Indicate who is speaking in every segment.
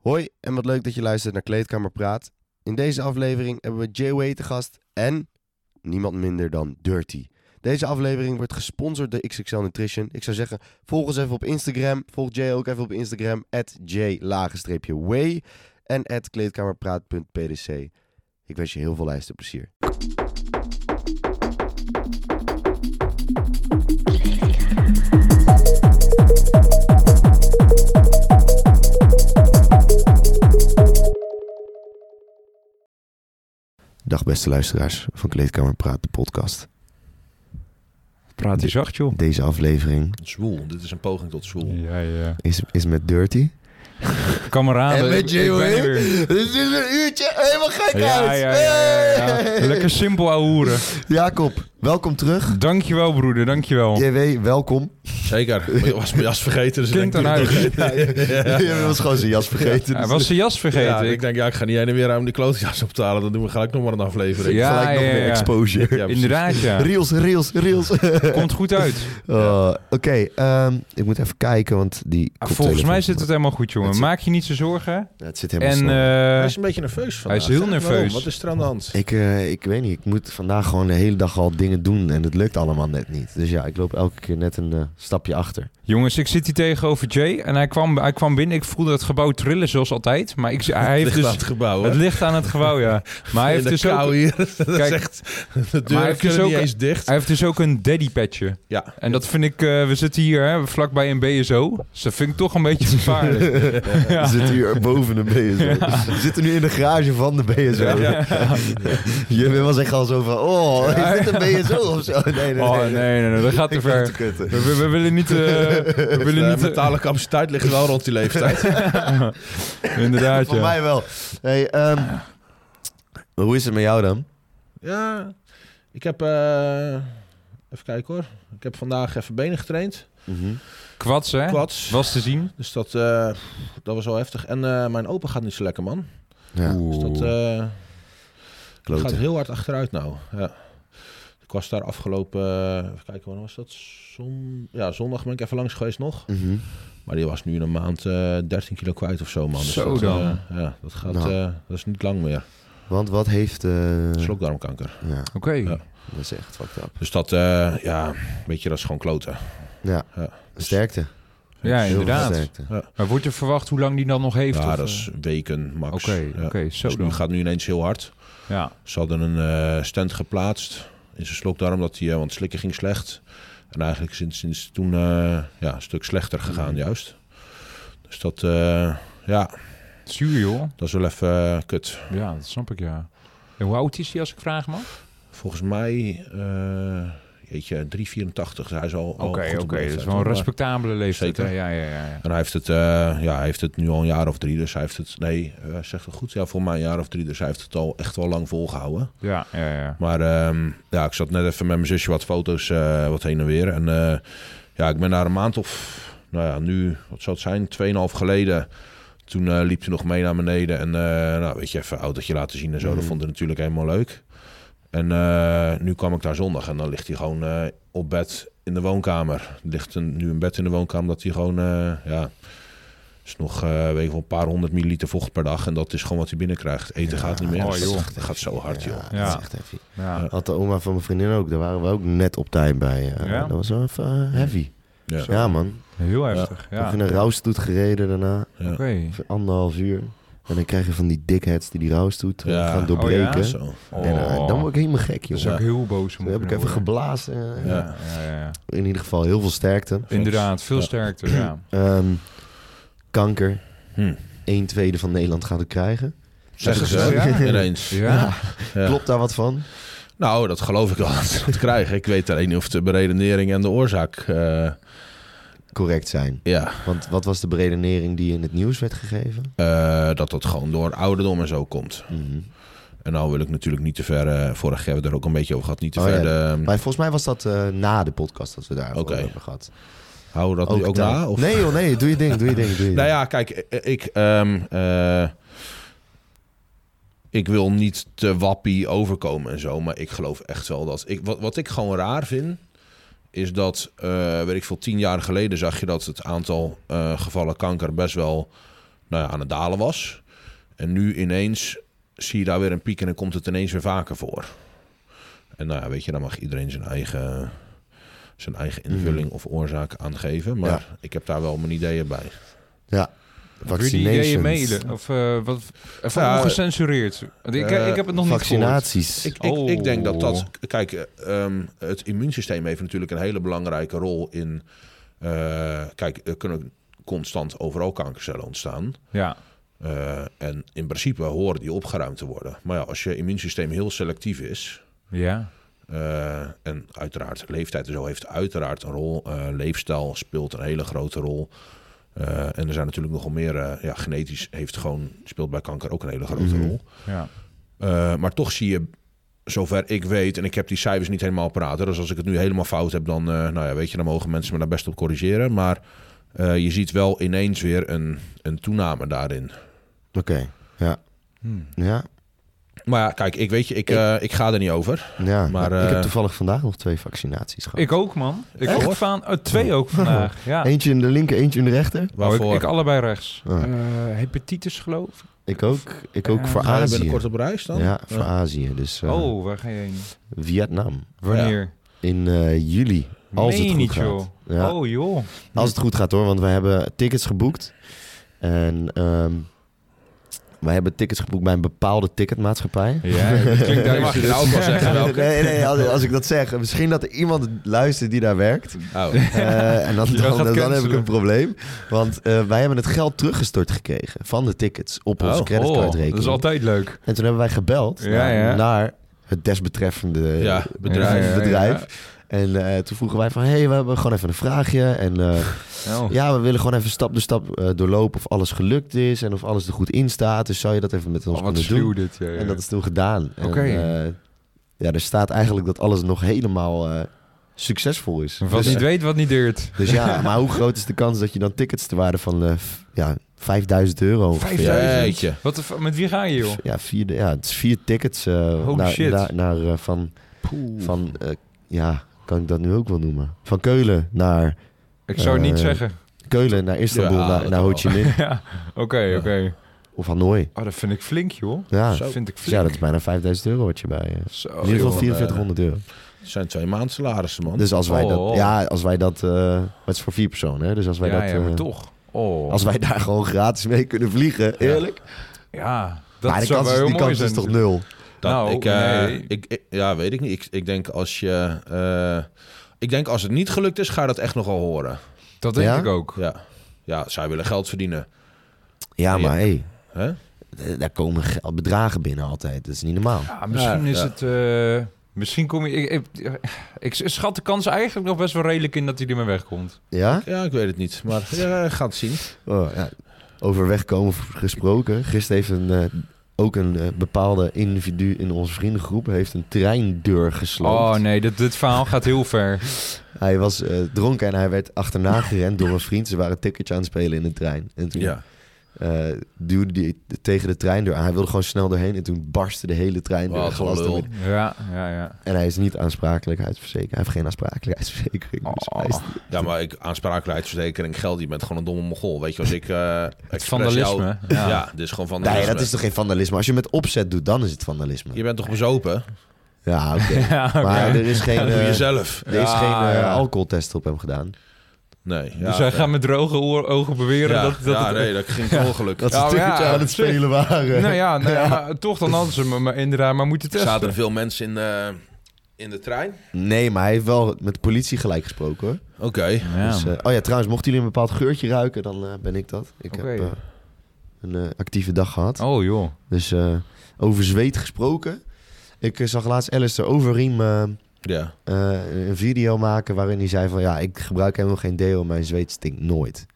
Speaker 1: Hoi en wat leuk dat je luistert naar Kleedkamer Praat. In deze aflevering hebben we Jay Way te gast en niemand minder dan Dirty. Deze aflevering wordt gesponsord door XXL Nutrition. Ik zou zeggen, volg ons even op Instagram. Volg Jay ook even op Instagram. At J-way en at kleedkamerpraat.pdc. Ik wens je heel veel luisterplezier. Dag beste luisteraars van Kleedkamer Praat, de podcast.
Speaker 2: Praat
Speaker 1: je
Speaker 2: zacht, joh.
Speaker 1: Deze aflevering
Speaker 3: Zwoel, dit is een poging tot zwoel.
Speaker 2: Ja, ja.
Speaker 1: is, is met Dirty.
Speaker 2: Kameraden. ik- ik ben er weer.
Speaker 1: Dus is een uurtje helemaal gek
Speaker 2: Ja, ja,
Speaker 1: uit.
Speaker 2: ja, ja, ja.
Speaker 1: Hey.
Speaker 2: Lekker simpel ouwe
Speaker 1: Jacob, welkom terug.
Speaker 2: Dankjewel, broeder. Dankjewel.
Speaker 1: JW, welkom.
Speaker 3: Zeker. Ik was mijn jas vergeten. Dus ik
Speaker 2: Kind
Speaker 3: denk,
Speaker 2: aan
Speaker 3: doe ik
Speaker 2: huis.
Speaker 3: nog even. Ja.
Speaker 1: Je was gewoon zijn jas vergeten. dus
Speaker 2: Hij was zijn jas
Speaker 3: Ja,
Speaker 2: vergeten.
Speaker 3: ik
Speaker 2: Ik-
Speaker 3: denk, ja, ik ga niet heen en weer om die klootjas op te halen. Dan doen we gelijk nog maar een aflevering.
Speaker 2: Ja,
Speaker 1: Gelijk nog
Speaker 2: ja,
Speaker 1: meer
Speaker 2: ja.
Speaker 1: exposure.
Speaker 3: Ja, precies.
Speaker 2: Inderdaad, ja.
Speaker 1: Reels, reels, reels.
Speaker 2: Komt goed uit. Ah,
Speaker 1: Oh, Oké, ehm, ik moet even kijken, want die...
Speaker 2: Ah, Volgens mij zit het helemaal goed,
Speaker 1: Het
Speaker 2: jongen.
Speaker 1: zit-
Speaker 2: Maak je niet zo zorgen.
Speaker 1: Ja, het zit helemaal
Speaker 2: En
Speaker 1: snel.
Speaker 3: Hij
Speaker 2: eh,
Speaker 3: is een beetje nerveus van.
Speaker 2: is heel nerveus.
Speaker 3: Wat is er aan de hand?
Speaker 1: Ik, eh, ik weet niet, ik moet vandaag gewoon de hele dag al dingen doen en het lukt allemaal net niet. Dus ja, ik loop elke keer net een eh, stapje achter.
Speaker 2: jongens, ik zit hier tegenover Jay. En hij kwam, hij kwam binnen. Ik voelde het gebouw trillen, zoals altijd. Maar ik, hij heeft
Speaker 3: Ligt aan
Speaker 2: dus...
Speaker 3: het gebouw, hè?
Speaker 2: Het ligt aan het gebouw, ja. Maar hij heeft
Speaker 3: In de
Speaker 2: dus
Speaker 3: kou
Speaker 2: ook...
Speaker 3: hier. Dat is
Speaker 2: Kijk,
Speaker 3: echt... De
Speaker 2: hij
Speaker 3: deur
Speaker 2: heeft dus
Speaker 3: kunnen niet
Speaker 2: ook-
Speaker 3: eens dicht.
Speaker 2: Hij heeft dus ook een daddy petje.
Speaker 3: Ja.
Speaker 2: En dat vind ik, eh, we zitten hier hè, vlakbij een BSO. Dus dat vind ik toch een beetje gevaarlijk.
Speaker 1: We zitten hier boven de BSO. We zitten nu in de garage van de BSO.
Speaker 3: Ja.
Speaker 1: Je was echt al zo van, oh,
Speaker 2: Ja.
Speaker 1: is dit een BSO of zo? Nee, nee, nee.
Speaker 2: Oh nee, nee, nee, dat gaat te
Speaker 1: Ik ben te
Speaker 2: ver.
Speaker 1: kutten.
Speaker 2: We, we- we willen niet. eh, we
Speaker 3: De
Speaker 2: willen niet. eh,
Speaker 3: mentale capaciteit ligt wel rond die leeftijd.
Speaker 2: inderdaad,
Speaker 1: Voor
Speaker 2: ja.
Speaker 1: mij wel. Hey, ehm, hoe is het met jou dan?
Speaker 3: ja, ik heb... eh, even kijken hoor. Ik heb vandaag even benen getraind.
Speaker 1: Mhm.
Speaker 2: Kwats, hè?
Speaker 3: Quads.
Speaker 2: Was te zien.
Speaker 3: Dus dat, eh, dat was wel heftig. En eh, mijn open gaat niet zo lekker, man.
Speaker 1: Ja,
Speaker 3: Dus dat...
Speaker 2: Oeh.
Speaker 3: eh, Het
Speaker 1: kloten.
Speaker 3: gaat heel hard achteruit nou. Ja. Ik was daar afgelopen, eh, even kijken, wanneer was dat? Zon, ja, zondag ben ik even langs geweest nog.
Speaker 1: Mhm.
Speaker 3: Maar die was nu in een maand eh 13 kilo kwijt of zo, man.
Speaker 2: Zo
Speaker 3: dat,
Speaker 2: dan.
Speaker 3: eh, ja, dat gaat,
Speaker 1: Nou.
Speaker 3: eh, dat is niet lang meer.
Speaker 1: Want wat heeft... eh,
Speaker 3: Slokdarmkanker.
Speaker 1: ja,
Speaker 2: Oké.
Speaker 3: Ja.
Speaker 1: dat is echt fucked up.
Speaker 3: Dus dat, eh, ja, weet je, dat is gewoon kloten.
Speaker 1: Ja,
Speaker 3: Ja.
Speaker 1: sterkte.
Speaker 2: Ja,
Speaker 1: Heel veel
Speaker 2: inderdaad.
Speaker 1: sterkte.
Speaker 2: Maar wordt er verwacht hoe lang die dan nog heeft?
Speaker 3: Ja,
Speaker 2: of,
Speaker 3: dat
Speaker 2: eh?
Speaker 3: is weken max.
Speaker 2: Oké,
Speaker 3: Ja.
Speaker 2: oké, zo
Speaker 3: Dus nu
Speaker 2: dan.
Speaker 3: gaat nu ineens heel hard.
Speaker 2: Ja.
Speaker 3: Ze hadden een eh, stand geplaatst in zijn slokdarm, dat hij, eh, want slikken ging slecht. En eigenlijk sinds, sinds toen eh, ja, een stuk slechter gegaan,
Speaker 2: Mhm.
Speaker 3: juist. Dus dat, eh, ja,
Speaker 2: Zuur, joh.
Speaker 3: dat is wel even eh, kut.
Speaker 2: Ja, dat snap ik, ja. En hoe oud is hij, als ik vraag mag?
Speaker 3: Volgens mij, eh jeetje, 3,84. Dus hij is al al
Speaker 2: Oké,
Speaker 3: goed
Speaker 2: oké.
Speaker 3: op leeftijd,
Speaker 2: Dat is wel een
Speaker 3: hoor.
Speaker 2: respectabele leeftijd.
Speaker 3: Zeker.
Speaker 2: hè? Ja, ja, ja. ja.
Speaker 3: En hij heeft, het, eh, ja, hij heeft het nu al een jaar of drie, dus hij heeft het... Nee, eh zegt het goed? Ja, voor mij een jaar of drie, dus hij heeft het al echt wel lang volgehouden.
Speaker 2: Ja, ja, ja.
Speaker 3: Maar ehm, ja, ik zat net even met mijn zusje wat foto's, eh, wat heen en weer. En eh, ja, ik ben daar een maand of, nou ja, nu, wat zou het zijn, 2,5 geleden. Toen eh, liep hij nog mee naar beneden. En eh, nou, weet je, even een autootje laten zien en zo. Dat
Speaker 1: Mhm.
Speaker 3: vond hij natuurlijk helemaal leuk. En eh, nu kwam ik daar zondag en dan ligt hij gewoon eh, op bed in de woonkamer. Er ligt een, nu een bed in de woonkamer dat hij gewoon, eh, ja... Is nog eh, weet ik wel, een paar honderd milliliter vocht per dag. En dat is gewoon wat hij binnenkrijgt. Eten
Speaker 1: Ja,
Speaker 3: gaat niet meer.
Speaker 2: oh,
Speaker 3: Dus dat
Speaker 2: joh.
Speaker 3: gaat- dat gaat zo hard, joh.
Speaker 1: Ja, dat
Speaker 2: Ja.
Speaker 1: is echt heavy.
Speaker 2: ja.
Speaker 1: Had de oma van mijn vriendin ook, daar waren we ook net op tijd bij. eh,
Speaker 2: Ja?
Speaker 1: Dat was wel even eh, heavy.
Speaker 3: Ja.
Speaker 1: Ja man,
Speaker 2: Heel heftig. Ja.
Speaker 1: nog in een rouwstoet gereden daarna.
Speaker 2: Oké.
Speaker 3: Ja.
Speaker 1: Even anderhalf uur. En dan krijg je van die dickheads die die rouwstoet eh,
Speaker 3: Ja.
Speaker 1: gaan
Speaker 2: Oh, ja?
Speaker 1: doorbreken.
Speaker 3: Zo.
Speaker 1: En eh, dan
Speaker 2: Oh.
Speaker 1: word ik helemaal gek,
Speaker 2: Dat
Speaker 1: joh.
Speaker 2: is ook heel boos. om
Speaker 1: Toen heb ik
Speaker 2: kunnen
Speaker 1: even
Speaker 2: worden.
Speaker 1: geblazen. eh,
Speaker 3: Ja.
Speaker 2: Ja, ja, ja, ja.
Speaker 1: In ieder geval heel veel sterkte.
Speaker 2: Inderdaad, veel sterkte. Ja.
Speaker 1: Ehm, kanker.
Speaker 3: Hm.
Speaker 1: 1 tweede van Nederland gaat het krijgen.
Speaker 3: Zeggen ze
Speaker 2: Ja.
Speaker 3: ja. ineens.
Speaker 2: Ja.
Speaker 3: Ja.
Speaker 1: Klopt daar wat van?
Speaker 3: Nou, dat geloof ik wel dat ze dat krijgen. Ik weet alleen niet of de beredenering en de oorzaak... eh,
Speaker 1: Correct zijn.
Speaker 3: ja,
Speaker 1: Want wat was de beredenering die in het nieuws werd gegeven?
Speaker 3: eh, dat dat gewoon door ouderdom en zo komt.
Speaker 1: Mhm.
Speaker 3: En nou wil ik natuurlijk niet te ver... eh, vorig jaar hebben we daar ook een beetje over gehad. Niet te
Speaker 1: Oh,
Speaker 3: ver...
Speaker 1: ja.
Speaker 3: eh,
Speaker 1: Maar volgens mij was dat eh, na de podcast dat we daarover
Speaker 3: Oké.
Speaker 1: hebben gehad.
Speaker 3: houden we dat nu ook
Speaker 1: daar-
Speaker 3: na? Of?
Speaker 1: Nee joh, nee. Doe je ding, doe je ding. Doe je
Speaker 3: Nou
Speaker 1: ding.
Speaker 3: ja, kijk, eh, ik... ehm, eh, ik wil niet te wappie overkomen en zo, maar ik geloof echt wel dat... Ik, wat, wat ik gewoon raar vind, is dat, eh, weet ik veel, tien jaar geleden zag je dat het aantal eh, gevallen kanker best wel nou ja, aan het dalen was. En nu ineens zie je daar weer een piek en dan komt het ineens weer vaker voor. En nou ja, weet je, dan mag iedereen zijn eigen, zijn eigen invulling of oorzaak aan geven. Maar
Speaker 1: Ja.
Speaker 3: ik heb daar wel mijn ideeën bij.
Speaker 2: Kun je die ideeën
Speaker 1: Vaccinations.
Speaker 2: mailen? Of eh, wat? Even
Speaker 3: Ja,
Speaker 2: ongecensureerd. Want ik,
Speaker 3: eh,
Speaker 2: ik heb het nog niet gehoord.
Speaker 1: Vaccinaties.
Speaker 3: Ik, ik, ik denk dat
Speaker 2: Oh.
Speaker 3: dat... Kijk, eh, ehm, het immuunsysteem heeft natuurlijk een hele belangrijke rol in... eh, kijk, er kunnen constant overal kankercellen ontstaan.
Speaker 2: Ja.
Speaker 3: Eh, en in principe horen die opgeruimd te worden. Maar ja, als je immuunsysteem heel selectief is...
Speaker 2: Ja.
Speaker 3: eh, en uiteraard leeftijd en zo heeft uiteraard een rol. Eh, leefstijl speelt een hele grote rol. Eh, en er zijn natuurlijk nogal meer... eh, ja, genetisch heeft gewoon, speelt bij kanker ook een hele grote
Speaker 1: Mhm.
Speaker 3: rol.
Speaker 2: Ja.
Speaker 3: Eh, maar toch zie je, zover ik weet, en ik heb die cijfers niet helemaal praten. Dus als ik het nu helemaal fout heb, dan, eh, nou ja, weet je, dan mogen mensen me daar best op corrigeren. Maar eh, je ziet wel ineens weer een, een toename daarin.
Speaker 1: Oké,
Speaker 2: Hm.
Speaker 1: ja.
Speaker 3: Maar ja, kijk, ik weet je, ik,
Speaker 1: Ik- Oh,
Speaker 3: eh, ik ga er niet over.
Speaker 1: ja.
Speaker 3: Maar,
Speaker 1: ik
Speaker 3: eh,
Speaker 1: heb toevallig vandaag nog twee vaccinaties gehad.
Speaker 2: Ik ook, man. Ik
Speaker 3: Echt?
Speaker 2: ook van, eh, twee ook vandaag. Ja.
Speaker 1: Eentje in de linker, eentje in de rechter.
Speaker 3: Waarvoor?
Speaker 2: Oh, ik, ik allebei rechts.
Speaker 1: Ah.
Speaker 2: Eh, hepatitis geloof ik.
Speaker 1: Ik ook. Ik ook
Speaker 2: Ja,
Speaker 1: voor
Speaker 3: Ga je
Speaker 1: Azië.
Speaker 3: binnenkort op reis dan? Oh.
Speaker 1: Ja, voor Azië. Dus eh,
Speaker 2: Oh, waar ga je heen?
Speaker 1: Vietnam.
Speaker 2: Wanneer?
Speaker 1: In eh, juli. Als
Speaker 2: Meen
Speaker 1: het
Speaker 2: je
Speaker 1: goed
Speaker 2: niet,
Speaker 1: gaat.
Speaker 2: joh.
Speaker 1: Ja.
Speaker 2: Oh, joh.
Speaker 1: Als het goed gaat hoor, want we hebben tickets geboekt. En ehm wij hebben tickets geboekt bij een bepaalde ticketmaatschappij.
Speaker 2: Ja, dat klinkt
Speaker 3: Nee, mag je nou ook wel zeggen welke?
Speaker 1: Nee, nee, als, als ik dat zeg, misschien dat er iemand luistert die daar werkt.
Speaker 3: Oh.
Speaker 1: Eh, en dan,
Speaker 2: Die
Speaker 1: dan,
Speaker 2: gaat
Speaker 1: dan, heb ik
Speaker 2: cancelen.
Speaker 1: een probleem. Want eh, wij hebben het geld teruggestort gekregen van de tickets op onze
Speaker 3: Oh,
Speaker 1: creditcardrekening.
Speaker 2: dat is altijd leuk.
Speaker 1: En toen hebben wij gebeld
Speaker 2: Ja,
Speaker 1: naar,
Speaker 2: ja.
Speaker 1: naar het desbetreffende
Speaker 3: Ja, bedrijf.
Speaker 1: eh,
Speaker 2: Ja, ja,
Speaker 1: bedrijf. En eh, toen vroegen wij van, hé, hey, we hebben gewoon even een vraagje. En eh,
Speaker 2: Oh.
Speaker 1: ja, we willen gewoon even stap door stap eh, doorlopen of alles gelukt is en of alles er goed in staat. Dus zou je dat even met ons
Speaker 2: Oh, wat
Speaker 1: kunnen doen?
Speaker 2: sluw dit. Ja, ja.
Speaker 1: En dat is toen gedaan. En,
Speaker 2: Oké.
Speaker 1: eh, ja, er staat eigenlijk dat alles nog helemaal eh, succesvol is.
Speaker 2: Wat
Speaker 1: Dus-
Speaker 2: niet weet, wat niet deert.
Speaker 1: dus ja, maar hoe groot is de kans dat je dan tickets te waarde van eh, f- ja, 5000 euro? ongeveer?
Speaker 2: 5000?
Speaker 3: Jeetje.
Speaker 2: Wat, de f- met wie ga je, joh?
Speaker 1: Ja, vier, ja, het is vier tickets eh, naar,
Speaker 2: shit.
Speaker 1: naar, naar, eh, van, van eh, ja, kan ik dat nu ook wel noemen? Van Keulen naar
Speaker 2: Ik zou het niet
Speaker 1: Eh,
Speaker 2: zeggen.
Speaker 1: Keulen naar Istanbul,
Speaker 3: Ja,
Speaker 1: naar,
Speaker 3: dat
Speaker 1: naar Ho
Speaker 3: wel.
Speaker 1: Chi Minh
Speaker 2: Ja, oké,
Speaker 3: Ja.
Speaker 2: oké.
Speaker 1: of Hanoi.
Speaker 2: Oh, dat vind ik flink, joh.
Speaker 1: Ja,
Speaker 3: Zo.
Speaker 2: Dat vind ik
Speaker 1: Dus ja,
Speaker 2: flink.
Speaker 1: dat is bijna 5000 euro wat je bij. eh,
Speaker 2: Zo,
Speaker 1: in ieder geval
Speaker 2: Oh, joh. eh,
Speaker 1: 4400 euro.
Speaker 3: Het zijn twee maand salarissen, man.
Speaker 1: Dus als wij dat,
Speaker 2: Oh.
Speaker 1: ja, als wij dat, eh, maar het is voor vier personen, hè? Dus als wij
Speaker 2: ja,
Speaker 1: dat,
Speaker 2: ja, maar
Speaker 1: eh,
Speaker 2: toch. Oh,
Speaker 1: als wij daar gewoon gratis mee kunnen vliegen, eerlijk.
Speaker 2: ja. Dat
Speaker 1: maar de
Speaker 2: zou
Speaker 1: kans, is,
Speaker 2: wel heel
Speaker 1: die
Speaker 2: mooi
Speaker 1: kans
Speaker 2: zijn.
Speaker 1: is toch nul.
Speaker 3: Dat,
Speaker 2: Nou,
Speaker 3: ik, eh,
Speaker 2: nee.
Speaker 3: ik, ik- ja, weet ik niet. Ik, ik denk als je... eh, ik denk als het niet gelukt is, ga je dat echt nogal horen.
Speaker 2: Dat denk
Speaker 1: Ja?
Speaker 2: ik ook.
Speaker 3: Ja, ja zij willen geld verdienen.
Speaker 1: Ja,
Speaker 3: Ja.
Speaker 1: maar hé,
Speaker 3: Hè?
Speaker 1: d- daar komen ge- bedragen binnen altijd. Dat is niet normaal.
Speaker 2: Ja, misschien
Speaker 3: Ja,
Speaker 2: is
Speaker 3: ja.
Speaker 2: het... eh, misschien kom je... Ik, ik, ik schat de kans eigenlijk nog best wel redelijk in dat hij ermee wegkomt.
Speaker 1: Ja?
Speaker 3: Ja, ik weet het niet. Maar ja, gaat het zien.
Speaker 1: Oh, ja. Over wegkomen v- gesproken. Gisteren heeft een, eh, ook een eh, bepaalde individu in onze vriendengroep heeft een treindeur gesloopt.
Speaker 2: Oh nee, dit, dit verhaal gaat heel ver.
Speaker 1: Hij was eh, dronken en hij werd achterna gerend door een vriend. Ze waren een tikkertje aan het spelen in de trein. En toen
Speaker 3: Ja.
Speaker 1: eh, duwde hij tegen de treindeur aan. Hij wilde gewoon snel doorheen en toen barstte de hele treindeur
Speaker 3: Wat
Speaker 1: glas
Speaker 3: een
Speaker 1: door.
Speaker 3: lul.
Speaker 2: Ja, ja, ja.
Speaker 1: En hij is niet aansprakelijkheidsverzekerd. Hij heeft geen aansprakelijkheidsverzekering. Dus
Speaker 2: Oh.
Speaker 1: hij is-
Speaker 3: ja, maar ik, aansprakelijkheidsverzekering geldt. Je bent gewoon een domme mogol. Weet je, als ik... eh
Speaker 2: Het
Speaker 3: expres jou-
Speaker 2: vandalisme.
Speaker 3: Ja.
Speaker 2: Ja.
Speaker 3: dit is gewoon vandalisme.
Speaker 1: Nee, dat is toch geen vandalisme? Als je met opzet doet, dan is het vandalisme.
Speaker 3: Je bent toch bezopen?
Speaker 1: Ja, oké.
Speaker 2: Ja, oké.
Speaker 1: Maar er is geen,
Speaker 3: Dat doe je
Speaker 1: eh,
Speaker 3: zelf.
Speaker 1: er is
Speaker 2: Ja,
Speaker 1: geen eh,
Speaker 2: ja.
Speaker 1: alcoholtest op hem gedaan.
Speaker 3: Nee. Ja,
Speaker 2: dus wij
Speaker 3: ja.
Speaker 2: gaan met droge oor- ogen beweren
Speaker 3: Ja,
Speaker 2: dat, dat
Speaker 3: ja,
Speaker 2: het-
Speaker 3: nee, dat ging per ongeluk.
Speaker 1: Dat ze
Speaker 2: Ja,
Speaker 1: een
Speaker 2: maar Oh, ja,
Speaker 1: tikkertje aan
Speaker 2: op
Speaker 1: het
Speaker 2: zich.
Speaker 1: spelen waren.
Speaker 2: Nou ja, nou ja, maar toch dan hadden ze me, me inderdaad maar moeten
Speaker 3: Er
Speaker 2: testen.
Speaker 3: zaten veel mensen in, eh, in de trein.
Speaker 1: Nee, maar hij heeft wel met de politie gelijk gesproken hoor.
Speaker 3: Oké.
Speaker 2: Ja.
Speaker 1: Dus, eh, oh ja, trouwens, mochten jullie een bepaald geurtje ruiken, dan eh, ben ik dat. Ik
Speaker 2: Oké.
Speaker 1: heb eh, een eh, actieve dag gehad.
Speaker 2: oh joh.
Speaker 1: Dus eh, over zweet gesproken. Ik eh, zag laatst Alistair Overeem eh,
Speaker 3: Ja.
Speaker 1: eh, een video maken waarin hij zei van... ja, ik gebruik helemaal geen deo, mijn zweet stinkt nooit.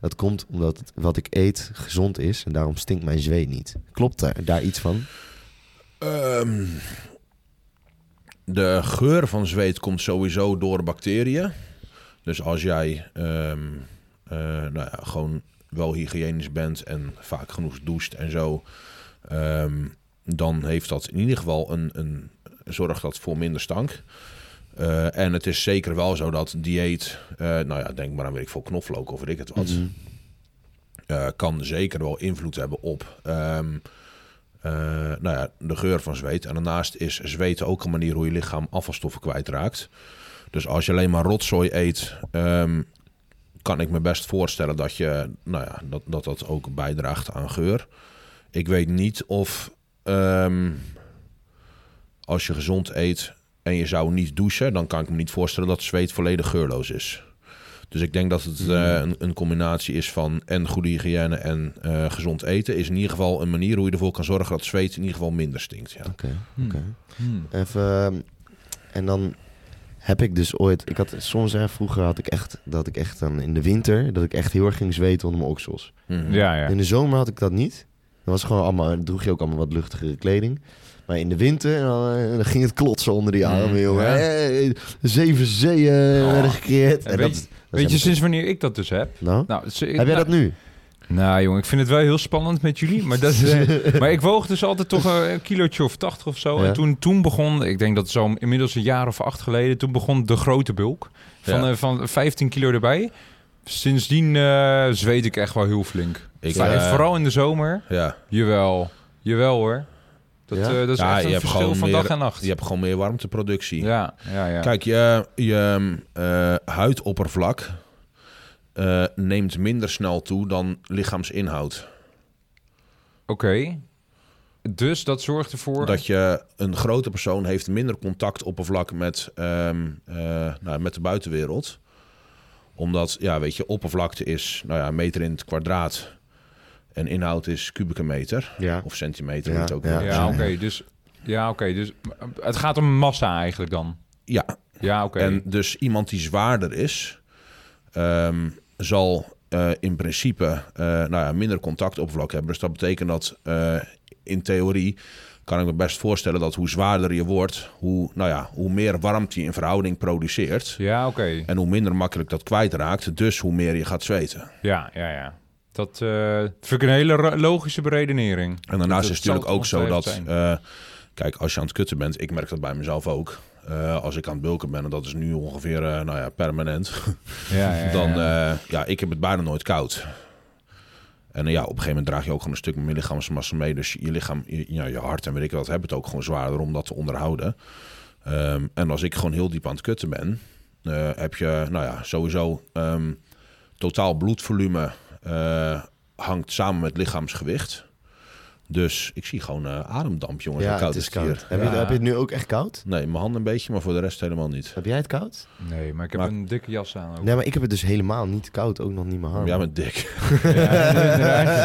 Speaker 1: Dat komt omdat het- wat ik eet gezond is en daarom stinkt mijn zweet niet. Klopt daar, daar iets van?
Speaker 3: Ehm, de geur van zweet komt sowieso door bacteriën. Dus als jij ehm, eh, nou ja, gewoon wel hygiënisch bent en vaak genoeg doucht en zo, ehm, dan heeft dat in ieder geval een, een zorgt dat voor minder stank. Eh, en het is
Speaker 1: Mm,
Speaker 3: zeker wel zo dat dieet, eh, nou ja, denk maar aan weet ik veel knoflook of weet ik het wat.
Speaker 1: Mhm.
Speaker 3: eh, kan zeker wel invloed hebben op ehm, eh, nou ja, de geur van zweet. En daarnaast is zweet ook een manier hoe je lichaam afvalstoffen kwijtraakt. Dus als je alleen maar rotzooi eet, ehm, kan ik me best voorstellen dat, je, nou ja, dat, dat dat ook bijdraagt aan geur. Ik weet niet of ehm, als je gezond eet en je zou niet douchen, dan kan ik me niet voorstellen dat zweet volledig geurloos is. Dus ik denk dat het eh, een, een combinatie is van en goede hygiëne en eh, gezond eten. Is in ieder geval een manier hoe je ervoor kan zorgen dat zweet in ieder geval minder stinkt. Ja.
Speaker 4: Oké, oké.
Speaker 2: Hm.
Speaker 4: Even, ehm, en dan heb ik dus ooit... Ik had, soms hè, vroeger had ik echt dat ik echt dan in de winter... dat ik echt heel erg ging zweten onder mijn oksels.
Speaker 3: Mhm.
Speaker 2: Ja, ja.
Speaker 4: In de zomer had ik dat niet. Dan was het gewoon allemaal, dan droeg je ook allemaal wat luchtigere kleding. Maar in de winter dan, eh, dan ging het klotsen onder die armen,
Speaker 3: Mm,
Speaker 4: jongen.
Speaker 2: ja.
Speaker 4: Eh, eh, zeven zeeën
Speaker 2: Oh.
Speaker 4: werden gecreëerd.
Speaker 2: Ja,
Speaker 4: En
Speaker 2: weet
Speaker 4: dat,
Speaker 2: je-
Speaker 4: dat
Speaker 2: Weet je
Speaker 4: zijn-
Speaker 2: sinds wanneer ik dat dus heb?
Speaker 4: Nou,
Speaker 2: Nou, ze-
Speaker 4: heb jij
Speaker 2: nou,
Speaker 4: dat nu?
Speaker 2: Nou jongen, ik vind het wel heel spannend met jullie. Maar, dat is, eh, maar ik woog dus altijd toch eh, een kilootje of 80 of zo.
Speaker 4: Ja.
Speaker 2: En toen, toen begon, ik denk dat zo inmiddels een jaar of acht geleden, toen begon de grote bulk. Van,
Speaker 3: Ja.
Speaker 2: eh, van 15 kilo erbij. Sindsdien eh, zweet ik echt wel heel flink.
Speaker 3: Ik,
Speaker 2: Maar,
Speaker 3: eh,
Speaker 2: en vooral in de zomer.
Speaker 3: ja.
Speaker 2: Jawel, jawel hoor. Dat,
Speaker 4: Ja?
Speaker 2: eh, dat is
Speaker 3: Ja,
Speaker 2: echt
Speaker 3: je
Speaker 2: een
Speaker 3: hebt
Speaker 2: verschil
Speaker 3: gewoon
Speaker 2: van
Speaker 3: meer-
Speaker 2: dag en nacht.
Speaker 3: Je hebt gewoon meer warmteproductie.
Speaker 2: Ja, ja, ja.
Speaker 3: Kijk, je, je eh, huidoppervlak eh, neemt minder snel toe dan lichaamsinhoud.
Speaker 2: Oké. Dus dat zorgt ervoor...
Speaker 3: Dat je een grote persoon heeft minder contactoppervlak met, ehm, eh, nou, met de buitenwereld. Omdat, ja, weet je, oppervlakte is nou ja, een meter in het kwadraat. En inhoud is kubieke meter.
Speaker 4: Ja.
Speaker 3: Of centimeter
Speaker 4: Ja,
Speaker 3: moet het ook
Speaker 4: ja.
Speaker 3: wel
Speaker 2: Ja,
Speaker 3: zijn.
Speaker 2: oké, dus... Ja, oké, dus het gaat om massa eigenlijk dan.
Speaker 3: ja,
Speaker 2: Ja, oké.
Speaker 3: En dus iemand die zwaarder is, ehm, zal eh, in principe eh, nou ja, minder contactoppervlak hebben. Dus dat betekent dat eh, in theorie kan ik me best voorstellen dat hoe zwaarder je wordt, hoe, nou ja, hoe meer warmte je in verhouding produceert.
Speaker 2: Ja, oké.
Speaker 3: En hoe minder makkelijk dat kwijtraakt, dus hoe meer je gaat zweten.
Speaker 2: Ja, ja, ja. Dat eh, vind ik een hele ro- logische beredenering.
Speaker 3: En daarnaast
Speaker 2: Dat
Speaker 3: is het natuurlijk
Speaker 2: zal
Speaker 3: ook zo dat...
Speaker 2: ongetwijfeld
Speaker 3: eh, kijk, als je aan het kutten bent, ik merk dat bij mezelf ook. Eh, als ik aan het bulken ben, en dat is nu ongeveer eh, nou ja, permanent...
Speaker 2: Ja, ja, ja.
Speaker 3: dan, eh, ja, ik heb het bijna nooit koud. En eh, ja, op een gegeven moment draag je ook gewoon een stuk meer lichaamsmassa mee. Dus je lichaam, je, ja, je hart en weet ik wat, hebben het ook gewoon zwaarder om dat te onderhouden. Ehm, en als ik gewoon heel diep aan het kutten ben, eh, heb je, nou ja, sowieso ehm, totaal bloedvolume eh, hangt samen met lichaamsgewicht. Dus ik zie gewoon eh, ademdamp, jongens.
Speaker 4: ja,
Speaker 3: Hoe koud
Speaker 4: het
Speaker 3: het
Speaker 4: is koud.
Speaker 3: hier?
Speaker 4: Heb, je,
Speaker 2: Ja.
Speaker 4: heb je het nu ook echt koud?
Speaker 3: Nee, mijn handen een beetje, maar voor de rest helemaal niet.
Speaker 4: Heb jij het koud?
Speaker 2: Nee, maar ik heb
Speaker 3: Maar-
Speaker 2: een dikke jas aan ook.
Speaker 4: Nee, maar ik heb het dus helemaal niet koud. Ook nog niet mijn arm.
Speaker 3: Ja, met dik.
Speaker 2: Ja,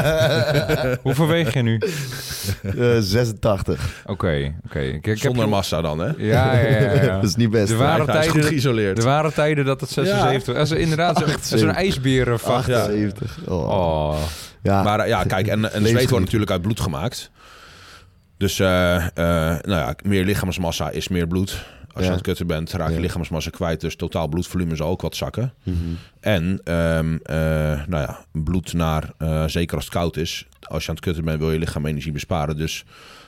Speaker 2: inderdaad. Hoeveel weeg je nu? Oké,
Speaker 4: Eh, 86.
Speaker 2: oké. Ik- ik heb-
Speaker 3: Zonder massa dan, hè?
Speaker 2: Ja, ja, ja. ja.
Speaker 4: dat is niet best.
Speaker 2: Er waren
Speaker 3: Hij is goed
Speaker 2: tijden...
Speaker 3: geïsoleerd.
Speaker 2: Er waren tijden dat het 76... Als er inderdaad zo- zo'n
Speaker 4: 78.
Speaker 2: ijsberenvacht...
Speaker 4: 78. Oh.
Speaker 2: Oh.
Speaker 4: Ja.
Speaker 3: Maar eh, ja, kijk, en, en zweet
Speaker 4: Leefgebied.
Speaker 3: wordt natuurlijk uit bloed gemaakt. Dus eh, eh, nou ja, meer lichaamsmassa is meer bloed. Als
Speaker 4: Ja.
Speaker 3: je aan het kutten bent, raak je
Speaker 4: Ja.
Speaker 3: lichaamsmassa kwijt. Dus totaal bloedvolume zal ook wat zakken.
Speaker 4: Mhm.
Speaker 3: En ehm, eh, nou ja, bloed naar, eh, zeker als het koud is. Als je aan het kutten bent, wil je lichaam energie besparen. Dus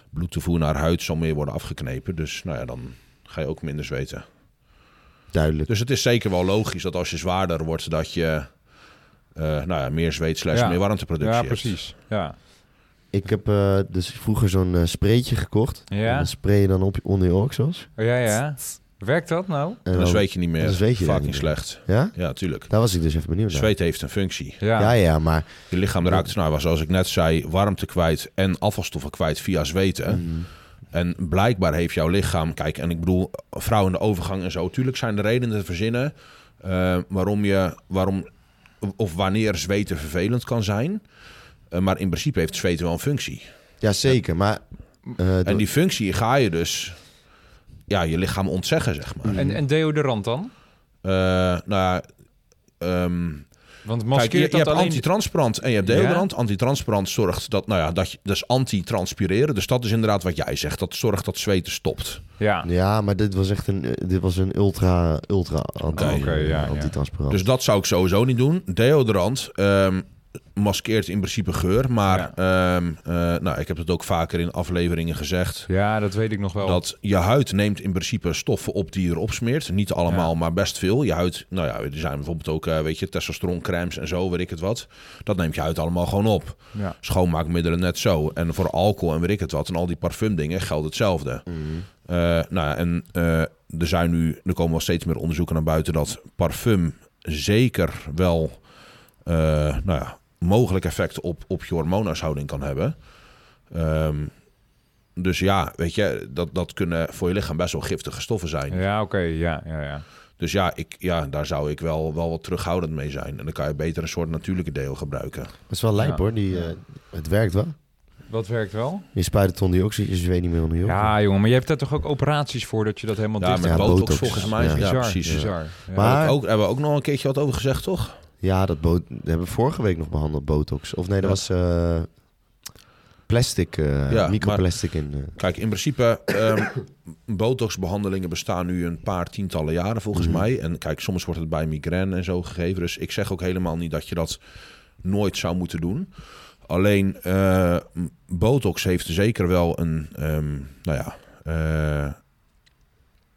Speaker 3: bloedtoevoer naar huid zal meer worden afgeknepen. Dus nou ja, dan ga je ook minder zweten.
Speaker 4: Duidelijk.
Speaker 3: Dus het is zeker wel logisch dat als je zwaarder wordt, dat je eh, nou ja, meer zweet slash
Speaker 2: Ja.
Speaker 3: meer warmteproductie
Speaker 2: Ja,
Speaker 3: hebt.
Speaker 2: precies. Ja.
Speaker 4: Ik heb eh, dus vroeger zo'n eh spreetje gekocht. En
Speaker 2: Ja?
Speaker 4: dan spray je dan op je- onder je oksels.
Speaker 2: Oh, ja, ja. Werkt dat nou?
Speaker 4: En
Speaker 3: En dan zweet je niet meer.
Speaker 4: dan zweet je
Speaker 3: Fucking
Speaker 4: niet meer.
Speaker 3: slecht.
Speaker 4: Ja?
Speaker 3: Ja, tuurlijk.
Speaker 4: Daar was ik dus even benieuwd naar.
Speaker 3: Zweet heeft een functie.
Speaker 2: Ja.
Speaker 4: Ja, ja, maar...
Speaker 3: Je lichaam raakt, nou, zoals ik net zei, warmte kwijt en afvalstoffen kwijt via zweten.
Speaker 4: Mm,
Speaker 3: En blijkbaar heeft jouw lichaam, kijk, en ik bedoel, vrouwen in de overgang en zo, tuurlijk zijn er redenen te verzinnen eh, waarom je, waarom of wanneer zweten vervelend kan zijn. Eh, maar in principe heeft zweten wel een functie.
Speaker 4: ja, zeker. Maar... eh,
Speaker 3: En die functie ga je dus, ja, je lichaam ontzeggen, zeg
Speaker 4: Mm.
Speaker 3: maar.
Speaker 2: En, en deodorant dan?
Speaker 3: Eh, nou ja, ehm,
Speaker 2: Want
Speaker 3: Kijk, je, je
Speaker 2: maskeert
Speaker 3: hebt
Speaker 2: dat alleen...
Speaker 3: antitranspirant en je hebt
Speaker 2: Ja.
Speaker 3: deodorant. Antitranspirant zorgt dat, nou ja, dat je, dat is antitranspireren. Dus dat is inderdaad wat jij zegt. Dat zorgt dat zweten stopt.
Speaker 2: Ja.
Speaker 4: Ja, maar dit was echt een, eh, dit was een ultra, ultra anti,
Speaker 2: Oh, oké, ja, ja.
Speaker 4: antitransparant.
Speaker 3: Dus dat zou ik sowieso niet doen. Deodorant ehm, maskeert in principe geur. Maar ehm, eh, nou, ik heb het ook vaker in afleveringen gezegd.
Speaker 2: Ja, dat weet ik nog wel.
Speaker 3: Dat je huid neemt in principe stoffen op die je erop smeert. Niet allemaal,
Speaker 2: Ja.
Speaker 3: maar best veel. Je huid, nou ja, er zijn bijvoorbeeld ook, eh, weet je, testosteroncremes en zo, weet ik het wat. Dat neemt je huid allemaal gewoon op.
Speaker 2: Ja.
Speaker 3: Schoonmaakmiddelen net zo. En voor alcohol en weet ik het wat. En al die parfumdingen geldt hetzelfde. Eh, nou ja, en eh, er zijn nu, er komen wel steeds meer onderzoeken naar buiten dat parfum zeker wel eh, nou ja, mogelijk effect op, op je hormoonhuishouding kan hebben. Ehm, dus ja, weet je, dat, dat kunnen voor je lichaam best wel giftige stoffen zijn.
Speaker 2: Ja, oké. Ja, ja, ja.
Speaker 3: Dus ja, ik, ja, daar zou ik wel, wel wat terughoudend mee zijn. En dan kan je beter een soort natuurlijke deel gebruiken.
Speaker 4: Dat is wel lijp
Speaker 2: Ja.
Speaker 4: hoor, die, eh, het werkt wel.
Speaker 2: Wat werkt wel?
Speaker 4: Je spuit het onder je oksel, je zweet niet meer onder je oksel.
Speaker 2: Ja, jongen, maar je hebt daar toch ook operaties voor dat je dat helemaal
Speaker 3: Ja,
Speaker 2: dicht
Speaker 3: met
Speaker 4: ja,
Speaker 3: botox,
Speaker 4: botox.
Speaker 3: volgens mij.
Speaker 4: Ja.
Speaker 3: Ja,
Speaker 2: Bizar,
Speaker 3: precies.
Speaker 2: Bizar. Ja.
Speaker 4: Maar-
Speaker 3: Daar ook, hebben we ook nog een keertje wat over gezegd, toch?
Speaker 4: Ja, dat bo- dat hebben we vorige week nog behandeld, botox. Of nee, dat
Speaker 3: Ja.
Speaker 4: was eh, plastic, eh,
Speaker 3: Ja,
Speaker 4: microplastic in. eh.
Speaker 3: Kijk, in principe, ehm botoxbehandelingen bestaan nu een paar tientallen jaren volgens
Speaker 4: Mhm.
Speaker 3: mij. En kijk, soms wordt het bij migraine en zo gegeven. Dus ik zeg ook helemaal niet dat je dat nooit zou moeten doen. Alleen, eh, m- botox heeft zeker wel een, ehm, nou ja, eh,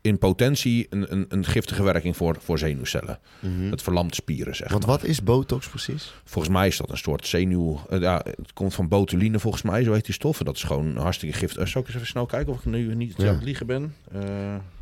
Speaker 3: in potentie een, een, een giftige werking voor, voor zenuwcellen.
Speaker 4: Mhm.
Speaker 3: Het verlamt spieren, zeg
Speaker 4: Want
Speaker 3: maar.
Speaker 4: wat is botox precies?
Speaker 3: Volgens mij is dat een soort zenuw... eh, ja, het komt van botuline volgens mij, zo heet die stof. En dat is gewoon hartstikke giftig. Eh, zal ik eens even snel kijken of ik nu niet
Speaker 4: Ja.
Speaker 3: aan het liegen ben? Eh,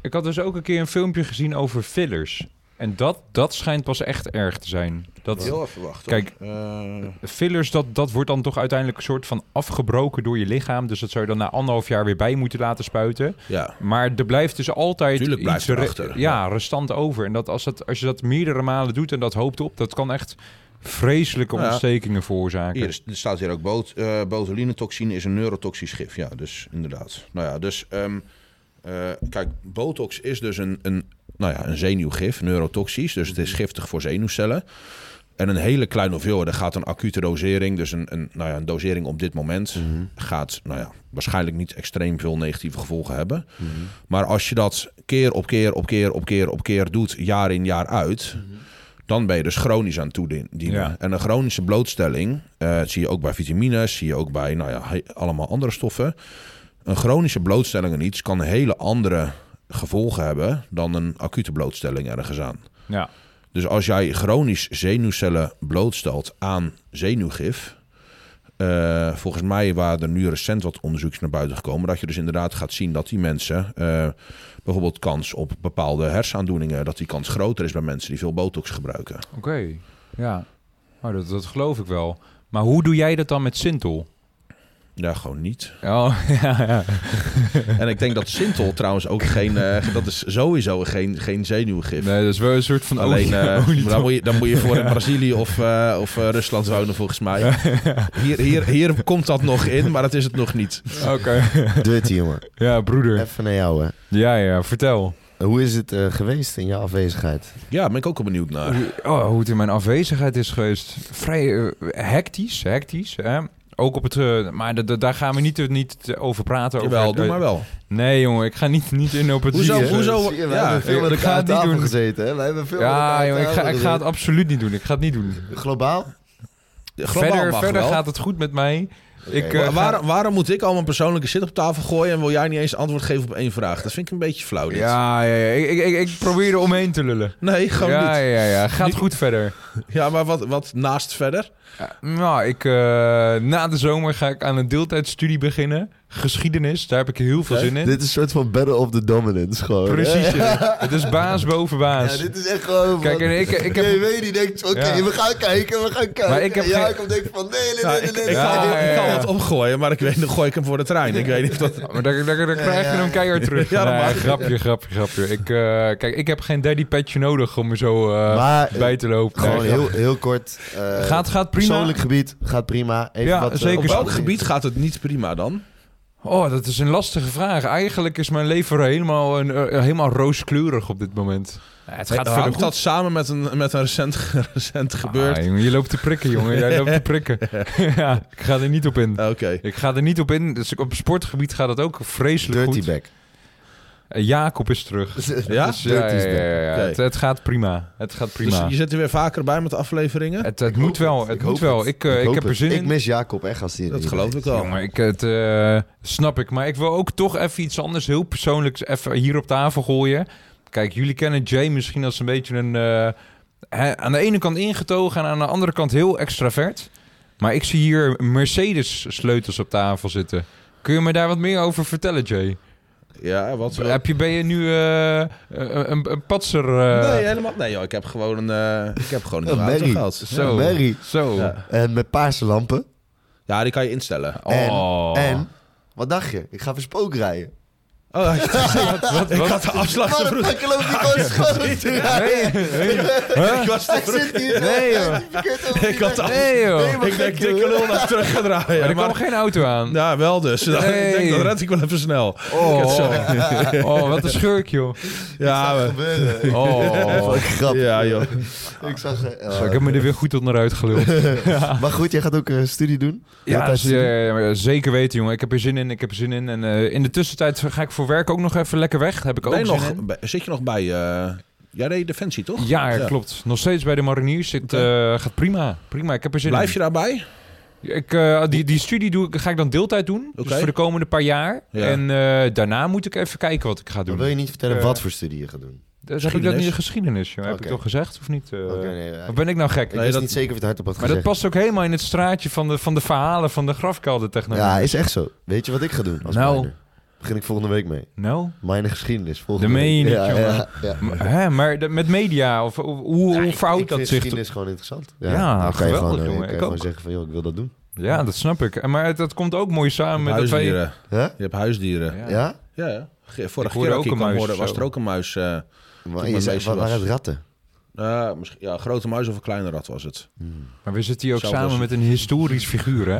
Speaker 2: Ik had dus ook een keer een filmpje gezien over fillers. En dat, dat schijnt pas echt erg te zijn. Dat,
Speaker 3: heel even wachten.
Speaker 2: Kijk.
Speaker 3: hoor. Eh,
Speaker 2: Fillers, dat, dat wordt dan toch uiteindelijk een soort van afgebroken door je lichaam. Dus dat zou je dan na anderhalf jaar weer bij moeten laten spuiten.
Speaker 3: ja,
Speaker 2: Maar er blijft dus altijd
Speaker 3: Tuurlijk blijft
Speaker 2: iets
Speaker 3: er
Speaker 2: re-
Speaker 3: achter.
Speaker 2: ja, restant over. En dat als, dat, als je dat meerdere malen doet en dat hoopt op, dat kan echt vreselijke
Speaker 3: Ja.
Speaker 2: ontstekingen veroorzaken.
Speaker 3: hier is- er staat hier ook bot, eh botulinetoxine is een neurotoxisch gif. Ja, dus inderdaad. Nou ja, dus ehm, eh, kijk, botox is dus een, een, nou ja, een zenuwgif, neurotoxisch. Dus het is giftig voor zenuwcellen. En een hele kleine hoeveelheid, er gaat een acute dosering, dus een, een, nou ja, een dosering op dit moment, gaat nou ja, waarschijnlijk niet extreem veel negatieve gevolgen hebben. Maar als je dat keer op keer op keer op keer op keer doet, jaar in jaar uit, dan ben je dus chronisch aan het toedienen.
Speaker 2: Ja.
Speaker 3: En een chronische blootstelling, eh, dat zie je ook bij vitamines, zie je ook bij nou ja, he- allemaal andere stoffen. Een chronische blootstelling aan iets kan hele andere gevolgen hebben dan een acute blootstelling ergens aan.
Speaker 2: Ja.
Speaker 3: Dus als jij chronisch zenuwcellen blootstelt aan zenuwgif. eh, volgens mij waren er nu recent wat onderzoeks naar buiten gekomen. Dat je dus inderdaad gaat zien dat die mensen. eh, bijvoorbeeld kans op bepaalde hersenaandoeningen. dat die kans groter is bij mensen die veel botox gebruiken.
Speaker 2: Oké, ja. Oh, dat, dat geloof ik wel. Maar hoe doe jij dat dan met Sintel?
Speaker 3: Ja, gewoon niet.
Speaker 2: Oh, ja, ja.
Speaker 3: En ik denk dat Sintel trouwens ook geen. eh, dat is sowieso geen, geen zenuwgif.
Speaker 2: Nee, dat is wel een soort van
Speaker 3: Alleen
Speaker 2: olie-
Speaker 3: eh,
Speaker 2: olie-
Speaker 3: dan, moet je, dan moet je voor in Brazilië of, eh, of eh, Rusland wonen, volgens mij. Hier, hier, hier komt dat nog in, maar dat is het nog niet.
Speaker 2: Oké,
Speaker 4: Dirty, jongen.
Speaker 2: ja, broeder.
Speaker 4: Even naar jou, hè.
Speaker 2: Ja, ja, vertel.
Speaker 4: Hoe is het eh, geweest in jouw afwezigheid?
Speaker 3: Ja, ben ik ook wel benieuwd naar.
Speaker 2: Hoe- Oh, hoe het in mijn afwezigheid is geweest. Vrij eh, hectisch, hectisch. Hè? Ook op het... eh, maar da- da- daar gaan we niet, niet over praten. over,
Speaker 3: Jawel, doe
Speaker 2: eh,
Speaker 3: maar wel.
Speaker 2: Nee, jongen, ik ga niet, niet in op het...
Speaker 3: Hoezo?
Speaker 2: Eh,
Speaker 3: Hoezo?
Speaker 4: Zie je, we
Speaker 3: ja,
Speaker 4: hebben veel
Speaker 2: ik-
Speaker 4: met
Speaker 2: ik ga
Speaker 4: elkaar aan
Speaker 2: het niet
Speaker 4: tafel
Speaker 2: doen.
Speaker 4: gezeten, hè? We hebben veel
Speaker 2: Ja,
Speaker 4: met elkaar aan
Speaker 2: jongen, ik ga,
Speaker 4: tafel
Speaker 2: ik ga het
Speaker 4: gezeten.
Speaker 2: absoluut niet doen. Ik ga het niet doen.
Speaker 4: Globaal?
Speaker 3: Globaal
Speaker 2: Verder,
Speaker 3: mag
Speaker 2: verder
Speaker 3: wel.
Speaker 2: gaat het goed met mij. Ik, eh,
Speaker 3: Wa-
Speaker 2: ga-
Speaker 3: waarom, waarom moet ik al mijn persoonlijke zit op tafel gooien en wil jij niet eens antwoord geven op één vraag? Dat vind ik een beetje flauw. Dit.
Speaker 2: Ja, ja, ja. Ik, ik, ik, ik probeer er omheen te lullen.
Speaker 3: Nee, gewoon
Speaker 2: ja,
Speaker 3: niet.
Speaker 2: ja, ja. Gaat
Speaker 3: Nu-
Speaker 2: goed verder.
Speaker 3: Ja, maar wat, wat naast verder?
Speaker 2: Ja, nou, ik, eh, na de zomer ga ik aan een deeltijdstudie beginnen. Geschiedenis, daar heb ik heel veel
Speaker 3: Oké.
Speaker 2: zin in.
Speaker 4: Dit is een soort van battle of the dominance gewoon. hè?
Speaker 2: Precies. jongen. Het is baas boven
Speaker 4: Ja,
Speaker 2: baas.
Speaker 4: dit is echt gewoon
Speaker 2: Kijk,
Speaker 4: van-
Speaker 2: en ik, ik heb...
Speaker 4: Nee, weet niet. Denkt, oké,
Speaker 2: Ja.
Speaker 4: we gaan kijken, we gaan kijken.
Speaker 2: Maar ik heb
Speaker 4: en Jacob
Speaker 2: geen-
Speaker 4: denkt van, nee, nee,
Speaker 3: Nou,
Speaker 4: nee,
Speaker 3: ik,
Speaker 4: nee.
Speaker 3: ik
Speaker 4: nee.
Speaker 3: kan,
Speaker 2: Ja, ja,
Speaker 3: ik kan
Speaker 2: ja.
Speaker 3: wat opgooien, maar ik weet, dan gooi ik hem voor de trein. Ik weet niet of dat...
Speaker 2: Maar daar, daar, daar krijg je
Speaker 4: ja,
Speaker 2: hem
Speaker 4: ja.
Speaker 2: keihard terug.
Speaker 3: Ja, dat
Speaker 2: Nee,
Speaker 3: mag.
Speaker 2: grapje, grapje, grapje. Ik, eh, kijk, ik heb geen daddy petje nodig om er zo eh,
Speaker 4: Maar, eh,
Speaker 2: bij te lopen.
Speaker 4: Gewoon
Speaker 2: Nee,
Speaker 4: heel, heel kort. eh,
Speaker 2: gaat, gaat prima.
Speaker 4: Persoonlijk gebied gaat prima. Even
Speaker 2: Ja,
Speaker 4: wat, eh,
Speaker 2: zeker.
Speaker 3: Op welk gebied gaat het niet prima dan?
Speaker 2: Oh, dat is een lastige vraag. Eigenlijk is mijn leven helemaal, een, eh, helemaal rooskleurig op dit moment. Eh, Ja, het gaat verder
Speaker 3: Hangt
Speaker 2: goed.
Speaker 3: dat samen met een, met een recent, recent gebeurd?
Speaker 2: Ah, jongen, je loopt te prikken, jongen. Jij loopt te prikken. ja, ik ga er niet op in.
Speaker 3: Oké.
Speaker 2: Ik ga er niet op in. Dus ik- op sportgebied gaat dat ook vreselijk
Speaker 4: Dirty
Speaker 2: goed.
Speaker 4: back.
Speaker 2: Eh, Jacob is terug.
Speaker 3: Ja?
Speaker 2: Dus, ja,
Speaker 4: Dirty is
Speaker 2: ja, ja, ja, ja.
Speaker 3: Oké.
Speaker 2: Het, het gaat prima. Het gaat prima.
Speaker 3: Dus je zit er weer vaker bij met de afleveringen?
Speaker 2: het het moet wel. Het
Speaker 4: Ik
Speaker 2: moet
Speaker 4: hoop
Speaker 2: wel.
Speaker 4: het.
Speaker 2: Ik, eh, ik,
Speaker 4: hoop
Speaker 2: heb er
Speaker 4: het.
Speaker 2: zin
Speaker 4: Ik
Speaker 2: in.
Speaker 4: mis Jacob echt als hij er
Speaker 3: Dat
Speaker 4: niet
Speaker 3: geloof
Speaker 4: bij
Speaker 3: ik
Speaker 4: is.
Speaker 3: wel.
Speaker 2: Jongen, ik, het eh, snap ik. Maar ik wil ook toch even iets anders, heel persoonlijks, even hier op tafel gooien. Kijk, jullie kennen Jay misschien als een beetje een... eh, hè, aan de ene kant ingetogen en aan de andere kant heel extravert. Maar ik zie hier Mercedes-sleutels op tafel zitten. Kun je me daar wat meer over vertellen, Jay?
Speaker 3: Ja, wat zo.
Speaker 2: Heb je, ben je nu eh, eh, een, een patser? eh,
Speaker 3: Nee, helemaal. Nee, joh, ik heb gewoon een, eh, ik heb gewoon een
Speaker 4: Een
Speaker 3: nieuwe auto
Speaker 4: merrie.
Speaker 3: gehad.
Speaker 2: Zo.
Speaker 4: Een merrie.
Speaker 2: Zo.
Speaker 3: Ja.
Speaker 4: En eh, met paarse lampen.
Speaker 3: Ja, die kan je instellen.
Speaker 4: En-
Speaker 2: Oh.
Speaker 4: En, wat dacht je? Ik ga verspook rijden.
Speaker 3: Oh, ik
Speaker 2: wat?
Speaker 3: had de afslag te vroeg.
Speaker 4: Motherfucker loopt die gewoon schoon te rijden.
Speaker 2: Nee, nee,
Speaker 3: Ik was te
Speaker 4: Hij
Speaker 3: vroeg.
Speaker 4: zit hier.
Speaker 2: Nee, joh.
Speaker 4: Hij zit verkeerd over
Speaker 3: Ik had de afslag.
Speaker 2: nee, joh.
Speaker 4: Nee, maar
Speaker 3: Ik denk
Speaker 4: gek,
Speaker 3: dikke
Speaker 4: joh.
Speaker 3: lul naar terug gaan draaien.
Speaker 2: Maar er
Speaker 3: Maar-
Speaker 2: kwam geen auto aan.
Speaker 3: Ja, wel dus.
Speaker 2: Nee.
Speaker 3: Ik denk, dat red ik wel even snel.
Speaker 2: Oh, oh, wat een schurk, joh.
Speaker 3: Ja,
Speaker 4: zag
Speaker 3: we-
Speaker 4: gebeuren.
Speaker 2: Oh.
Speaker 4: Wat een grap.
Speaker 3: ja joh.
Speaker 4: Ik zag... eh,
Speaker 2: Zo, ik heb me er weer goed onderuit geluld.
Speaker 4: Maar goed, jij gaat ook een studie doen?
Speaker 2: Ja,
Speaker 4: dat is-
Speaker 2: eh, zeker weten, jongen. Ik heb er zin in, ik heb er zin in. En eh, in de tussentijd ga ik voor werk ook nog even lekker weg. Heb ik ook
Speaker 3: Ben je
Speaker 2: zin
Speaker 3: nog,
Speaker 2: in.
Speaker 3: bij- zit je nog bij... eh, jij deed Defensie, toch?
Speaker 2: Ja, klopt. Nog steeds bij de mariniers. zit eh, gaat prima. Prima, ik heb er zin
Speaker 3: Blijf
Speaker 2: in.
Speaker 3: je daarbij?
Speaker 2: Ik, eh, die, die studie doe, ik- ga ik dan deeltijd doen. Dus
Speaker 3: Oké.
Speaker 2: voor de komende paar jaar.
Speaker 3: Ja.
Speaker 2: En eh, daarna moet ik even kijken wat ik ga
Speaker 4: Dan
Speaker 2: doen.
Speaker 4: wil je niet vertellen
Speaker 2: Eh,
Speaker 4: wat voor studie je gaat doen.
Speaker 2: Dus heb ik dat niet in geschiedenis, joh. Heb
Speaker 4: Oké.
Speaker 2: ik toch gezegd of niet? Eh,
Speaker 4: Oké, nee, ja.
Speaker 2: Of ben ik nou gek?
Speaker 4: Ik
Speaker 3: Nee,
Speaker 4: wist
Speaker 3: dat-
Speaker 4: niet zeker of het hardop had
Speaker 2: Maar dat
Speaker 4: gezegd.
Speaker 2: past ook helemaal in het straatje van de, van de verhalen van de grafkeldertechnologie.
Speaker 4: Ja, is echt zo. Weet je wat ik ga doen als
Speaker 2: Nou.
Speaker 4: minor? Begin ik volgende week mee.
Speaker 2: Nou,
Speaker 4: Mijn geschiedenis. Volgende
Speaker 2: Dat meen je
Speaker 4: week.
Speaker 2: niet,
Speaker 4: ja,
Speaker 2: jongen.
Speaker 4: Ja, ja.
Speaker 2: maar, hè, maar de- met media, of, of hoe,
Speaker 4: Ja,
Speaker 2: hoe
Speaker 4: ik-
Speaker 2: verhoudt
Speaker 4: ik
Speaker 2: dat
Speaker 4: vind
Speaker 2: zich? tot-
Speaker 4: geschiedenis gewoon interessant.
Speaker 2: Ja,
Speaker 4: dan kan je
Speaker 2: geweldig,
Speaker 4: gewoon, eh,
Speaker 2: jongen.
Speaker 4: kan je
Speaker 2: Ik
Speaker 4: gewoon
Speaker 2: ook.
Speaker 4: zeggen van, joh, ik wil dat doen.
Speaker 2: Ja, dat snap ik. En Maar het- dat komt ook mooi samen met dat wij...
Speaker 3: Huisdieren.
Speaker 4: Huh?
Speaker 3: Je hebt huisdieren.
Speaker 4: Ja?
Speaker 2: Ja.
Speaker 3: eh, Ja, ja. Ge-
Speaker 2: Ik
Speaker 3: Vorige
Speaker 2: hoorde
Speaker 3: keer
Speaker 2: ook
Speaker 3: ook
Speaker 2: een muis
Speaker 3: horen, was
Speaker 2: zo.
Speaker 3: er ook een muis. eh
Speaker 4: Maar
Speaker 3: maar
Speaker 4: je zei,
Speaker 3: bezig
Speaker 4: waar
Speaker 3: was.
Speaker 4: waren het ratten?
Speaker 3: eh, misschien, ja, een grote muis of een kleine rat was het.
Speaker 2: Maar we zitten hier ook
Speaker 3: Zelfs
Speaker 2: samen
Speaker 3: als-
Speaker 2: met een historisch figuur, hè?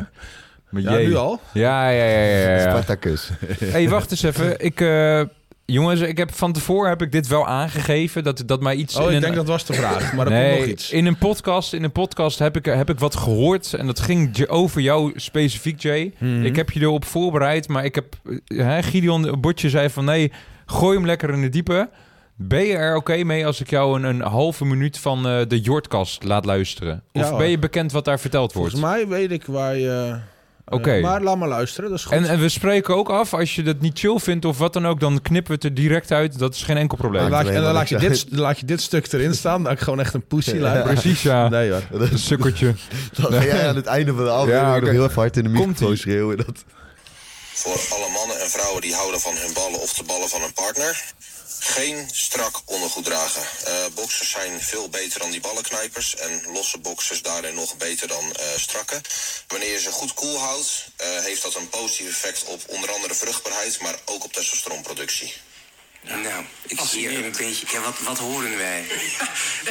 Speaker 2: Met
Speaker 3: Ja,
Speaker 2: jij.
Speaker 3: nu al.
Speaker 2: Ja, ja, ja, ja, ja.
Speaker 4: Spartacus.
Speaker 2: hey, wacht eens even. Ik, eh, jongens, ik heb, van tevoren heb ik dit wel aangegeven, dat, dat mij iets...
Speaker 3: Oh,
Speaker 2: in
Speaker 3: ik
Speaker 2: een-
Speaker 3: denk dat was de vraag. Maar er
Speaker 2: nee,
Speaker 3: komt nog iets.
Speaker 2: in een podcast, in een podcast heb, ik, heb ik wat gehoord en dat ging j- over jou specifiek, Jay.
Speaker 3: Mhm.
Speaker 2: Ik heb je erop voorbereid, maar ik heb... eh, Hè, Gideon Botje zei van nee, gooi hem lekker in de diepe. Ben je er oké mee als ik jou een, een halve minuut van eh, de Jordkast laat luisteren? Of
Speaker 3: Ja, hoor.
Speaker 2: ben je bekend wat daar verteld wordt?
Speaker 3: Volgens mij weet ik waar je... eh,
Speaker 2: Oké.
Speaker 3: maar laat maar luisteren, dat is goed.
Speaker 2: En, en we spreken ook af, als je dat niet chill vindt of wat dan ook, dan knippen we het er direct uit. Dat is geen enkel
Speaker 3: En
Speaker 2: probleem.
Speaker 3: dan laat je, en dan laat je,
Speaker 4: Ja.
Speaker 3: dit, dan laat je dit stuk erin staan. Dat ik gewoon echt een poesie laat.
Speaker 2: Precies, ja.
Speaker 3: Nee hoor.
Speaker 2: Een sukkertje.
Speaker 4: Dan ga jij aan het einde van de aflevering
Speaker 2: Ja,
Speaker 4: nog
Speaker 2: oké.
Speaker 4: heel even hard in de
Speaker 2: Komt-ie.
Speaker 4: microfoon schreeuwen. Dat...
Speaker 5: Voor alle mannen en vrouwen die houden van hun ballen of de ballen van een partner. Geen strak ondergoed dragen. Eh boxers zijn veel beter dan die ballenknijpers. En losse boxers daarin nog beter dan eh, strakke. Wanneer je ze goed koel houdt, eh, heeft dat een positief effect op onder andere vruchtbaarheid, maar ook op testosteronproductie.
Speaker 6: Nou, ik zie hier een beetje. Ja, wat, wat horen wij?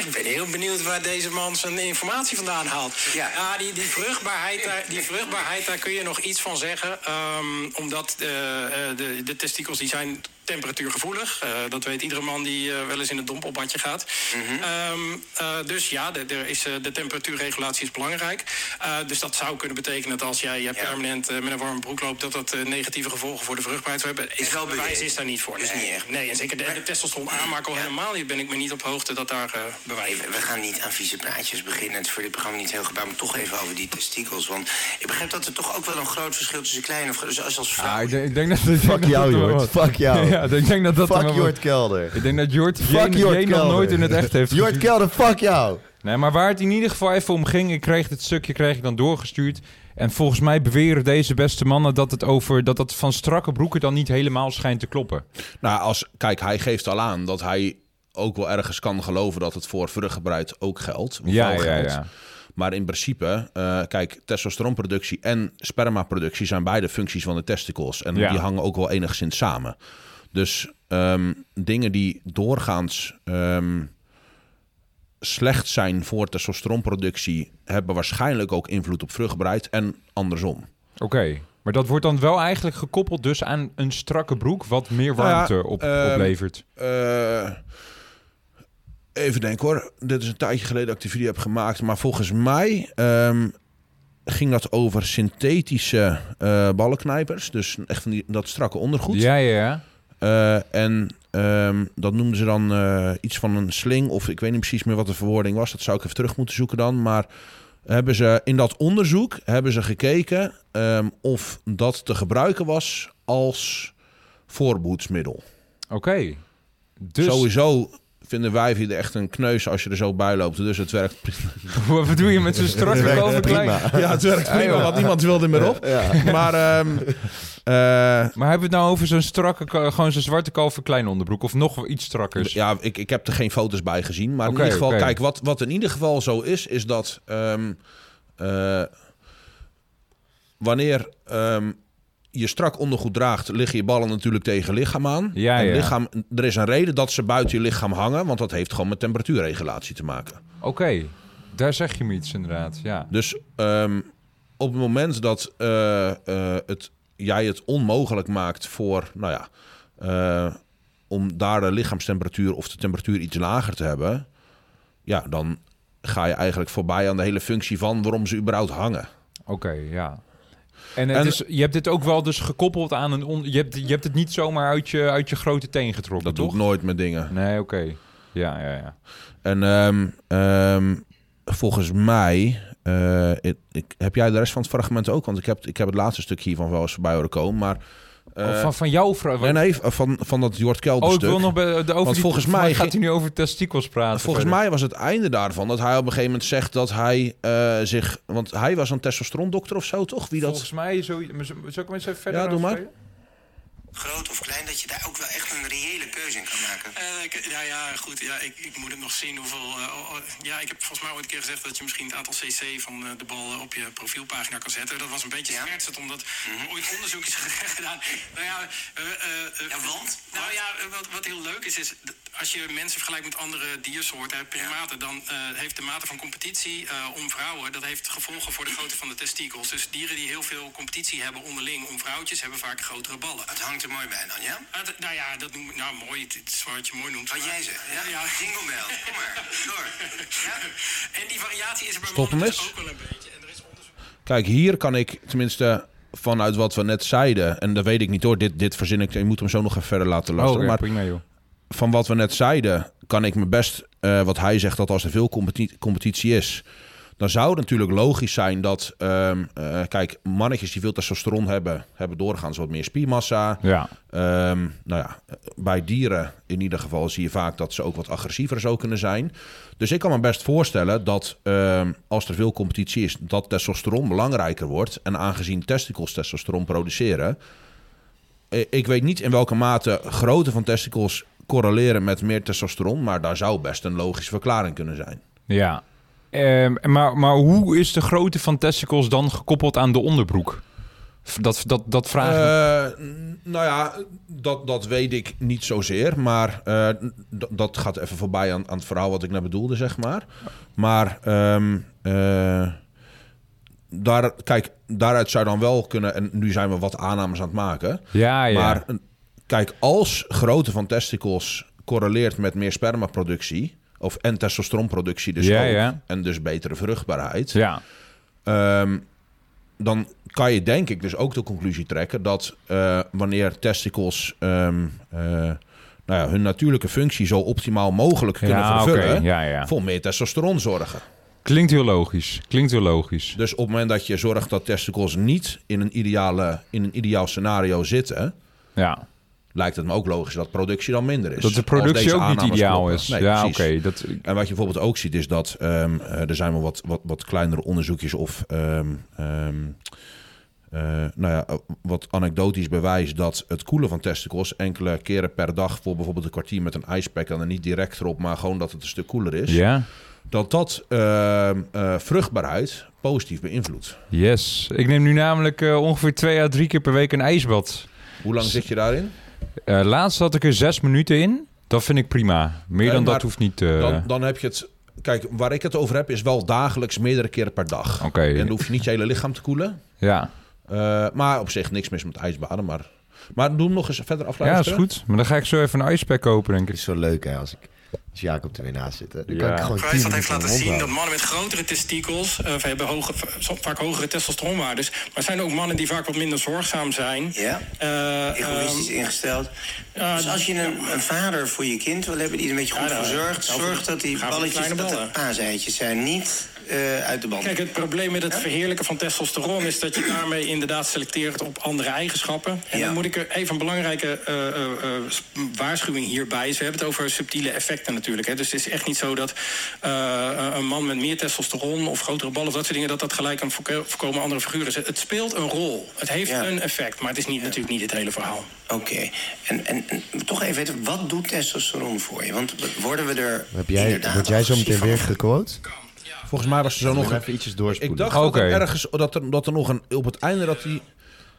Speaker 7: Ik ben heel benieuwd waar deze man zijn informatie vandaan haalt.
Speaker 6: Ja.
Speaker 7: Ja, die, die, vruchtbaarheid, daar, die vruchtbaarheid, daar kun je nog iets van zeggen. ehm, omdat eh, eh, de, de testikels die zijn temperatuurgevoelig. Eh, dat weet iedere man die eh, wel eens in het dompelbadje gaat.
Speaker 6: Mhm.
Speaker 7: Ehm, eh, dus ja, de, er is, eh, de temperatuurregulatie is belangrijk. Eh, dus dat zou kunnen betekenen dat als jij je permanent eh, met een warme broek loopt... dat dat eh, negatieve gevolgen voor de vruchtbaarheid zou hebben. Is
Speaker 6: wel
Speaker 7: bewijs
Speaker 6: bewezen.
Speaker 7: is daar niet voor.
Speaker 6: Is
Speaker 7: nee.
Speaker 6: niet echt.
Speaker 7: Nee, en zeker de, de testosteron aanmaak al helemaal niet. Ben ik me niet op hoogte dat daar eh bewijs
Speaker 6: Even, we gaan niet aan vieze praatjes beginnen. Het is voor dit programma niet heel gebouwd. Maar toch even over die testikels. Want ik begrijp dat er toch ook wel een groot verschil tussen klein of groot. Dus als, als vrouw.
Speaker 2: Ah, ik, denk, ik denk dat, ik denk
Speaker 4: Fuck
Speaker 2: dat
Speaker 4: jou,
Speaker 2: dat er wel
Speaker 4: Jord.
Speaker 2: wat-
Speaker 4: Fuck jou.
Speaker 2: Ja, ik denk dat dat er
Speaker 4: Fuck
Speaker 2: wel wat-
Speaker 4: Jord Kelder.
Speaker 2: Ik denk dat Jort Jane-
Speaker 4: Fuck Jort
Speaker 2: Jane nog
Speaker 4: Kelder.
Speaker 2: nooit in het echt heeft
Speaker 4: Jord
Speaker 2: gezien.
Speaker 4: Kelder, fuck jou.
Speaker 2: Nee, maar waar het in ieder geval even om ging, ik kreeg dit stukje kreeg ik dan doorgestuurd. En volgens mij beweren deze beste mannen dat het over dat dat van strakke broeken dan niet helemaal schijnt te kloppen.
Speaker 3: Nou, als, kijk, hij geeft al aan dat hij ook wel ergens kan geloven dat het voor vruchtbaarheid ook geldt. of
Speaker 2: Ja,
Speaker 3: wel
Speaker 2: ja,
Speaker 3: geldt.
Speaker 2: ja.
Speaker 3: Maar in principe, eh, kijk, testosteronproductie en spermaproductie zijn beide functies van de testicles. En
Speaker 2: Ja.
Speaker 3: die hangen ook wel enigszins samen. Dus ehm, dingen die doorgaans ehm, slecht zijn voor testosteronproductie, hebben waarschijnlijk ook invloed op vruchtbaarheid en andersom.
Speaker 2: Oké. Maar dat wordt dan wel eigenlijk gekoppeld dus aan een strakke broek, wat meer
Speaker 3: Nou ja,
Speaker 2: warmte op,
Speaker 3: ehm,
Speaker 2: oplevert.
Speaker 3: Eh, even denken hoor. Dit is een tijdje geleden dat ik die video heb gemaakt. Maar volgens mij ehm, ging dat over synthetische eh ballenknijpers. Dus echt van die, dat strakke ondergoed.
Speaker 2: Ja, ja, ja.
Speaker 3: Eh, Eh, en ehm, dat noemden ze dan eh, iets van een sling. Of ik weet niet precies meer wat de verwoording was. Dat zou ik even terug moeten zoeken dan. Maar hebben ze in dat onderzoek hebben ze gekeken ehm, of dat te gebruiken was als voorbehoedsmiddel.
Speaker 2: Oké. Dus,
Speaker 3: Sowieso vinden wij hier echt een kneus als je er zo bij loopt. Dus het werkt prima.
Speaker 2: wat doe je met zo'n
Speaker 4: Het
Speaker 2: strakke
Speaker 4: werkt
Speaker 2: bovenklein?
Speaker 4: prima.
Speaker 3: Ja, het werkt prima, want niemand wilde meer op. Maar ehm, eh,
Speaker 2: Maar hebben we het nou over zo'n strakke, ka- gewoon zo'n zwarte kalverklein onderbroek? Of nog iets strakkers?
Speaker 3: ja, ik, ik heb er geen foto's bij gezien. Maar
Speaker 2: Oké,
Speaker 3: in ieder geval,
Speaker 2: oké.
Speaker 3: kijk, wat, wat in ieder geval zo is, is dat ehm, eh, wanneer ehm, je strak ondergoed draagt, liggen je ballen natuurlijk tegen je lichaam aan.
Speaker 2: Ja,
Speaker 3: en
Speaker 2: ja.
Speaker 3: Lichaam, er is een reden dat ze buiten je lichaam hangen, want dat heeft gewoon met temperatuurregulatie te maken.
Speaker 2: Oké, daar zeg je me iets inderdaad, ja.
Speaker 3: Dus ehm, op het moment dat eh, eh, het, jij het onmogelijk maakt voor, nou ja, eh, om daar de lichaamstemperatuur of de temperatuur iets lager te hebben, ja, dan ga je eigenlijk voorbij aan de hele functie van waarom ze überhaupt hangen.
Speaker 2: Oké, ja. En, het
Speaker 3: En-
Speaker 2: is, je hebt dit ook wel dus gekoppeld aan een... On, je, hebt, je hebt het niet zomaar uit je, uit je grote teen getrokken,
Speaker 3: Dat doe
Speaker 2: toch?
Speaker 3: ik nooit met dingen.
Speaker 2: Nee, oké. Ja, ja, ja.
Speaker 3: En ehm, ehm, volgens mij, eh, ik, ik- heb jij de rest van het fragment ook? Want ik heb, ik heb het laatste stuk hiervan wel eens voorbij horen komen, maar... eh,
Speaker 2: Of Oh, van, van jouw vrouw...
Speaker 3: Nee, nee, van, van dat Jort Kelder
Speaker 2: oh, ik
Speaker 3: stuk.
Speaker 2: wil nog bij, de, over
Speaker 3: Want
Speaker 2: die-
Speaker 3: volgens mij
Speaker 2: gaat
Speaker 3: ging-
Speaker 2: hij nu over testikels praten.
Speaker 3: Volgens
Speaker 2: verder.
Speaker 3: mij was het einde daarvan dat hij op een gegeven moment zegt dat hij eh, zich. Want hij was een testosterondokter of zo, toch? Wie dat.
Speaker 2: Volgens mij... Zo, maar zo- zal ik hem eens even verder
Speaker 3: Ja, doe maar.
Speaker 2: afspelen?
Speaker 6: Groot of klein, dat je daar ook wel echt een reële keuze in kan maken.
Speaker 7: Eh, ik- ja, ja, goed. Ja, ik, ik moet het nog zien hoeveel... eh, oh, oh, ja, ik heb volgens mij ooit een keer gezegd dat je misschien het aantal cc van eh, de bal eh, op je profielpagina kan zetten. Dat was een beetje smertsend, omdat er
Speaker 6: Mhm.
Speaker 7: ooit onderzoek is gedaan. Nou ja, eh, eh, eh,
Speaker 6: Ja, want?
Speaker 7: Nou ja, eh, wat, wat heel leuk is, is dat als je mensen vergelijkt met andere diersoorten, hè, primaten, dan eh, heeft de mate van competitie eh, om vrouwen, dat heeft gevolgen voor de grootte van de testikels. Dus dieren die heel veel competitie hebben onderling om vrouwtjes, hebben vaak grotere ballen.
Speaker 6: Het hangt er mooi bij dan, ja?
Speaker 7: Ah, d- nou ja, dat noem ik nou mooi. Het is wat je mooi noemt.
Speaker 6: Wat jij zegt, ja?
Speaker 7: Ja.
Speaker 6: Jingle bell, kom maar, door. Ja?
Speaker 7: En die variatie is er bij
Speaker 3: Stop hem
Speaker 7: mannen dus
Speaker 3: eens.
Speaker 7: ook wel een beetje. En er is onderzoek.
Speaker 3: Kijk, hier kan ik tenminste vanuit wat we net zeiden. En dat weet ik niet hoor, dit, dit verzin ik. Je moet hem zo nog even verder laten
Speaker 2: Oh,
Speaker 3: luisteren.
Speaker 2: oké,
Speaker 3: maar
Speaker 2: prima joh.
Speaker 3: van wat we net zeiden, kan ik me best eh, wat hij zegt dat als er veel competi- competitie is, dan zou het natuurlijk logisch zijn dat, ehm, eh, kijk, mannetjes die veel testosteron hebben, hebben doorgaans wat meer spiermassa.
Speaker 2: Ja.
Speaker 3: Ehm, nou ja, bij dieren in ieder geval zie je vaak dat ze ook wat agressiever zo kunnen zijn. Dus ik kan me best voorstellen dat ehm, als er veel competitie is, dat testosteron belangrijker wordt. En aangezien testicles testosteron produceren, eh, ik weet niet in welke mate grootte van testicles correleren met meer testosteron, maar daar zou best een logische verklaring kunnen zijn.
Speaker 2: Ja. Ehm, maar, maar hoe is de grootte van testicles dan gekoppeld aan de onderbroek? V- Dat, dat, dat vraag ik.
Speaker 3: Eh, n- nou ja, dat, dat weet ik niet zozeer. Maar eh, d- dat gaat even voorbij aan, aan het verhaal wat ik net bedoelde, zeg maar. Maar ehm, eh, daar, kijk, daaruit zou dan wel kunnen... En nu zijn we wat aannames aan het maken.
Speaker 2: ja, ja.
Speaker 3: Maar eh, kijk, als grootte van testicles correleert met meer spermaproductie... Of, en testosteronproductie dus
Speaker 2: Ja,
Speaker 3: ook,
Speaker 2: ja.
Speaker 3: en dus betere vruchtbaarheid...
Speaker 2: ja.
Speaker 3: Ehm, dan kan je denk ik dus ook de conclusie trekken dat eh, wanneer testicles ehm, eh, nou ja, hun natuurlijke functie zo optimaal mogelijk kunnen
Speaker 2: Ja, oké.
Speaker 3: vervullen,
Speaker 2: Ja, ja.
Speaker 3: voor meer testosteron zorgen.
Speaker 2: Klinkt heel logisch. Klinkt heel logisch.
Speaker 3: Dus op het moment dat je zorgt dat testicles niet in een, ideale, in een ideaal scenario zitten,
Speaker 2: Ja.
Speaker 3: lijkt het me ook logisch dat productie dan minder is.
Speaker 2: Dat de
Speaker 3: Dus Als
Speaker 2: productie
Speaker 3: deze
Speaker 2: ook niet
Speaker 3: aannames
Speaker 2: ideaal
Speaker 3: kloppen.
Speaker 2: is.
Speaker 3: Nee,
Speaker 2: ja,
Speaker 3: precies.
Speaker 2: oké. dat
Speaker 3: En wat je bijvoorbeeld ook ziet is dat ehm, eh, er zijn wel wat, wat, wat kleinere onderzoekjes of ehm, ehm, eh, nou ja, eh, wat anekdotisch bewijs dat het koelen van testicles enkele keren per dag voor bijvoorbeeld een kwartier met een ijspack en er niet direct erop, maar gewoon dat het een stuk koeler is,
Speaker 2: Ja.
Speaker 3: dat dat ehm, eh, vruchtbaarheid positief beïnvloedt.
Speaker 2: Yes. Ik neem nu namelijk eh, ongeveer twee à drie keer per week een ijsbad.
Speaker 3: Hoe lang zit je daarin?
Speaker 2: Eh, laatst had ik er zes minuten in. Dat vind ik prima. Meer
Speaker 3: Nee,
Speaker 2: dan dat
Speaker 3: maar
Speaker 2: hoeft niet. eh,
Speaker 3: Dan, dan heb je het. Kijk, waar ik het over heb is wel dagelijks meerdere keren per dag.
Speaker 2: Oké.
Speaker 3: En dan hoef je niet je hele lichaam te koelen.
Speaker 2: Ja.
Speaker 3: Eh, maar op zich niks mis met ijsbaden. Maar, maar doe hem nog eens verder
Speaker 2: ja, is
Speaker 3: afluisteren.
Speaker 2: goed. Maar dan ga ik zo even een ijspack kopen, denk ik.
Speaker 4: is zo leuk hè, als ik
Speaker 1: Als Jacob er weer naast zit. hè, Dan
Speaker 2: Ja.
Speaker 1: kan ik gewoon
Speaker 7: Kruis
Speaker 1: 10
Speaker 7: dat heeft
Speaker 1: minuten
Speaker 7: laten
Speaker 1: mijn mond
Speaker 7: zien dat
Speaker 1: houden.
Speaker 7: mannen met grotere testikels eh, hebben hoge, zo- vaak hogere testosteronwaardes. Maar het zijn ook mannen die vaak wat minder zorgzaam zijn.
Speaker 6: Ja.
Speaker 7: Eh,
Speaker 6: Egoïstisch
Speaker 7: ehm,
Speaker 6: ingesteld.
Speaker 7: ja,
Speaker 6: dus als je een, een vader voor je kind wil hebben die er een beetje goed
Speaker 7: Ah, Ja,
Speaker 6: voor
Speaker 7: dan-
Speaker 6: zorgt,
Speaker 7: dan-
Speaker 6: zorg dat die
Speaker 7: gaan we
Speaker 6: balletjes
Speaker 7: kleine
Speaker 6: dat
Speaker 7: ballen.
Speaker 6: het paaseitjes zijn, niet eh, uit de band.
Speaker 7: Kijk, het probleem met het verheerlijken van testosteron is dat je daarmee inderdaad selecteert op andere eigenschappen. En
Speaker 6: Ja.
Speaker 7: dan moet ik er even een belangrijke eh, eh, eh, s- waarschuwing hierbij. Ze hebben het over subtiele effecten natuurlijk. Hè. Dus het is echt niet zo dat eh, een man met meer testosteron of grotere ballen of dat soort dingen, dat dat gelijk aan voorko- voorkomen andere figuren is. Het speelt een rol. Het heeft
Speaker 6: Ja.
Speaker 7: een effect, maar het is niet, natuurlijk niet het hele verhaal.
Speaker 6: Oké, en, en, en toch even weten, wat doet testosteron voor je? Want worden we er
Speaker 1: Heb jij,
Speaker 6: inderdaad
Speaker 1: word jij zo
Speaker 6: agressief
Speaker 1: meteen weer
Speaker 6: van?
Speaker 1: gequote?
Speaker 3: Volgens mij was er zo nog een...
Speaker 1: even ietsjes doorspoelen.
Speaker 3: Ik dacht
Speaker 2: Oh, Oké.
Speaker 3: dat er ergens dat er, dat er nog een op het einde dat hij
Speaker 1: Moet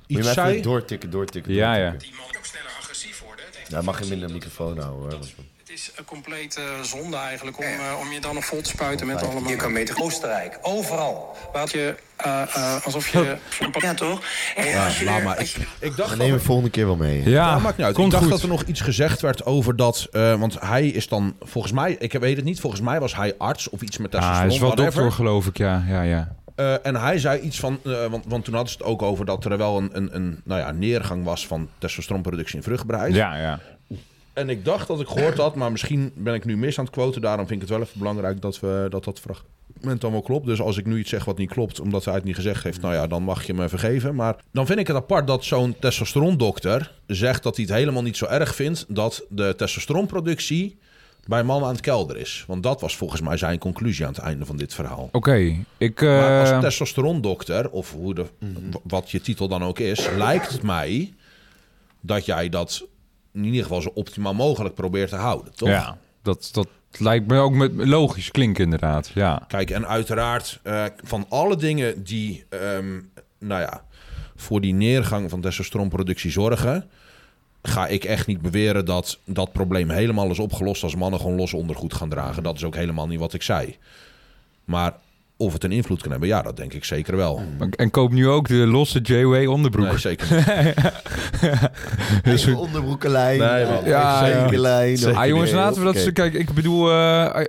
Speaker 1: je
Speaker 3: iets
Speaker 1: hem even
Speaker 3: zei.
Speaker 1: doortikken, doortikken,
Speaker 2: Ja,
Speaker 1: doortikken.
Speaker 7: Die man ook sneller agressief worden.
Speaker 1: Ja, mag je minder microfoon houden. hoor.
Speaker 7: Het is een complete eh, zonde eigenlijk om, eh, om je dan nog vol te spuiten met allemaal...
Speaker 6: Je kan beter
Speaker 8: Oostenrijk, overal.
Speaker 7: Laat je eh, eh, alsof je.
Speaker 6: Ja, toch? En als je
Speaker 3: Laat
Speaker 6: er-
Speaker 3: maar.
Speaker 6: als je-
Speaker 3: Ik, ik dacht
Speaker 1: We
Speaker 3: dat-
Speaker 1: nemen hem volgende keer wel mee.
Speaker 2: Ja,
Speaker 3: Ja, maakt niet uit.
Speaker 2: komt
Speaker 3: ik dacht
Speaker 2: goed.
Speaker 3: dat er nog iets gezegd werd over dat. eh, want hij is dan, volgens mij, ik weet het niet, volgens mij was hij arts of iets met
Speaker 2: Ah,
Speaker 3: testosteron.
Speaker 2: hij is wel
Speaker 3: whatever.
Speaker 2: dokter, geloof ik, ja. ja, ja.
Speaker 3: Eh, en hij zei iets van, eh, want, want toen hadden ze het ook over dat er wel een, een, een nou ja, neergang was van testosteronproductie in vruchtbaarheid.
Speaker 2: Ja, ja.
Speaker 3: En ik dacht dat ik gehoord had, maar misschien ben ik nu mis aan het quoten. Daarom vind ik het wel even belangrijk dat we, dat, dat fragment dan wel klopt. Dus als ik nu iets zeg wat niet klopt, omdat hij het niet gezegd heeft, nou ja, dan mag je me vergeven. Maar dan vind ik het apart dat zo'n testosterondokter zegt dat hij het helemaal niet zo erg vindt dat de testosteronproductie bij mannen aan het kelder is. Want dat was volgens mij zijn conclusie aan het einde van dit verhaal.
Speaker 2: Oké, ik... eh,
Speaker 3: Maar als testosterondokter, of hoe de, w- wat je titel dan ook is, lijkt het mij dat jij dat in ieder geval zo optimaal mogelijk probeert te houden, toch?
Speaker 2: ja, dat, dat lijkt me ook met, logisch klinken inderdaad, ja.
Speaker 3: Kijk, en uiteraard eh, van alle dingen die, ehm, nou ja, voor die neergang van testosteronproductie zorgen, ga ik echt niet beweren dat dat probleem helemaal is opgelost als mannen gewoon los ondergoed gaan dragen. Dat is ook helemaal niet wat ik zei. Maar of het een invloed kan hebben, ja, dat denk ik zeker wel.
Speaker 2: En koop nu ook de losse J-Way onderbroek.
Speaker 3: Nee, zeker niet.
Speaker 2: Dus-
Speaker 1: Eigen onderbroekenlijn.
Speaker 3: Nee, man.
Speaker 1: eigen
Speaker 2: Ja, ja.
Speaker 1: zekerlijn.
Speaker 2: Ah, jongens, laten we dat...
Speaker 1: Oké.
Speaker 2: ze- Kijk, ik bedoel... eh,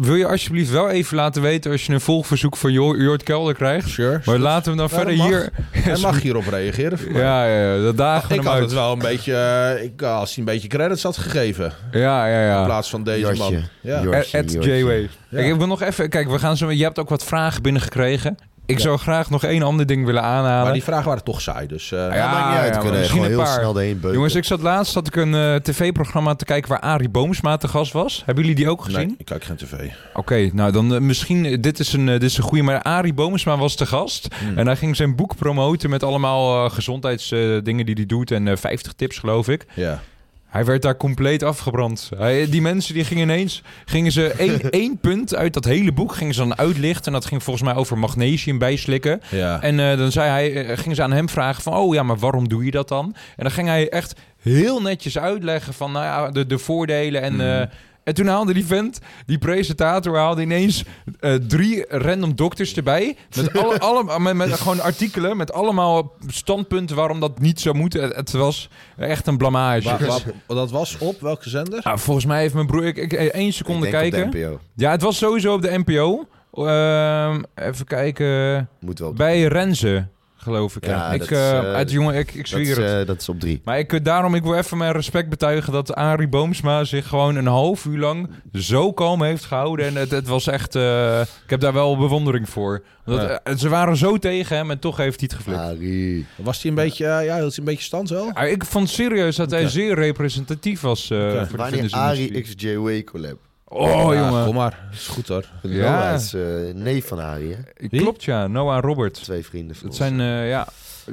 Speaker 2: wil je alsjeblieft wel even laten weten... als je een volgverzoek van Jo- Jort Kelder krijgt?
Speaker 3: Sure.
Speaker 2: Maar laten we dan
Speaker 3: Ja,
Speaker 2: verder
Speaker 3: dat mag.
Speaker 2: hier...
Speaker 3: Hij mag hierop reageren.
Speaker 2: Ja, ja, ja, dat dagen we
Speaker 3: ik
Speaker 2: hem
Speaker 3: had het
Speaker 2: uit.
Speaker 3: wel een beetje... eh, ik, als hij een beetje credits had gegeven.
Speaker 2: Ja, ja,
Speaker 3: In
Speaker 2: ja.
Speaker 3: plaats van deze man.
Speaker 1: Jortje.
Speaker 3: Ja.
Speaker 1: Jortje,
Speaker 2: At at
Speaker 1: Jortje.
Speaker 2: J-Way. Kijk, ik wil nog even... Kijk, we gaan zo... Je hebt ook wat vragen binnengekregen. Ik zou graag nog één ander ding willen aanhalen.
Speaker 3: Maar die vragen waren toch saai. Dus, eh,
Speaker 1: Ja, maakt niet uit. We
Speaker 2: maar
Speaker 1: kunnen
Speaker 2: misschien
Speaker 1: gewoon
Speaker 2: een
Speaker 1: heel
Speaker 2: paar.
Speaker 1: snel de heen beuken.
Speaker 2: Jongens, ik zat laatst zat ik een eh, tv-programma te kijken waar Arie Boomsma te gast was. Hebben jullie die ook gezien?
Speaker 3: Nee, ik kijk geen tv.
Speaker 2: Oké, nou dan eh, misschien, eh, dit is een, eh, dit is een goede, maar Arie Boomsma was te gast. En hij ging zijn boek promoten met allemaal eh, gezondheidsdingen die hij doet en eh 50 tips geloof ik.
Speaker 3: Ja.
Speaker 2: Hij werd daar compleet afgebrand. Hij- eh, die mensen die gingen ineens, gingen ze één, één punt uit dat hele boek gingen ze dan uitlichten. En dat ging volgens mij over magnesium bijslikken.
Speaker 3: Ja.
Speaker 2: En eh, dan zei hij, eh, gingen ze aan hem vragen van, oh ja, maar waarom doe je dat dan? En dan ging hij echt heel netjes uitleggen van, nou ja, de, de voordelen
Speaker 1: Mhm.
Speaker 2: en... eh, en toen haalde die vent, die presentator, haalde ineens eh, drie random dokters erbij. Met, alle, alle, met, met gewoon artikelen, met allemaal standpunten waarom dat niet zou moeten. Het, het was echt een blamage.
Speaker 3: Wa- wa- dat was op welke zender?
Speaker 2: Ah, volgens mij heeft mijn broer... Ik, ik, eh, één seconde
Speaker 1: Ik denk op de
Speaker 2: kijken.
Speaker 1: NPO.
Speaker 2: Ja, het was sowieso op de NPO. Ehm, even kijken.
Speaker 1: Moet wel. op-
Speaker 2: Bij Renze, geloof ik.
Speaker 1: Ja,
Speaker 2: Ja, ik,
Speaker 1: dat
Speaker 2: eh
Speaker 1: is, eh,
Speaker 2: uit, jongen, ik, ik
Speaker 1: Dat
Speaker 2: zweer
Speaker 1: is,
Speaker 2: het.
Speaker 1: eh, dat is op drie.
Speaker 2: Maar ik, eh, daarom, ik wil even mijn respect betuigen dat Arie Boomsma zich gewoon een half uur lang zo kalm heeft gehouden. En het, het was echt... eh, ik heb daar wel bewondering voor. Omdat, eh, ze waren zo tegen hem en toch heeft hij het geflikt.
Speaker 1: Arie.
Speaker 3: Was hij een beetje, eh, ja, hield hij een beetje stand wel?
Speaker 2: Ah, ik vond serieus dat hij
Speaker 3: Oké.
Speaker 2: zeer representatief was eh voor de
Speaker 1: Wanneer
Speaker 2: fitnessindustrie.
Speaker 1: Arie XJ Way collab.
Speaker 2: Oh,
Speaker 3: Ja,
Speaker 2: jongen.
Speaker 3: Kom maar, is goed hoor.
Speaker 2: Ja.
Speaker 1: Noah is eh, neef van Arie, hè?
Speaker 2: Klopt ja, Noah en Robert.
Speaker 1: Twee vrienden van
Speaker 2: Dat
Speaker 1: ons.
Speaker 2: zijn, eh, ja...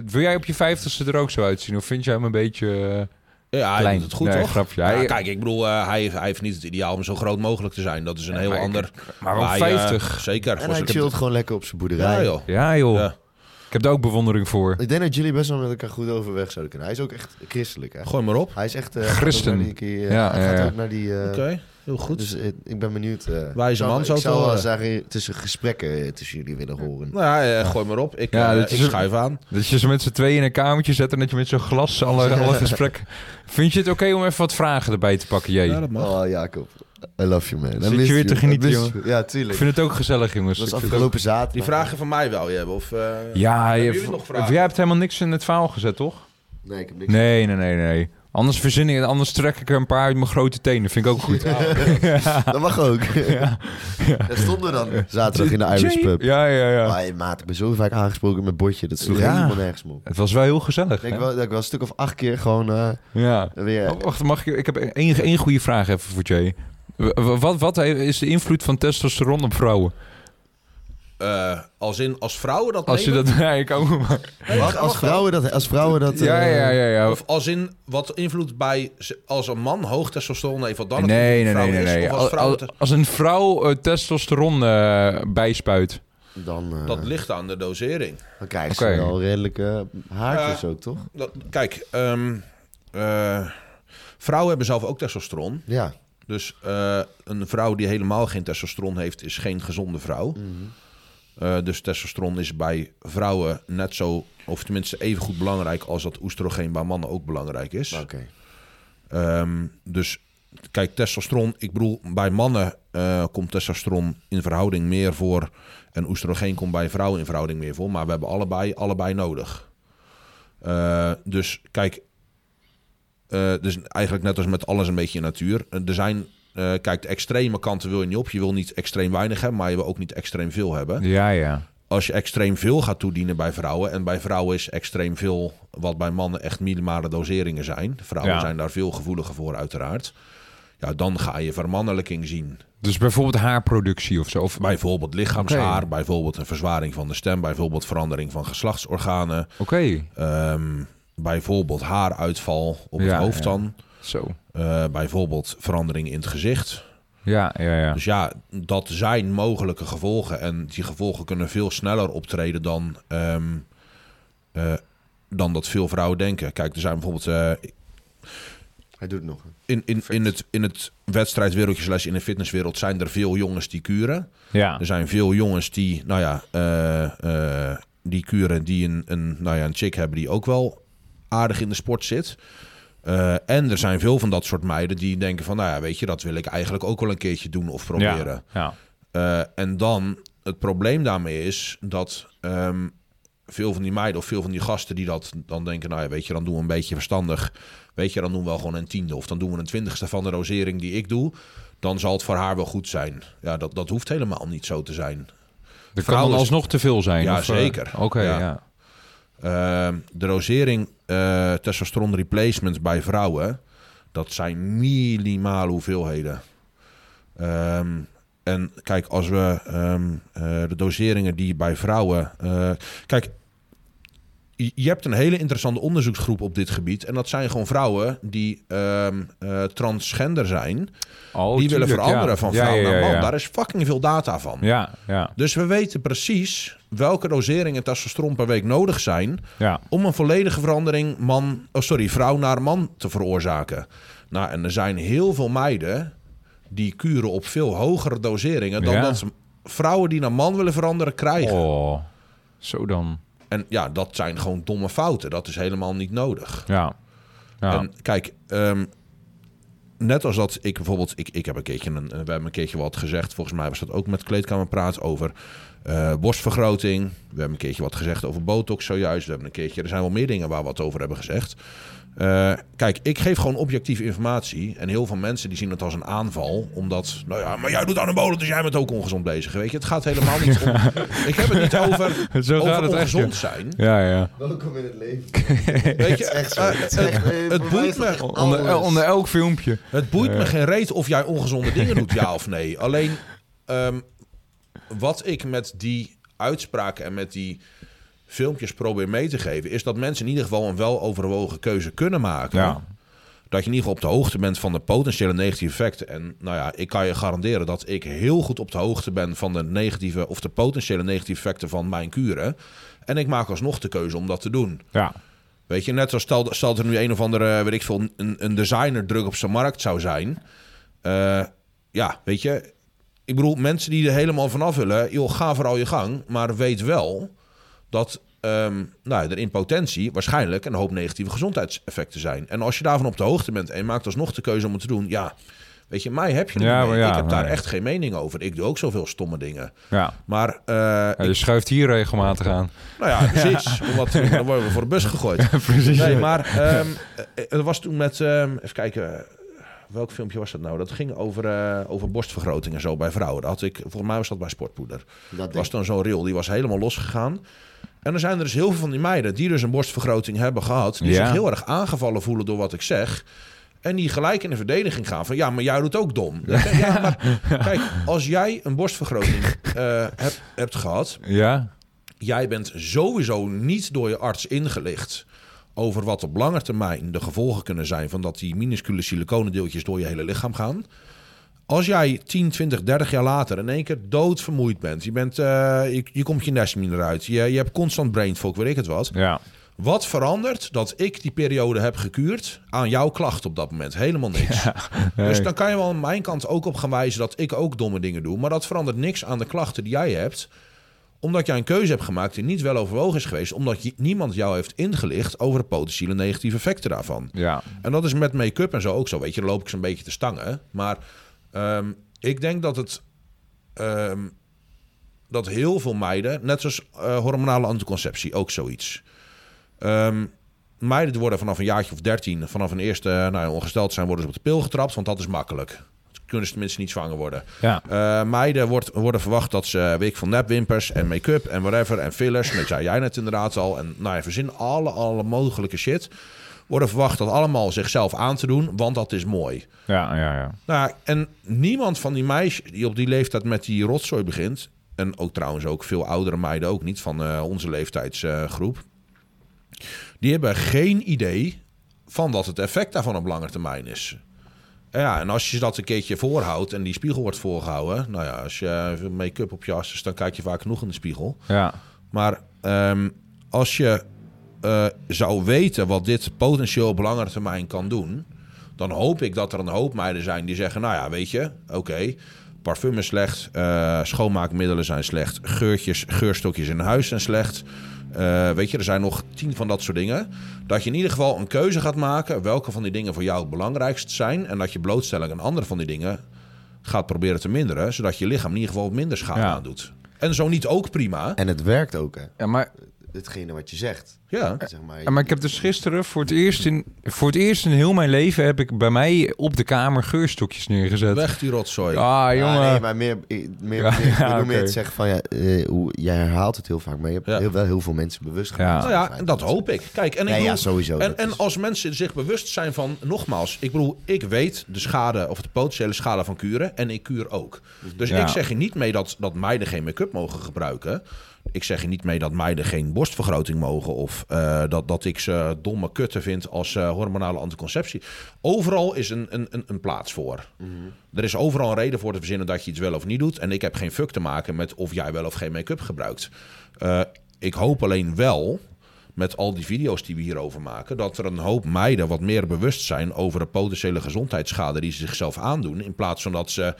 Speaker 2: Wil jij op je vijftigste er ook zo uitzien? Of vind jij hem een beetje eh,
Speaker 3: Ja, hij
Speaker 2: klein?
Speaker 3: doet het goed
Speaker 2: Nee,
Speaker 3: toch?
Speaker 2: grapje.
Speaker 3: Ja,
Speaker 2: Hij-
Speaker 3: kijk, ik bedoel, eh, hij, heeft, hij heeft niet het ideaal om zo groot mogelijk te zijn. Dat is een heel
Speaker 2: maar ik-
Speaker 3: ander...
Speaker 2: maar wel
Speaker 3: hij, eh,
Speaker 2: 50.
Speaker 3: zeker.
Speaker 1: En
Speaker 3: voor
Speaker 1: hij
Speaker 3: zijn-
Speaker 1: chillt gewoon lekker op zijn boerderij.
Speaker 3: Ja, joh.
Speaker 2: Ja joh,
Speaker 3: Ja.
Speaker 2: ik heb daar ook bewondering voor.
Speaker 1: Ik denk dat jullie best wel met elkaar goed overweg zouden kunnen. Hij is ook echt christelijk, hè?
Speaker 3: Gooi maar op.
Speaker 1: Hij is echt... eh,
Speaker 2: Christen.
Speaker 1: Hij gaat ook naar die... eh,
Speaker 3: Oké. Heel goed.
Speaker 1: Dus eh, ik ben benieuwd. eh,
Speaker 3: Wijze
Speaker 1: zou-
Speaker 3: man zou
Speaker 1: Ik
Speaker 3: het
Speaker 1: zou
Speaker 3: eh,
Speaker 1: wel
Speaker 3: horen.
Speaker 1: zeggen, tussen gesprekken eh, tussen jullie willen horen.
Speaker 3: nou ja, eh, gooi maar op. Ik,
Speaker 2: Ja,
Speaker 3: eh,
Speaker 2: dat is
Speaker 3: ik
Speaker 2: een-
Speaker 3: schuif aan.
Speaker 2: Dat je ze met z'n tweeën in een kamertje zet en dat je met zo'n glas alle, alle gesprekken... Vind je het oké om even wat vragen erbij te pakken, Jee?
Speaker 3: Ja, dat mag.
Speaker 1: Oh, Jacob. I love you, man. I
Speaker 2: Zit je
Speaker 1: miss
Speaker 2: weer
Speaker 1: you.
Speaker 2: te
Speaker 1: I
Speaker 2: genieten,
Speaker 1: miss
Speaker 2: jongen?
Speaker 1: you. Ja,
Speaker 2: ik
Speaker 1: tuurlijk.
Speaker 2: vind het ook gezellig, jongens.
Speaker 1: Dat was
Speaker 2: Ik vind
Speaker 1: afgelopen zaterdag.
Speaker 3: Die vragen van mij wel je hebben. Of, eh,
Speaker 2: het- Ja, je
Speaker 3: jullie
Speaker 2: hebt-
Speaker 3: nog vragen?
Speaker 2: jij hebt helemaal niks in het verhaal gezet, toch?
Speaker 1: Nee, ik heb niks.
Speaker 2: Nee, nee, nee, nee. Anders verzin ik, anders trek ik er een paar uit mijn grote tenen. Vind ik ook goed.
Speaker 1: Dat mag ook. Ja. Dat stond er dan. Zaterdag in de Irish Pub.
Speaker 2: Ja, ja, ja.
Speaker 1: Maar hey, maat, ik ben zo vaak aangesproken met bordje. Dat sloeg
Speaker 2: Ja.
Speaker 1: helemaal nergens meer op.
Speaker 2: Het was wel heel gezellig.
Speaker 1: Ik denk
Speaker 2: hè?
Speaker 1: wel, dat ik wel een stuk of acht keer gewoon eh,
Speaker 2: Ja.
Speaker 1: weer...
Speaker 2: Oh, wacht, mag ik, ik heb één, één goede vraag even voor Jay. W- w- Wat, wat he- is de invloed van testosteron op vrouwen?
Speaker 3: eh, als in, als vrouwen dat
Speaker 2: Als je
Speaker 3: nemen?
Speaker 2: dat... Ja, ik ook maar.
Speaker 1: Wat? als vrouwen dat... Als vrouwen dat eh,
Speaker 2: Ja, ja, ja, ja.
Speaker 3: Of als in, wat invloed bij, ze- als een man hoog testosteron heeft, wat dan het
Speaker 2: Nee, nee,
Speaker 3: invloed
Speaker 2: nee,
Speaker 3: op
Speaker 2: nee.
Speaker 3: vrouwen
Speaker 2: nee.
Speaker 3: is, of
Speaker 2: Als,
Speaker 3: als vrouwen te-
Speaker 2: als- als een vrouw eh, testosteron eh, bijspuit.
Speaker 1: Dan, eh,
Speaker 3: dat ligt aan de dosering.
Speaker 1: dan krijgen
Speaker 2: Oké.
Speaker 1: ze wel redelijke haartjes ook, toch?
Speaker 3: Dat- kijk, ehm, eh, vrouwen hebben zelf ook testosteron.
Speaker 1: Ja.
Speaker 3: Dus eh, een vrouw die helemaal geen testosteron heeft, is geen gezonde vrouw. Eh, dus testosteron is bij vrouwen net zo, of tenminste even goed belangrijk als dat oestrogeen bij mannen ook belangrijk is.
Speaker 1: Oké.
Speaker 3: Ehm, dus kijk, testosteron, ik bedoel, bij mannen eh, komt testosteron in verhouding meer voor. En oestrogeen komt bij vrouwen in verhouding meer voor. Maar we hebben allebei, allebei nodig. Eh, dus kijk, eh, dus eigenlijk net als met alles een beetje in natuur. Eh, Er zijn, eh, kijk, de extreme kanten wil je niet op. Je wil niet extreem weinig hebben, maar je wil ook niet extreem veel hebben
Speaker 2: Ja, ja.
Speaker 3: als je extreem veel gaat toedienen bij vrouwen. En bij vrouwen is extreem veel wat bij mannen echt minimale doseringen zijn. Vrouwen
Speaker 2: Ja.
Speaker 3: zijn daar veel gevoeliger voor, uiteraard. Ja, dan ga je vermannelijking zien.
Speaker 2: Dus bijvoorbeeld haarproductie of zo. Of, Oké.
Speaker 3: Bijvoorbeeld lichaamshaar, bijvoorbeeld een verzwaring van de stem, bijvoorbeeld verandering van geslachtsorganen,
Speaker 2: Eh,
Speaker 3: ehm, bijvoorbeeld haaruitval op het
Speaker 2: Ja,
Speaker 3: hoofd
Speaker 2: ja.
Speaker 3: dan,
Speaker 2: Zo.
Speaker 3: eh, bijvoorbeeld verandering in het gezicht.
Speaker 2: Ja, ja, ja.
Speaker 3: Dus ja, dat zijn mogelijke gevolgen. En die gevolgen kunnen veel sneller optreden dan, ehm, eh, dan dat veel vrouwen denken. Kijk, er zijn bijvoorbeeld eh,
Speaker 1: Hij doet het nog.
Speaker 3: in, in, in het, in het wedstrijdwereldje slash in de fitnesswereld zijn er veel jongens die kuren.
Speaker 2: Ja.
Speaker 3: Er zijn veel jongens die, nou ja, eh, eh, die kuren die een, een, nou ja, een chick hebben die ook wel aardig in de sport zit. Eh, en er zijn veel van dat soort meiden die denken van, nou ja, weet je, dat wil ik eigenlijk ook wel een keertje doen of proberen.
Speaker 2: Ja, ja.
Speaker 3: Eh, en dan, het probleem daarmee is dat ehm, veel van die meiden of veel van die gasten die dat dan denken, nou ja, weet je, dan doen we een beetje verstandig. Weet je, dan doen we wel gewoon een tiende of dan doen we een twintigste van de rosering die ik doe. Dan zal het voor haar wel goed zijn. Ja, dat, dat hoeft helemaal niet zo te zijn.
Speaker 2: Er kan
Speaker 3: vrouwen-
Speaker 2: dan alsnog te veel zijn.
Speaker 3: Ja,
Speaker 2: of, eh,
Speaker 3: zeker.
Speaker 2: Oké,
Speaker 3: Ja.
Speaker 2: ja.
Speaker 3: Ehm, de rosering, eh testosteron replacements bij vrouwen, dat zijn minimale hoeveelheden. Ehm, en kijk, als we ehm, eh, de doseringen die bij vrouwen. eh, kijk, je je hebt een hele interessante onderzoeksgroep op dit gebied. En dat zijn gewoon vrouwen die ehm, eh, transgender zijn.
Speaker 2: Oh,
Speaker 3: die willen
Speaker 2: tuurlijk,
Speaker 3: veranderen
Speaker 2: ja.
Speaker 3: van
Speaker 2: Ja,
Speaker 3: vrouw
Speaker 2: ja,
Speaker 3: naar
Speaker 2: ja,
Speaker 3: man.
Speaker 2: ja.
Speaker 3: Daar is fucking veel data van.
Speaker 2: Ja, ja,
Speaker 3: Dus we weten precies welke doseringen testosteron per week nodig zijn
Speaker 2: ja.
Speaker 3: om een volledige verandering man, oh sorry, vrouw naar man te veroorzaken. Nou, en er zijn heel veel meiden die kuren op veel hogere doseringen dan
Speaker 2: Ja.
Speaker 3: dat ze- vrouwen die naar man willen veranderen krijgen.
Speaker 2: Oh, zo dan.
Speaker 3: En ja, dat zijn gewoon domme fouten. Dat is helemaal niet nodig.
Speaker 2: Ja. Ja.
Speaker 3: En kijk, ehm, net als dat ik bijvoorbeeld, ik, ik heb een keertje, een, we hebben een keertje wat gezegd. Volgens mij was dat ook met kleedkamer praat over eh, borstvergroting. We hebben een keertje wat gezegd over botox zojuist. We hebben een keertje, er zijn wel meer dingen waar we wat over hebben gezegd. Eh, kijk, ik geef gewoon objectieve informatie. En heel veel mensen die zien het als een aanval. Omdat, nou ja, maar jij doet anabolen, dus jij bent ook ongezond bezig. Weet je, het gaat helemaal niet om... Ik heb het niet over,
Speaker 2: Zo gaat
Speaker 3: over
Speaker 2: het echt,
Speaker 3: ongezond
Speaker 2: ja.
Speaker 3: zijn.
Speaker 2: ja, ja.
Speaker 1: Welkom in het leven.
Speaker 3: Weet je,
Speaker 1: echt zo.
Speaker 3: eh,
Speaker 1: Het is
Speaker 3: het-
Speaker 1: echt, eh, voor mij
Speaker 3: het
Speaker 1: is
Speaker 3: boeit
Speaker 1: dat
Speaker 3: me
Speaker 1: echt
Speaker 2: Onder,
Speaker 1: alles.
Speaker 2: eh, onder elk filmpje.
Speaker 3: Het boeit me geen reet of jij ongezonde dingen doet, ja of nee. Alleen ehm, wat ik met die uitspraken en met die filmpjes probeer mee te geven, is dat mensen in ieder geval een weloverwogen keuze kunnen maken.
Speaker 2: Ja.
Speaker 3: Dat je in ieder geval op de hoogte bent van de potentiële negatieve effecten. En nou ja, ik kan je garanderen dat ik heel goed op de hoogte ben van de negatieve of de potentiële negatieve effecten van mijn kuren. En ik maak alsnog de keuze om dat te doen.
Speaker 2: Ja.
Speaker 3: Weet je, net zoals stel, stel dat er nu een of andere, weet ik veel, een, een designer druk op zijn markt zou zijn. eh, ja, weet je, ik bedoel, mensen die er helemaal vanaf willen, joh, ga vooral je gang. Maar weet wel dat ehm, nou, er in potentie waarschijnlijk een hoop negatieve gezondheidseffecten zijn. En als je daarvan op de hoogte bent en je maakt alsnog de keuze om het te doen, ja, weet je, mij heb je er
Speaker 2: Ja,
Speaker 3: niet mee.
Speaker 2: maar ja,
Speaker 3: ik heb daar
Speaker 2: nee.
Speaker 3: echt geen mening over. Ik doe ook zoveel stomme dingen.
Speaker 2: Ja.
Speaker 3: Maar eh,
Speaker 2: Ja, je schuift hier regelmatig aan.
Speaker 3: nou ja, precies. Omdat, dan worden we voor de bus gegooid.
Speaker 2: Precies.
Speaker 3: Nee, maar ehm, eh, er was toen met... ehm, even kijken, eh, welk filmpje was dat nou? Dat ging over, eh, over borstvergroting en zo bij vrouwen. Dat had ik, volgens mij was dat bij Sportpoeder.
Speaker 1: Dat
Speaker 3: Er was dan zo'n rail, die was helemaal losgegaan. En er zijn er dus heel veel van die meiden die dus een borstvergroting hebben gehad... die
Speaker 2: Ja.
Speaker 3: zich heel erg aangevallen voelen door wat ik zeg... En die gelijk in de verdediging gaan van ja, maar jij doet ook dom. Dan zeg ik, Ja, maar, kijk, als jij een borstvergroting eh, hebt, hebt gehad,
Speaker 2: Ja,
Speaker 3: jij bent sowieso niet door je arts ingelicht over wat op lange termijn de gevolgen kunnen zijn van dat die minuscule siliconendeeltjes door je hele lichaam gaan. Als jij 10, 20, 30 jaar later in één keer doodvermoeid bent, je, bent, eh, je, je komt je nest niet meer uit, je, je hebt constant brain fog, weet ik het wat.
Speaker 2: ja.
Speaker 3: Wat verandert dat ik die periode heb gekuurd aan jouw klacht op dat moment? Helemaal niks. Dus
Speaker 2: Nee.
Speaker 3: dan kan je wel aan mijn kant ook op gaan wijzen dat ik ook domme dingen doe. Maar dat verandert niks aan de klachten die jij hebt. Omdat jij een keuze hebt gemaakt die niet wel overwogen is geweest. Omdat je- niemand jou heeft ingelicht over de potentiële negatieve effecten daarvan.
Speaker 2: Ja,
Speaker 3: En dat is met make-up en zo ook zo. Weet je, dan loop ik zo'n beetje te stangen. Maar ehm, ik denk dat het. ehm, dat heel veel meiden, net zoals eh, hormonale anticonceptie, ook zoiets. Ehm, meiden die worden vanaf een jaartje of dertien, vanaf een eerste eh, nou, ja, ongesteld zijn, worden ze op de pil getrapt, want dat is makkelijk. Dan kunnen ze tenminste niet zwanger worden.
Speaker 2: ja.
Speaker 3: Eh, meiden wordt, worden verwacht dat ze, eh, weet ik veel, nepwimpers en make-up en whatever en fillers. Dat zei jij net inderdaad al. En nou ja, verzin alle, alle mogelijke shit. Worden verwacht dat allemaal zichzelf aan te doen, want dat is mooi.
Speaker 2: Ja, ja, ja.
Speaker 3: Nou, ja, en niemand van die meisjes die op die leeftijd met die rotzooi begint... en ook trouwens ook veel oudere meiden ook niet van eh, onze leeftijdsgroep... die hebben geen idee van wat het effect daarvan op lange termijn is. En Ja, en als je dat een keertje voorhoudt en die spiegel wordt voorgehouden... nou ja, als je eh, make-up op je as is, dan kijk je vaak genoeg in de spiegel.
Speaker 2: Ja,
Speaker 3: Maar ehm, als je eh, zou weten wat dit potentieel op langere termijn kan doen, dan hoop ik dat er een hoop meiden zijn die zeggen: Nou ja, weet je, oké. Parfum is slecht, eh, schoonmaakmiddelen zijn slecht, geurtjes, geurstokjes in huis zijn slecht. Eh, weet je, er zijn nog tien van dat soort dingen. Dat je in ieder geval een keuze gaat maken welke van die dingen voor jou het belangrijkst zijn. En dat je blootstelling aan andere van die dingen gaat proberen te minderen. Zodat je lichaam in ieder geval wat minder schade
Speaker 2: Ja.
Speaker 3: aan doet. En zo niet ook prima.
Speaker 1: En het werkt ook, hè?
Speaker 2: ja maar,
Speaker 1: Hetgene wat je zegt.
Speaker 3: Ja.
Speaker 1: Zeg maar,
Speaker 2: maar ik heb dus gisteren voor het, eerst in, voor het eerst in heel mijn leven... heb ik bij mij op de kamer geurstokjes neergezet.
Speaker 3: Weg die rotzooi.
Speaker 2: Ah,
Speaker 1: Ja,
Speaker 2: jongen.
Speaker 1: nee, maar meer, eh, meer,
Speaker 2: Ja,
Speaker 1: meer- ik
Speaker 2: ja,
Speaker 1: bedoel meer
Speaker 2: oké.
Speaker 1: het zeggen van ja, eh, hoe, jij herhaalt het heel vaak, maar je hebt
Speaker 3: Ja.
Speaker 1: heel, wel heel veel mensen bewust
Speaker 2: Ja.
Speaker 1: gemaakt.
Speaker 3: Nou ja, en dat hoop ik. Kijk, en, ik
Speaker 1: Nee, ja,
Speaker 3: bedoel-
Speaker 1: sowieso,
Speaker 3: En,
Speaker 1: dat
Speaker 3: en
Speaker 1: is-
Speaker 3: als mensen zich bewust zijn van, nogmaals, ik bedoel, ik weet de schade of de potentiële schade van kuren en ik kuur ook. Dus
Speaker 2: Ja.
Speaker 3: ik zeg je niet mee dat, dat meiden geen make-up mogen gebruiken. Ik zeg je niet mee dat meiden geen borstvergroting mogen of eh, dat, dat ik ze domme kutten vind als eh, hormonale anticonceptie. Overal is een, een, een, een plaats voor. Er is overal een reden voor te verzinnen dat je iets wel of niet doet. En ik heb geen fuck te maken met of jij wel of geen make-up gebruikt. Eh, ik hoop alleen wel, met al die video's die we hierover maken, dat er een hoop meiden wat meer bewust zijn over de potentiële gezondheidsschade die ze zichzelf aandoen. In plaats van dat ze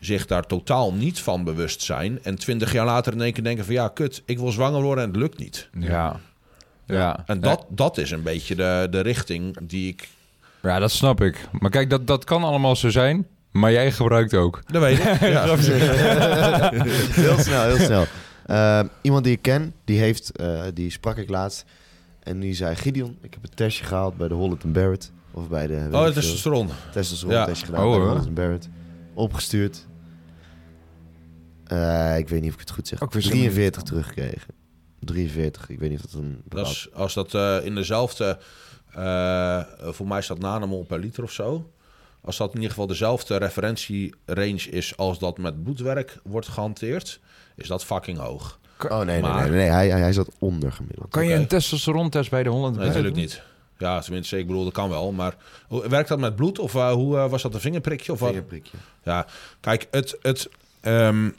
Speaker 3: zich daar totaal niet van bewust zijn. En twintig jaar later in één keer denken van ja, kut, ik wil zwanger worden en het lukt niet.
Speaker 2: Ja. Ja.
Speaker 3: En dat, dat is een beetje de, de richting die ik.
Speaker 2: ja, dat snap ik. Maar kijk, dat, dat kan allemaal zo zijn, maar jij gebruikt ook.
Speaker 3: Dat weet ik. Ja.
Speaker 1: heel snel, heel snel. Eh, iemand die ik ken, die, heeft, eh, die sprak ik laatst. En die zei, Gideon, ik heb een testje gehaald bij de Holland Barrett. Of bij de...
Speaker 3: Oh, het is rond.
Speaker 1: testosteron
Speaker 3: Ja.
Speaker 1: testje gedaan
Speaker 2: Oh,
Speaker 1: bij
Speaker 2: hoor.
Speaker 1: Holland Barrett. Opgestuurd. Eh, ik weet niet of ik het goed zeg.
Speaker 2: Ook weer zo'n-
Speaker 1: 43 teruggekregen. 43, ik weet niet of dat een...
Speaker 3: Dat is, als dat eh, in dezelfde, eh, voor mij staat nanomol per liter of zo. Als dat in ieder geval dezelfde referentierange is als dat met bloedwerk wordt gehanteerd, is dat fucking hoog.
Speaker 1: Oh nee, nee,
Speaker 3: Maar-
Speaker 1: nee, nee, hij, hij, hij zat ondergemiddeld.
Speaker 2: Kan je
Speaker 3: Oké.
Speaker 2: een testosterontest bij de 100
Speaker 3: Nee, natuurlijk niet. Ja, tenminste, ik bedoel, dat kan wel. Maar hoe- werkt dat met bloed? Of eh, hoe eh, was dat een vingerprikje? Of wat?
Speaker 1: Vingerprikje.
Speaker 3: Ja, kijk, het, het, ehm,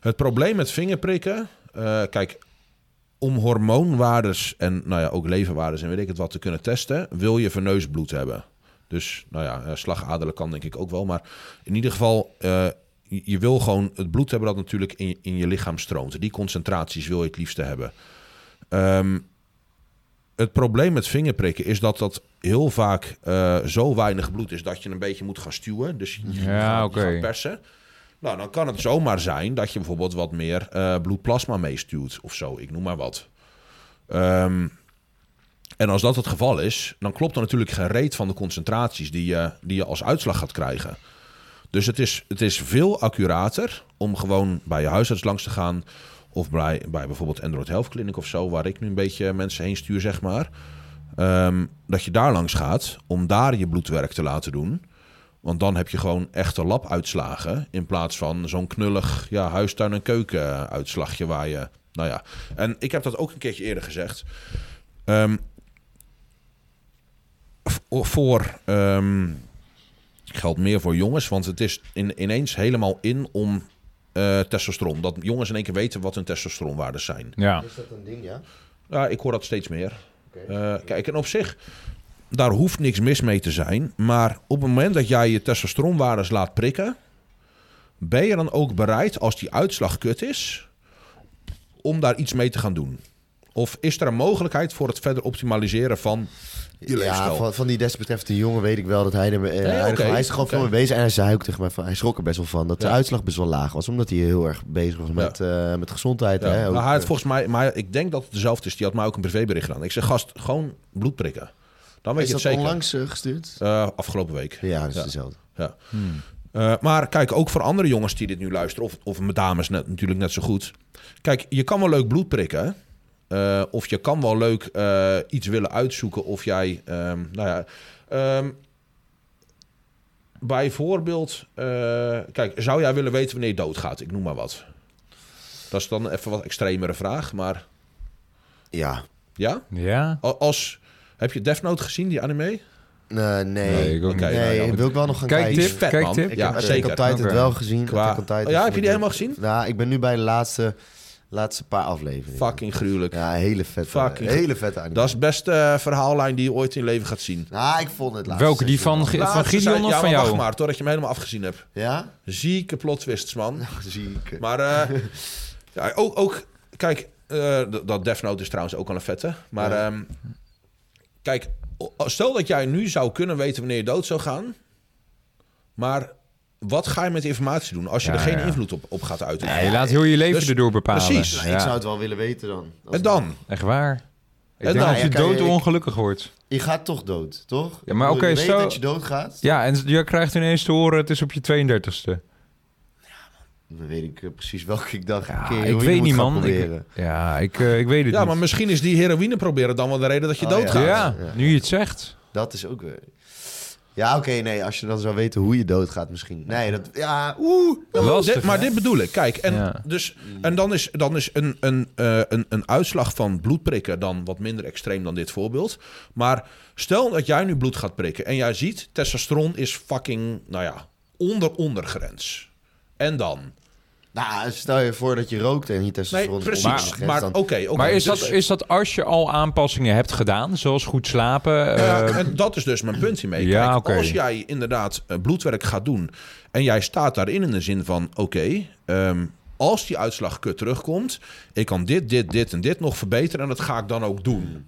Speaker 3: het probleem met vingerprikken. eh, kijk, om hormoonwaardes en nou ja, ook leverwaardes en weet ik het wat te kunnen testen, wil je verneus bloed hebben. Dus nou ja, eh, slagaderen kan denk ik ook wel. Maar in ieder geval, eh, je je wil gewoon het bloed hebben dat natuurlijk in, je- in je lichaam stroomt. Die concentraties wil je het liefste hebben. Ehm, het probleem met vingerprikken is dat dat heel vaak eh, zo weinig bloed is dat je een beetje moet gaan stuwen. Dus je
Speaker 2: Ja,
Speaker 3: gaat,
Speaker 2: oké.
Speaker 3: je gaat persen. Nou, dan kan het zomaar zijn dat je bijvoorbeeld wat meer eh, bloedplasma meestuwt of zo. Ik noem maar wat. Ehm, en als dat het geval is, dan klopt er natuurlijk geen reet van de concentraties die je, die je als uitslag gaat krijgen. Dus het is, het is veel accurater om gewoon bij je huisarts langs te gaan. Of bij, bij bijvoorbeeld Android Health Clinic of zo, waar ik nu een beetje mensen heen stuur, zeg maar. Ehm, dat je daar langs gaat om daar je bloedwerk te laten doen. Want dan heb je gewoon echte labuitslagen. In plaats van zo'n knullig ja, huistuin- en keukenuitslagje waar je. Nou ja. En ik heb dat ook een keertje eerder gezegd. Ehm, v- oh, voor. ehm, geldt meer voor jongens, want het is in, ineens helemaal in om eh, testosteron. Dat jongens in één keer weten wat hun testosteronwaarden zijn.
Speaker 2: Ja.
Speaker 1: Is dat een ding, ja?
Speaker 3: Ja, ik hoor dat steeds meer.
Speaker 1: Oké.
Speaker 3: Eh, kijk, en op zich, daar hoeft niks mis mee te zijn. Maar op het moment dat jij je testosteronwaardes laat prikken... ben je dan ook bereid, als die uitslag kut is... om daar iets mee te gaan doen? Of is er een mogelijkheid voor het verder optimaliseren van je
Speaker 1: Ja,
Speaker 3: leefstijl?
Speaker 1: van, van die desbetreffende jongen weet ik wel dat hij er... eh, hij,
Speaker 3: oké,
Speaker 1: hij is er gewoon veel
Speaker 3: oké.
Speaker 1: mee bezig. En hij zei ook tegen mij, van, hij schrok er best wel van. Dat de
Speaker 3: Ja.
Speaker 1: uitslag best wel laag was. Omdat hij heel erg bezig was met, eh, met gezondheid.
Speaker 3: Ja,
Speaker 1: hè, ook,
Speaker 3: maar nou, hij had
Speaker 1: eh,
Speaker 3: volgens mij, maar ik denk dat het dezelfde is. Die had mij ook een privébericht gedaan. Ik zeg, gast, gewoon bloed prikken. Dan weet
Speaker 1: is
Speaker 3: je het
Speaker 1: dat
Speaker 3: zeker.
Speaker 1: onlangs eh, gestuurd?
Speaker 3: Eh, afgelopen week.
Speaker 1: Ja, dat is
Speaker 3: Ja.
Speaker 1: dezelfde.
Speaker 3: Ja. Eh, maar kijk, ook voor andere jongens die dit nu luisteren, of, of met dames net, natuurlijk net zo goed. Kijk, je kan wel leuk bloed prikken. eh, of je kan wel leuk eh, iets willen uitzoeken. Of jij, ehm, nou ja. ehm, bijvoorbeeld, eh, kijk, zou jij willen weten wanneer je doodgaat? Ik noem maar wat. Dat is dan even wat extremere vraag, maar
Speaker 1: Ja.
Speaker 3: ja?
Speaker 2: Ja?
Speaker 3: A- Als, heb je Death Note gezien, die anime?
Speaker 1: Eh, Nee,
Speaker 2: Nee,
Speaker 1: nee.
Speaker 2: ik ook
Speaker 3: Oké.
Speaker 2: niet.
Speaker 1: Nee,
Speaker 3: nou,
Speaker 1: wil ik wel nog gaan
Speaker 2: Kijk,
Speaker 1: kijken.
Speaker 2: tip.
Speaker 3: Vet, man.
Speaker 2: Kijktip?
Speaker 1: Ik
Speaker 3: Ja,
Speaker 1: heb Attack
Speaker 3: zeker.
Speaker 1: on Titan
Speaker 2: Oké.
Speaker 1: wel gezien.
Speaker 3: Qua- Oh
Speaker 1: Attack on Titan
Speaker 3: ja, heb
Speaker 1: vond
Speaker 3: je
Speaker 1: ik-
Speaker 3: die helemaal gezien?
Speaker 1: Nou, ik ben nu bij de laatste, laatste paar afleveringen.
Speaker 3: Fucking gruwelijk.
Speaker 1: Ja, hele vette.
Speaker 3: Fucking-
Speaker 1: hele vette anime.
Speaker 3: Dat is best eh verhaallijn die je ooit in je leven gaat zien.
Speaker 1: Nou, ik vond het laatste.
Speaker 2: Welke, die
Speaker 1: seizoen
Speaker 2: van,
Speaker 1: wel-
Speaker 2: Ge- van
Speaker 3: Laatste
Speaker 2: Gideon
Speaker 3: zei-
Speaker 2: of
Speaker 3: ja,
Speaker 2: van
Speaker 3: maar
Speaker 2: jou?
Speaker 3: Wacht maar, totdat je hem helemaal afgezien hebt.
Speaker 1: Ja?
Speaker 3: Zieke plot twists, man.
Speaker 1: Ziek.
Speaker 3: Maar eh, ja, ook, ook, kijk, eh, d- dat Death Note is trouwens ook al een vette. Maar
Speaker 1: Ja.
Speaker 3: ehm, kijk, o- stel dat jij nu zou kunnen weten wanneer je dood zou gaan. Maar wat ga je met die informatie doen als je
Speaker 2: Ja,
Speaker 3: er geen
Speaker 2: ja.
Speaker 3: invloed op, op gaat uitoefenen?
Speaker 2: Ja, je laat heel je leven
Speaker 3: Dus-
Speaker 2: erdoor bepalen.
Speaker 3: precies.
Speaker 1: Nou,
Speaker 2: Ja.
Speaker 1: Ik zou het wel willen weten dan. Als-
Speaker 3: En dan?
Speaker 2: Echt waar. Ik
Speaker 3: En
Speaker 2: denk
Speaker 3: dan?
Speaker 2: dat je
Speaker 1: Ja, kijk,
Speaker 2: dood
Speaker 1: ik-
Speaker 2: ongelukkig wordt.
Speaker 1: Je gaat toch dood, toch?
Speaker 2: Ja, maar
Speaker 1: Ik bedoel,
Speaker 2: oké,
Speaker 1: Je
Speaker 2: stel-
Speaker 1: weet dat je doodgaat.
Speaker 2: Ja, en je krijgt ineens te horen, het is op je 32e.
Speaker 1: Dan weet ik eh, precies welke ik dacht.
Speaker 2: Ja,
Speaker 1: oké, hoe
Speaker 2: ik
Speaker 1: je
Speaker 2: weet
Speaker 1: moet
Speaker 2: niet,
Speaker 1: gaan
Speaker 2: man. Ik,
Speaker 1: proberen.
Speaker 2: ja, ik, eh, ik weet het
Speaker 3: Ja,
Speaker 2: niet.
Speaker 3: maar misschien is die heroïne proberen dan wel de reden dat je
Speaker 1: Oh,
Speaker 3: doodgaat.
Speaker 1: ja.
Speaker 2: ja, nu je het zegt.
Speaker 1: Dat is ook weer... Ja, oké, nee. Als je dan zou weten hoe je doodgaat misschien. Nee, dat... Ja, oeh.
Speaker 3: Ja, maar,
Speaker 2: Lastig,
Speaker 3: dit, maar
Speaker 2: hè?
Speaker 3: dit bedoel ik. Kijk, en,
Speaker 2: Ja.
Speaker 3: dus, en dan is, dan is een, een, eh, een, een uitslag van bloedprikken dan wat minder extreem dan dit voorbeeld. Maar stel dat jij nu bloed gaat prikken en jij ziet testosteron is fucking, nou ja, onder ondergrens. En dan?
Speaker 1: Nou, stel je voor dat je rookt en je
Speaker 3: Nee,
Speaker 1: testosteron...
Speaker 3: precies.
Speaker 1: onder de grens,
Speaker 3: Maar,
Speaker 1: dan-
Speaker 3: oké, oké,
Speaker 2: maar is,
Speaker 3: dus-
Speaker 2: dat, is dat als je al aanpassingen hebt gedaan, zoals goed slapen?
Speaker 3: Ja,
Speaker 2: eh,
Speaker 3: en dat is dus mijn punt hiermee.
Speaker 2: Ja,
Speaker 3: Kijk,
Speaker 2: oké.
Speaker 3: Als jij inderdaad eh, bloedwerk gaat doen en jij staat daarin in de zin van: oké, ehm, als die uitslag kut terugkomt, ik kan dit, dit, dit en dit nog verbeteren en dat ga ik dan ook doen.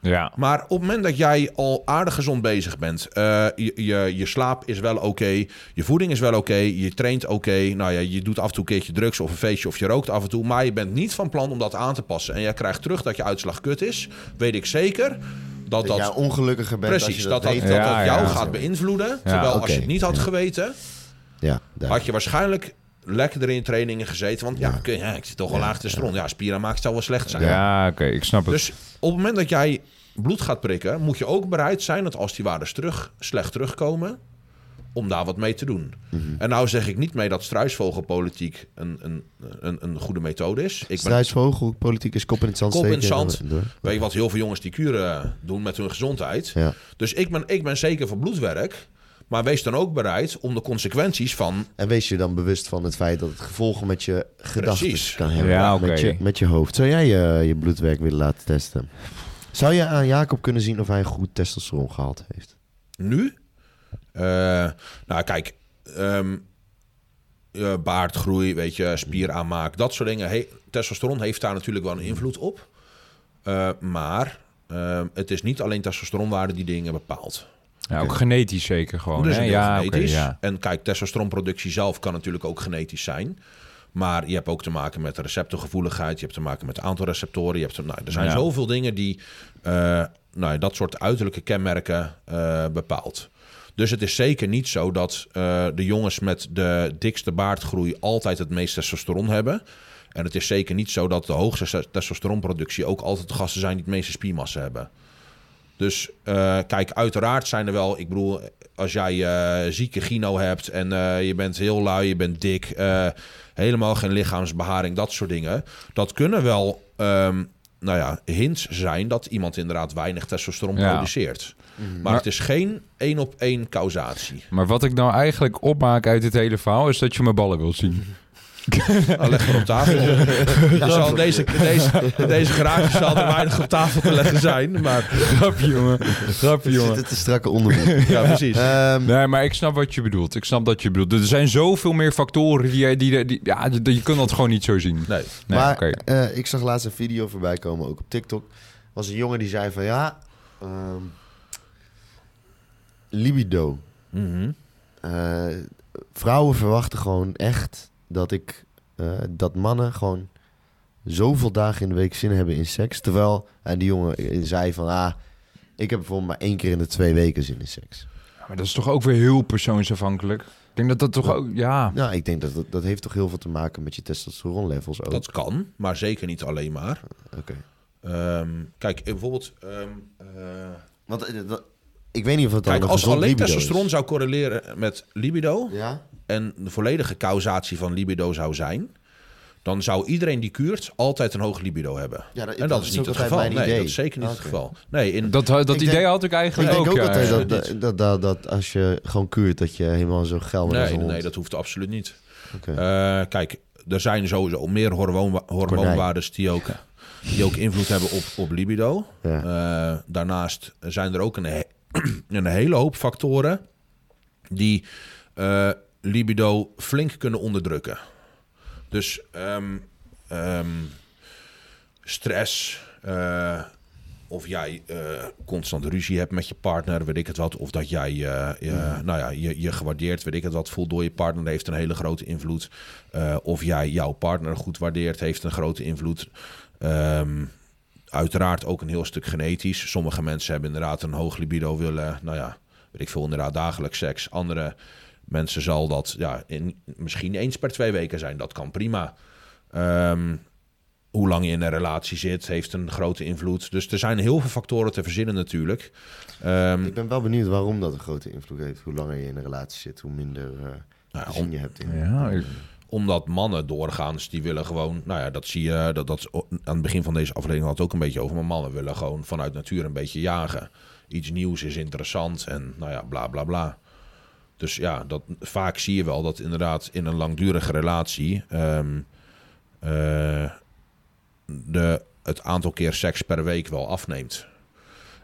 Speaker 2: ja.
Speaker 3: Maar op het moment dat jij al aardig gezond bezig bent, eh, je, je, je slaap is wel oké, je voeding is wel oké, je traint oké, nou ja, je doet af en toe een keertje drugs of een feestje of je rookt af en toe, maar je bent niet van plan om dat aan te passen en jij krijgt terug dat je uitslag kut is, weet ik zeker. Dat
Speaker 1: Dat
Speaker 3: dat
Speaker 1: jij ongelukkiger bent als
Speaker 3: Precies,
Speaker 1: je
Speaker 3: dat dat, dat,
Speaker 1: weet.
Speaker 3: dat
Speaker 2: Ja, ja.
Speaker 3: jou gaat beïnvloeden. terwijl als
Speaker 1: oké.
Speaker 3: je het niet had geweten,
Speaker 1: Ja, daar.
Speaker 3: had je waarschijnlijk lekkerder in trainingen gezeten. Want ja, oké, ja, ik zit toch wel laag te stron. Ja, spieren maakt zou wel slecht zijn.
Speaker 2: Ja, oké, ik snap het.
Speaker 3: Dus op het moment dat jij bloed gaat prikken, moet je ook bereid zijn dat als die waardes terug, slecht terugkomen, om daar wat mee te doen.
Speaker 1: Mhm.
Speaker 3: En nou zeg ik niet mee dat struisvogelpolitiek een, een, een, een goede methode is. Ik ben,
Speaker 1: Struisvogel, politiek is kop in het zand
Speaker 3: Kop in het
Speaker 1: steken en
Speaker 3: zand.
Speaker 1: dan- door.
Speaker 3: weet je wat heel veel jongens die kuren doen met hun gezondheid.
Speaker 1: Ja.
Speaker 3: Dus ik ben, ik ben zeker voor bloedwerk. Maar wees dan ook bereid om de consequenties van.
Speaker 1: En wees je dan bewust van het feit dat het gevolgen met je gedachten
Speaker 3: Precies.
Speaker 1: kan hebben.
Speaker 2: Ja, oké.
Speaker 1: met, je, met je hoofd. Zou jij eh, je, je bloedwerk willen laten testen? Zou je aan Jacob kunnen zien of hij een goed testosterongehalte heeft?
Speaker 3: Nu? Eh, nou, kijk. ehm, eh, baardgroei, weet je, spieraanmaak, dat soort dingen. He- testosteron heeft daar natuurlijk wel een invloed op. Eh, maar ehm, het is niet alleen testosteronwaarde die dingen bepaalt.
Speaker 2: Ja, ook genetisch zeker gewoon.
Speaker 3: Dus
Speaker 2: hè?
Speaker 3: een deel
Speaker 2: Ja, oké,
Speaker 3: genetisch.
Speaker 2: ja.
Speaker 3: En kijk, testosteronproductie zelf kan natuurlijk ook genetisch zijn. Maar je hebt ook te maken met receptorgevoeligheid. Je hebt te maken met het aantal receptoren. Je hebt te- nou, er zijn
Speaker 2: Ja.
Speaker 3: zoveel dingen die eh, nou, ja, dat soort uiterlijke kenmerken eh, bepaalt. Dus het is zeker niet zo dat eh, de jongens met de dikste baardgroei altijd het meest testosteron hebben. En het is zeker niet zo dat de hoogste testosteronproductie ook altijd de gasten zijn die het meeste spiermassa hebben. Dus eh, kijk, uiteraard zijn er wel. Ik bedoel, als jij eh, zieke gyno hebt en eh, je bent heel lui, je bent dik, eh, helemaal geen lichaamsbeharing, dat soort dingen. Dat kunnen wel, ehm, nou ja, hints zijn dat iemand inderdaad weinig testosteron
Speaker 2: Ja.
Speaker 3: produceert. Maar het is geen één op één causatie.
Speaker 2: Maar wat ik nou eigenlijk opmaak uit dit hele verhaal is dat je mijn ballen wilt zien.
Speaker 3: Nou, leg maar op tafel. Je zal deze, deze, deze graagjes zal er weinig op tafel te leggen zijn. Maar
Speaker 2: Grapje, jongen. Grapje,
Speaker 1: Ik zit
Speaker 2: jongen.
Speaker 1: het te strakke onderbroek.
Speaker 3: ja, precies.
Speaker 1: Ehm,
Speaker 2: Nee, maar ik snap wat je bedoelt. Ik snap dat je bedoelt. Er zijn zoveel meer factoren die... jij- die, die ja, die- je kunt dat gewoon niet zo zien.
Speaker 3: Nee.
Speaker 2: Nee,
Speaker 1: maar
Speaker 2: oké.
Speaker 1: eh, ik zag laatst een video voorbij komen, ook op TikTok. was een jongen die zei van ja, ehm, libido.
Speaker 3: Mhm.
Speaker 1: Eh, vrouwen verwachten gewoon echt dat ik eh, dat mannen gewoon zoveel dagen in de week zin hebben in seks. Terwijl eh, die jongen eh, zei van ah, ik heb bijvoorbeeld maar één keer in de twee weken zin in seks.
Speaker 2: Maar dat is toch ook weer heel persoonsafhankelijk. Ik denk dat dat toch ook... Ja.
Speaker 1: Nou, ik denk dat dat, dat heeft toch heel veel te maken met je testosteron levels ook.
Speaker 3: Dat kan, maar zeker niet alleen maar.
Speaker 1: Oké.
Speaker 3: Ehm, kijk, eh, bijvoorbeeld. ehm, eh,
Speaker 1: Want eh, dat- ik weet niet of het dan
Speaker 3: kijk,
Speaker 1: een
Speaker 3: als
Speaker 1: gezond
Speaker 3: alleen
Speaker 1: libido is.
Speaker 3: testosteron zou correleren met libido.
Speaker 1: Ja?
Speaker 3: en de volledige causatie van libido zou zijn. dan zou iedereen die kuurt altijd een hoog libido hebben.
Speaker 1: Ja, dat-
Speaker 3: en dat,
Speaker 1: dat
Speaker 3: is
Speaker 1: is
Speaker 3: niet
Speaker 1: ook
Speaker 3: het
Speaker 1: altijd
Speaker 3: geval.
Speaker 1: mijn
Speaker 3: Nee,
Speaker 1: idee.
Speaker 3: dat is zeker niet
Speaker 1: Oké.
Speaker 3: het geval. Nee, in,
Speaker 2: Dat, dat
Speaker 1: Ik
Speaker 2: idee
Speaker 1: denk-
Speaker 2: had ik
Speaker 1: Ik
Speaker 2: eigenlijk
Speaker 1: denk ook
Speaker 2: eh,
Speaker 1: altijd dat,
Speaker 3: eh,
Speaker 1: dat, dat, dat, dat als je gewoon kuurt, dat je helemaal zo geil wordt als
Speaker 3: nee,
Speaker 1: een
Speaker 3: nee,
Speaker 1: hond.
Speaker 3: dat hoeft absoluut niet.
Speaker 1: Oké.
Speaker 3: Eh, kijk, er zijn sowieso meer hormoon, hormoonwaardes die ook, die ook invloed hebben op, op libido.
Speaker 1: Ja.
Speaker 3: Eh, daarnaast zijn er ook een, he- een hele hoop factoren die eh, libido flink kunnen onderdrukken. Dus ehm, ehm, stress, eh, of jij eh, constant ruzie hebt met je partner, weet ik het wat. Of dat jij eh, je, nou ja, je, je gewaardeerd, weet ik het wat, voelt door je partner, heeft een hele grote invloed. Eh, of jij jouw partner goed waardeert, heeft een grote invloed. Ehm, uiteraard ook een heel stuk genetisch. Sommige mensen hebben inderdaad een hoog libido willen, nou ja, weet ik veel, inderdaad dagelijks seks. Andere mensen zal dat ja, in, misschien eens per twee weken zijn. Dat kan prima. Ehm, hoe lang je in een relatie zit, heeft een grote invloed. Dus er zijn heel veel factoren te verzinnen natuurlijk. Ehm,
Speaker 1: Ik ben wel benieuwd waarom dat een grote invloed heeft. Hoe langer je in een relatie zit, hoe minder eh
Speaker 3: Nou ja,
Speaker 1: zin je hebt in.
Speaker 2: Ja, ik-
Speaker 3: omdat mannen doorgaans, die willen gewoon... Nou ja, dat zie je... Dat, dat, is- aan het begin van deze aflevering had het ook een beetje over. Maar mannen willen gewoon vanuit natuur een beetje jagen. Iets nieuws is interessant en nou ja, bla bla bla. Dus ja, dat, vaak zie je wel dat inderdaad in een langdurige relatie... ehm, eh, de, het aantal keer seks per week wel afneemt.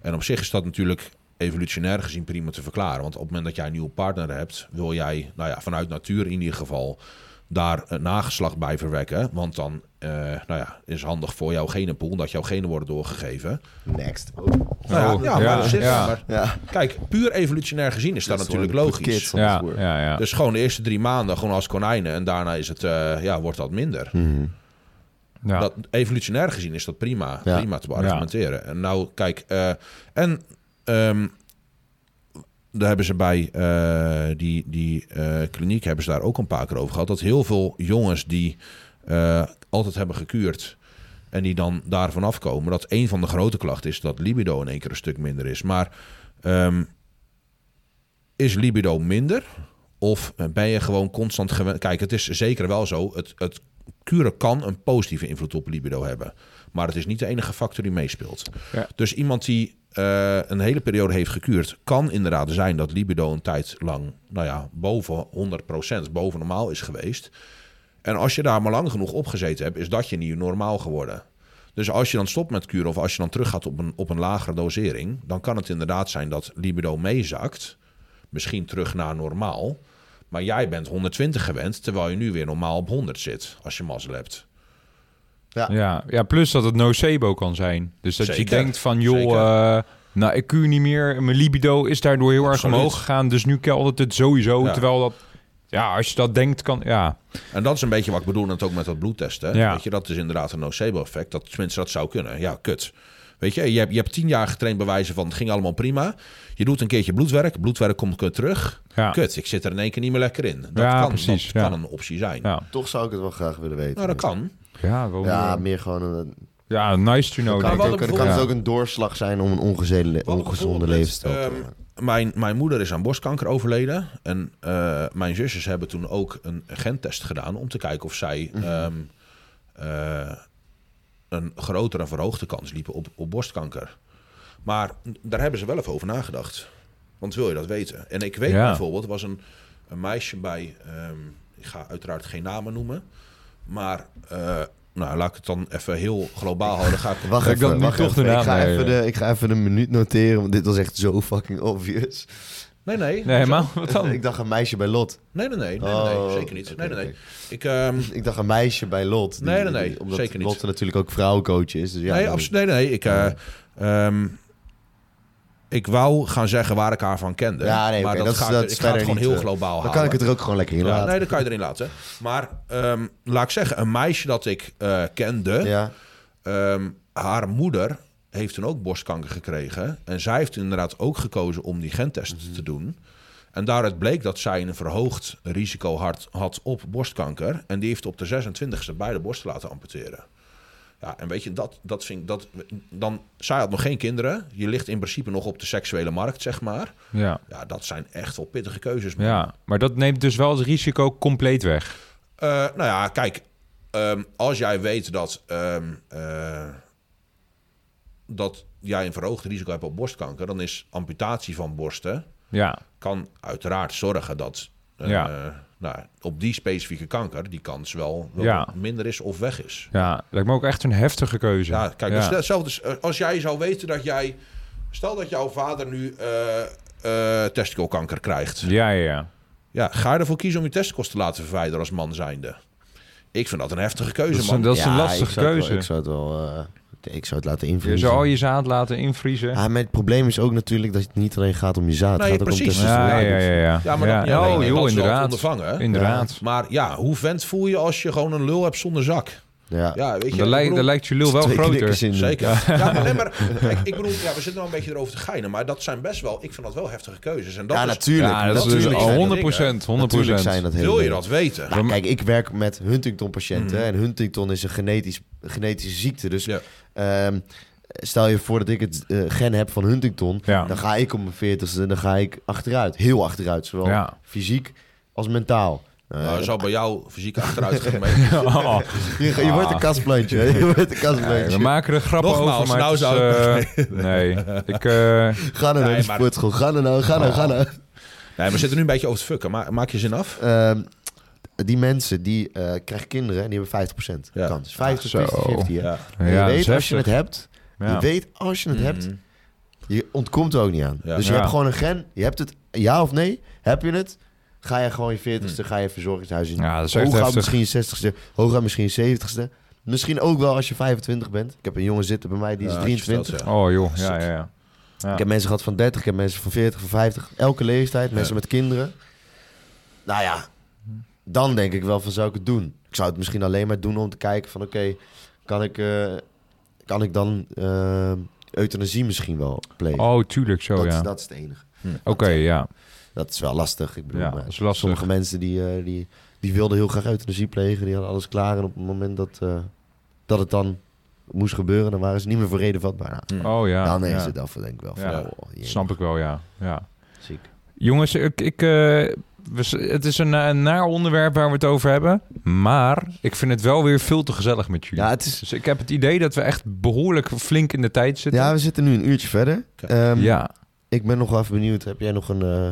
Speaker 3: En op zich is dat natuurlijk evolutionair gezien prima te verklaren. Want op het moment dat jij een nieuwe partner hebt, wil jij, nou ja, vanuit natuur in ieder geval, daar een nageslacht bij verwekken. Want dan eh, nou ja, is handig voor jouw genenpool dat jouw genen worden doorgegeven.
Speaker 1: Next.
Speaker 3: Nou
Speaker 2: Oh,
Speaker 3: ja, ja,
Speaker 2: ja,
Speaker 3: maar dat zit
Speaker 2: ja.
Speaker 3: maar-
Speaker 1: Ja.
Speaker 3: Kijk, puur evolutionair gezien is dat, natuurlijk logisch.
Speaker 2: ja, ja, ja.
Speaker 3: Dus gewoon de eerste drie maanden gewoon als konijnen en daarna is het, eh, ja, wordt dat minder.
Speaker 2: Ja.
Speaker 3: Dat, evolutionair gezien is dat prima,
Speaker 1: Ja.
Speaker 3: prima te beargumenteren. En nou, kijk, eh, en ehm, daar hebben ze bij eh, die, die eh, kliniek hebben ze daar ook een paar keer over gehad. Dat heel veel jongens die eh, altijd hebben gekuurd en die dan daarvan afkomen, dat een van de grote klachten is dat libido in één keer een stuk minder is. Maar ehm, is libido minder? Of eh, ben je gewoon constant gewend? Kijk, het is zeker wel zo. Het, het kuren kan een positieve invloed op libido hebben. Maar het is niet de enige factor die meespeelt.
Speaker 2: Ja.
Speaker 3: Dus iemand die eh, een hele periode heeft gekuurd, kan inderdaad zijn dat libido een tijd lang, nou ja, boven 100%, boven normaal is geweest. En als je daar maar lang genoeg op gezeten hebt, is dat je nieuw normaal geworden. Dus als je dan stopt met kuren of als je dan teruggaat op een, op een lagere dosering, dan kan het inderdaad zijn dat libido meezakt. misschien terug naar normaal. Maar jij bent 120 gewend, terwijl je nu weer normaal op 100 zit, als je mazzel hebt.
Speaker 2: Ja, ja, plus dat het nocebo kan zijn. Dus dat
Speaker 3: Zeker.
Speaker 2: je denkt van, joh,
Speaker 3: Zeker.
Speaker 2: eh, nou, ik kun niet meer. Mijn libido is daardoor heel erg
Speaker 3: Absoluut.
Speaker 2: omhoog gegaan. Dus nu keldert het sowieso.
Speaker 3: Ja.
Speaker 2: Terwijl dat, ja, als je dat denkt, kan, ja.
Speaker 3: En dat is een beetje wat ik bedoel net ook met dat bloedtesten.
Speaker 2: Ja.
Speaker 3: Weet je, dat is inderdaad een nocebo-effect. Dat tenminste dat zou kunnen. Ja, kut. Weet je, je hebt, je hebt tien jaar getraind bewijzen van het ging allemaal prima. Je doet een keertje bloedwerk, bloedwerk komt kut terug.
Speaker 2: Ja.
Speaker 3: Kut, ik zit er in één keer niet meer lekker in. Dat
Speaker 2: Ja,
Speaker 3: kan,
Speaker 2: precies, ja.
Speaker 3: dat kan een optie zijn.
Speaker 2: Ja.
Speaker 1: Toch zou ik het wel graag willen weten.
Speaker 3: Nou, dat kan.
Speaker 2: Ja, wel-
Speaker 1: Ja, meer gewoon een...
Speaker 2: ja, nice to know.
Speaker 1: kan,
Speaker 2: denk
Speaker 1: het
Speaker 2: ik.
Speaker 3: wel hadden
Speaker 1: ook, dan kan
Speaker 3: bijvoorbeeld-
Speaker 1: het ook een doorslag zijn om een ongezonde, le-
Speaker 3: hadden
Speaker 1: ongezonde
Speaker 3: bijvoorbeeld,
Speaker 1: levensstijl te
Speaker 3: ehm, Mijn, mijn moeder is aan borstkanker overleden. En eh, mijn zusjes hebben toen ook een gentest gedaan om te kijken of zij ehm, eh, een grotere verhoogde kans liepen op, op borstkanker. Maar daar hebben ze wel even over nagedacht. Want wil je dat weten? En ik weet
Speaker 2: Ja.
Speaker 3: bijvoorbeeld, er was een, een meisje bij, ehm, ik ga uiteraard geen namen noemen, maar eh, nou, laat ik het dan even heel globaal houden. Ga ik
Speaker 1: Wacht
Speaker 2: Ga ik
Speaker 1: even,
Speaker 2: dan nu
Speaker 1: wacht
Speaker 2: toch
Speaker 1: even.
Speaker 2: de naam
Speaker 1: Ik ga
Speaker 2: lezen?
Speaker 1: even de, ik ga even een minuut noteren, want dit was echt zo fucking obvious.
Speaker 3: Nee, nee.
Speaker 2: Nee,
Speaker 3: hoezo?
Speaker 2: helemaal. Wat dan?
Speaker 1: Ik dacht een meisje bij Lot.
Speaker 3: Nee, nee, nee. nee, nee,
Speaker 1: Oh,
Speaker 3: nee zeker niet.
Speaker 1: oké,
Speaker 3: Nee, nee, nee.
Speaker 1: oké.
Speaker 3: Ik, ehm,
Speaker 1: Ik dacht een meisje bij Lot. Die-
Speaker 3: Nee, nee, nee,
Speaker 1: die- Omdat
Speaker 3: zeker niet.
Speaker 1: Lot natuurlijk ook vrouwencoach is. Dus ja,
Speaker 3: nee,
Speaker 1: dan-
Speaker 3: absolu- nee, nee. Ik, eh, ehm, ik wou gaan zeggen waar ik haar van kende.
Speaker 1: Ja, nee,
Speaker 3: maar
Speaker 1: oké,
Speaker 3: dat,
Speaker 1: dat is-
Speaker 3: gaat,
Speaker 1: dat
Speaker 3: ik
Speaker 1: is
Speaker 3: ga het
Speaker 1: verder
Speaker 3: gewoon
Speaker 1: niet,
Speaker 3: heel
Speaker 1: eh,
Speaker 3: globaal
Speaker 1: Dan
Speaker 3: halen.
Speaker 1: kan ik het er ook gewoon lekker in
Speaker 3: Ja,
Speaker 1: laten.
Speaker 3: Nee, dat kan je erin laten. Maar ehm, laat ik zeggen, een meisje dat ik eh, kende,
Speaker 1: Ja,
Speaker 3: ehm, haar moeder heeft toen ook borstkanker gekregen. En zij heeft inderdaad ook gekozen om die gentest te doen. En daaruit bleek dat zij een verhoogd risico had, had op borstkanker. En die heeft op de 26e beide borsten laten amputeren. Ja, en weet je, dat, dat vind ik... Dat, dan, zij had nog geen kinderen. Je ligt in principe nog op de seksuele markt, zeg maar.
Speaker 2: Ja.
Speaker 3: Ja, dat zijn echt wel pittige keuzes. man.
Speaker 2: ja, maar dat neemt dus wel het risico compleet weg.
Speaker 3: Eh, nou ja, kijk. ehm, als jij weet dat, ehm, eh, dat jij een verhoogd risico hebt op borstkanker... dan is amputatie van borsten...
Speaker 2: Ja,
Speaker 3: kan uiteraard zorgen dat... eh,
Speaker 2: Ja.
Speaker 3: nou, op die specifieke kanker die kans wel, wel
Speaker 2: Ja.
Speaker 3: minder is of weg is.
Speaker 2: ja. lijkt me ook echt een heftige keuze.
Speaker 3: Ja, kijk,
Speaker 2: ja.
Speaker 3: dat is hetzelfde als- eh, als jij zou weten dat jij... Stel dat jouw vader nu eh, eh, testikelkanker krijgt.
Speaker 2: ja, ja, ja.
Speaker 3: Ja, ga je ervoor kiezen om je testicles te laten verwijderen als man zijnde? Ik vind dat een heftige keuze,
Speaker 2: Dat is
Speaker 3: man.
Speaker 2: een, dat is een
Speaker 1: Ja,
Speaker 2: lastige
Speaker 1: Ah, ik zou het wel-
Speaker 2: keuze.
Speaker 1: ik zou het wel... eh, ik zou het laten
Speaker 2: Je
Speaker 1: invullen.
Speaker 2: zou al je zaad laten invriezen.
Speaker 1: Ah, maar het probleem is ook natuurlijk dat het niet alleen gaat om je zaad.
Speaker 3: Nee,
Speaker 1: het gaat ook
Speaker 3: precies.
Speaker 1: om testosteron.
Speaker 2: ja, ja, ja, ja.
Speaker 3: Ja, maar dat niet
Speaker 2: Ja.
Speaker 3: alleen,
Speaker 2: Oh,
Speaker 3: hè.
Speaker 2: joh,
Speaker 3: dat is wel te
Speaker 2: inderdaad.
Speaker 3: ondervangen.
Speaker 2: Inderdaad.
Speaker 3: Maar ja, hoe vent voel je als je gewoon een lul hebt zonder zak?
Speaker 1: Ja.
Speaker 3: Ja, weet je.
Speaker 2: Dan,
Speaker 3: ik
Speaker 2: lijkt,
Speaker 3: bedoel-
Speaker 2: dan lijkt je lul wel
Speaker 1: Twee
Speaker 2: groter.
Speaker 1: knikkers in de-
Speaker 3: Zeker. Ja, maar, nee, maar kijk, ik bedoel, ja, we zitten nou een beetje erover te geinen, maar dat zijn best wel, ik vind dat wel heftige keuzes. En dat
Speaker 1: Ja,
Speaker 3: is-
Speaker 1: natuurlijk.
Speaker 2: Ja, dat is dus
Speaker 1: Natuurlijk
Speaker 2: al
Speaker 1: zijn
Speaker 2: 100 procent. 100
Speaker 1: Natuurlijk zijn dat hele
Speaker 3: Wil je
Speaker 1: dingen.
Speaker 3: dat weten?
Speaker 1: Nou, kijk, ik werk met Huntington-patiënten. En Huntington is een genetisch, genetische ziekte. Dus
Speaker 3: Ja.
Speaker 1: ehm, stel je voor dat ik het eh, gen heb van Huntington...
Speaker 2: Ja.
Speaker 1: dan ga ik op mijn veertigste dan ga ik achteruit. Heel achteruit. Zowel
Speaker 2: Ja.
Speaker 1: fysiek als mentaal. Eh,
Speaker 3: Nou, zou bij jou fysiek achteruit gaan
Speaker 2: Oh,
Speaker 1: je, je wordt een kastplantje. hè. Je wordt een kastplantje.
Speaker 2: we maken er grappen
Speaker 3: Nogmaals,
Speaker 2: over, maar
Speaker 3: nou
Speaker 2: het is, eh, nee. Ik,
Speaker 1: Ga
Speaker 2: eh,
Speaker 1: nou naar de
Speaker 3: Nee, maar- Ah.
Speaker 1: sportschool. Ga nou, nou, ga nou, ga nou.
Speaker 3: Nee, we zitten nu een beetje over te fucken. Ma- maak je zin af?
Speaker 1: Ehm, die mensen die eh, krijgen kinderen en die hebben 50%
Speaker 3: Ja. Ah,
Speaker 1: kans. 50,
Speaker 2: Zo.
Speaker 1: 50, 50. hè.
Speaker 3: Ja.
Speaker 1: En je
Speaker 2: ja, dat is
Speaker 1: weet als je het hebt,
Speaker 2: heftig.
Speaker 1: je
Speaker 2: Ja.
Speaker 1: weet als je het hebt,
Speaker 3: Mhm.
Speaker 1: je ontkomt er ook niet aan.
Speaker 3: Ja.
Speaker 1: Dus je
Speaker 2: Ja.
Speaker 1: hebt gewoon een gen, je hebt het, ja of nee, heb je het, ga je gewoon je 40ste,
Speaker 3: Mhm.
Speaker 1: ga je verzorgingshuis in.
Speaker 2: Ja, dat is echt
Speaker 1: hooguit
Speaker 2: heftig.
Speaker 1: misschien je 60ste, hooguit misschien je 70ste. Misschien ook wel als je 25 bent. Ik heb een jongen zitten bij mij, die is
Speaker 3: Ja, als je
Speaker 1: 23.
Speaker 3: dat, ja.
Speaker 2: Oh joh, ja, ja, ja. Ja.
Speaker 1: Ik heb mensen gehad van 30, ik heb mensen van 40, van 50. Elke leeftijd, mensen met kinderen. Nou ja, dan denk ik wel van zou ik het doen? Ik zou het misschien alleen maar doen om te kijken van oké, kan, ik, eh, kan ik dan eh, euthanasie misschien wel plegen?
Speaker 2: Oh, tuurlijk zo,
Speaker 1: dat, is-
Speaker 2: ja.
Speaker 1: dat is het enige.
Speaker 2: Oké, ja.
Speaker 1: Dat is wel lastig. Ik bedoel,
Speaker 2: Ja,
Speaker 1: maar
Speaker 2: dat is lastig.
Speaker 1: sommige mensen die, eh, die, die wilden heel graag euthanasie plegen, die hadden alles klaar. En op het moment dat, eh, dat het dan moest gebeuren, dan waren ze niet meer voor reden vatbaar. Nou,
Speaker 2: Oh ja.
Speaker 1: dan is
Speaker 2: ja.
Speaker 1: het af, denk ik wel. Van,
Speaker 2: Ja.
Speaker 1: oh, jee,
Speaker 2: Snap ik wel, ja. ja.
Speaker 1: ziek.
Speaker 2: Jongens, ik, ik, eh, we s- het is een, eh, naar onderwerp waar we het over hebben. Maar ik vind het wel weer veel te gezellig met jullie.
Speaker 1: Ja, het is,
Speaker 2: Dus ik heb het idee dat we echt behoorlijk flink in de tijd zitten.
Speaker 1: Ja, we zitten nu een uurtje verder.
Speaker 3: Oké.
Speaker 1: Ehm,
Speaker 2: Ja.
Speaker 1: Ik ben nog wel even benieuwd. Heb jij nog een... eh,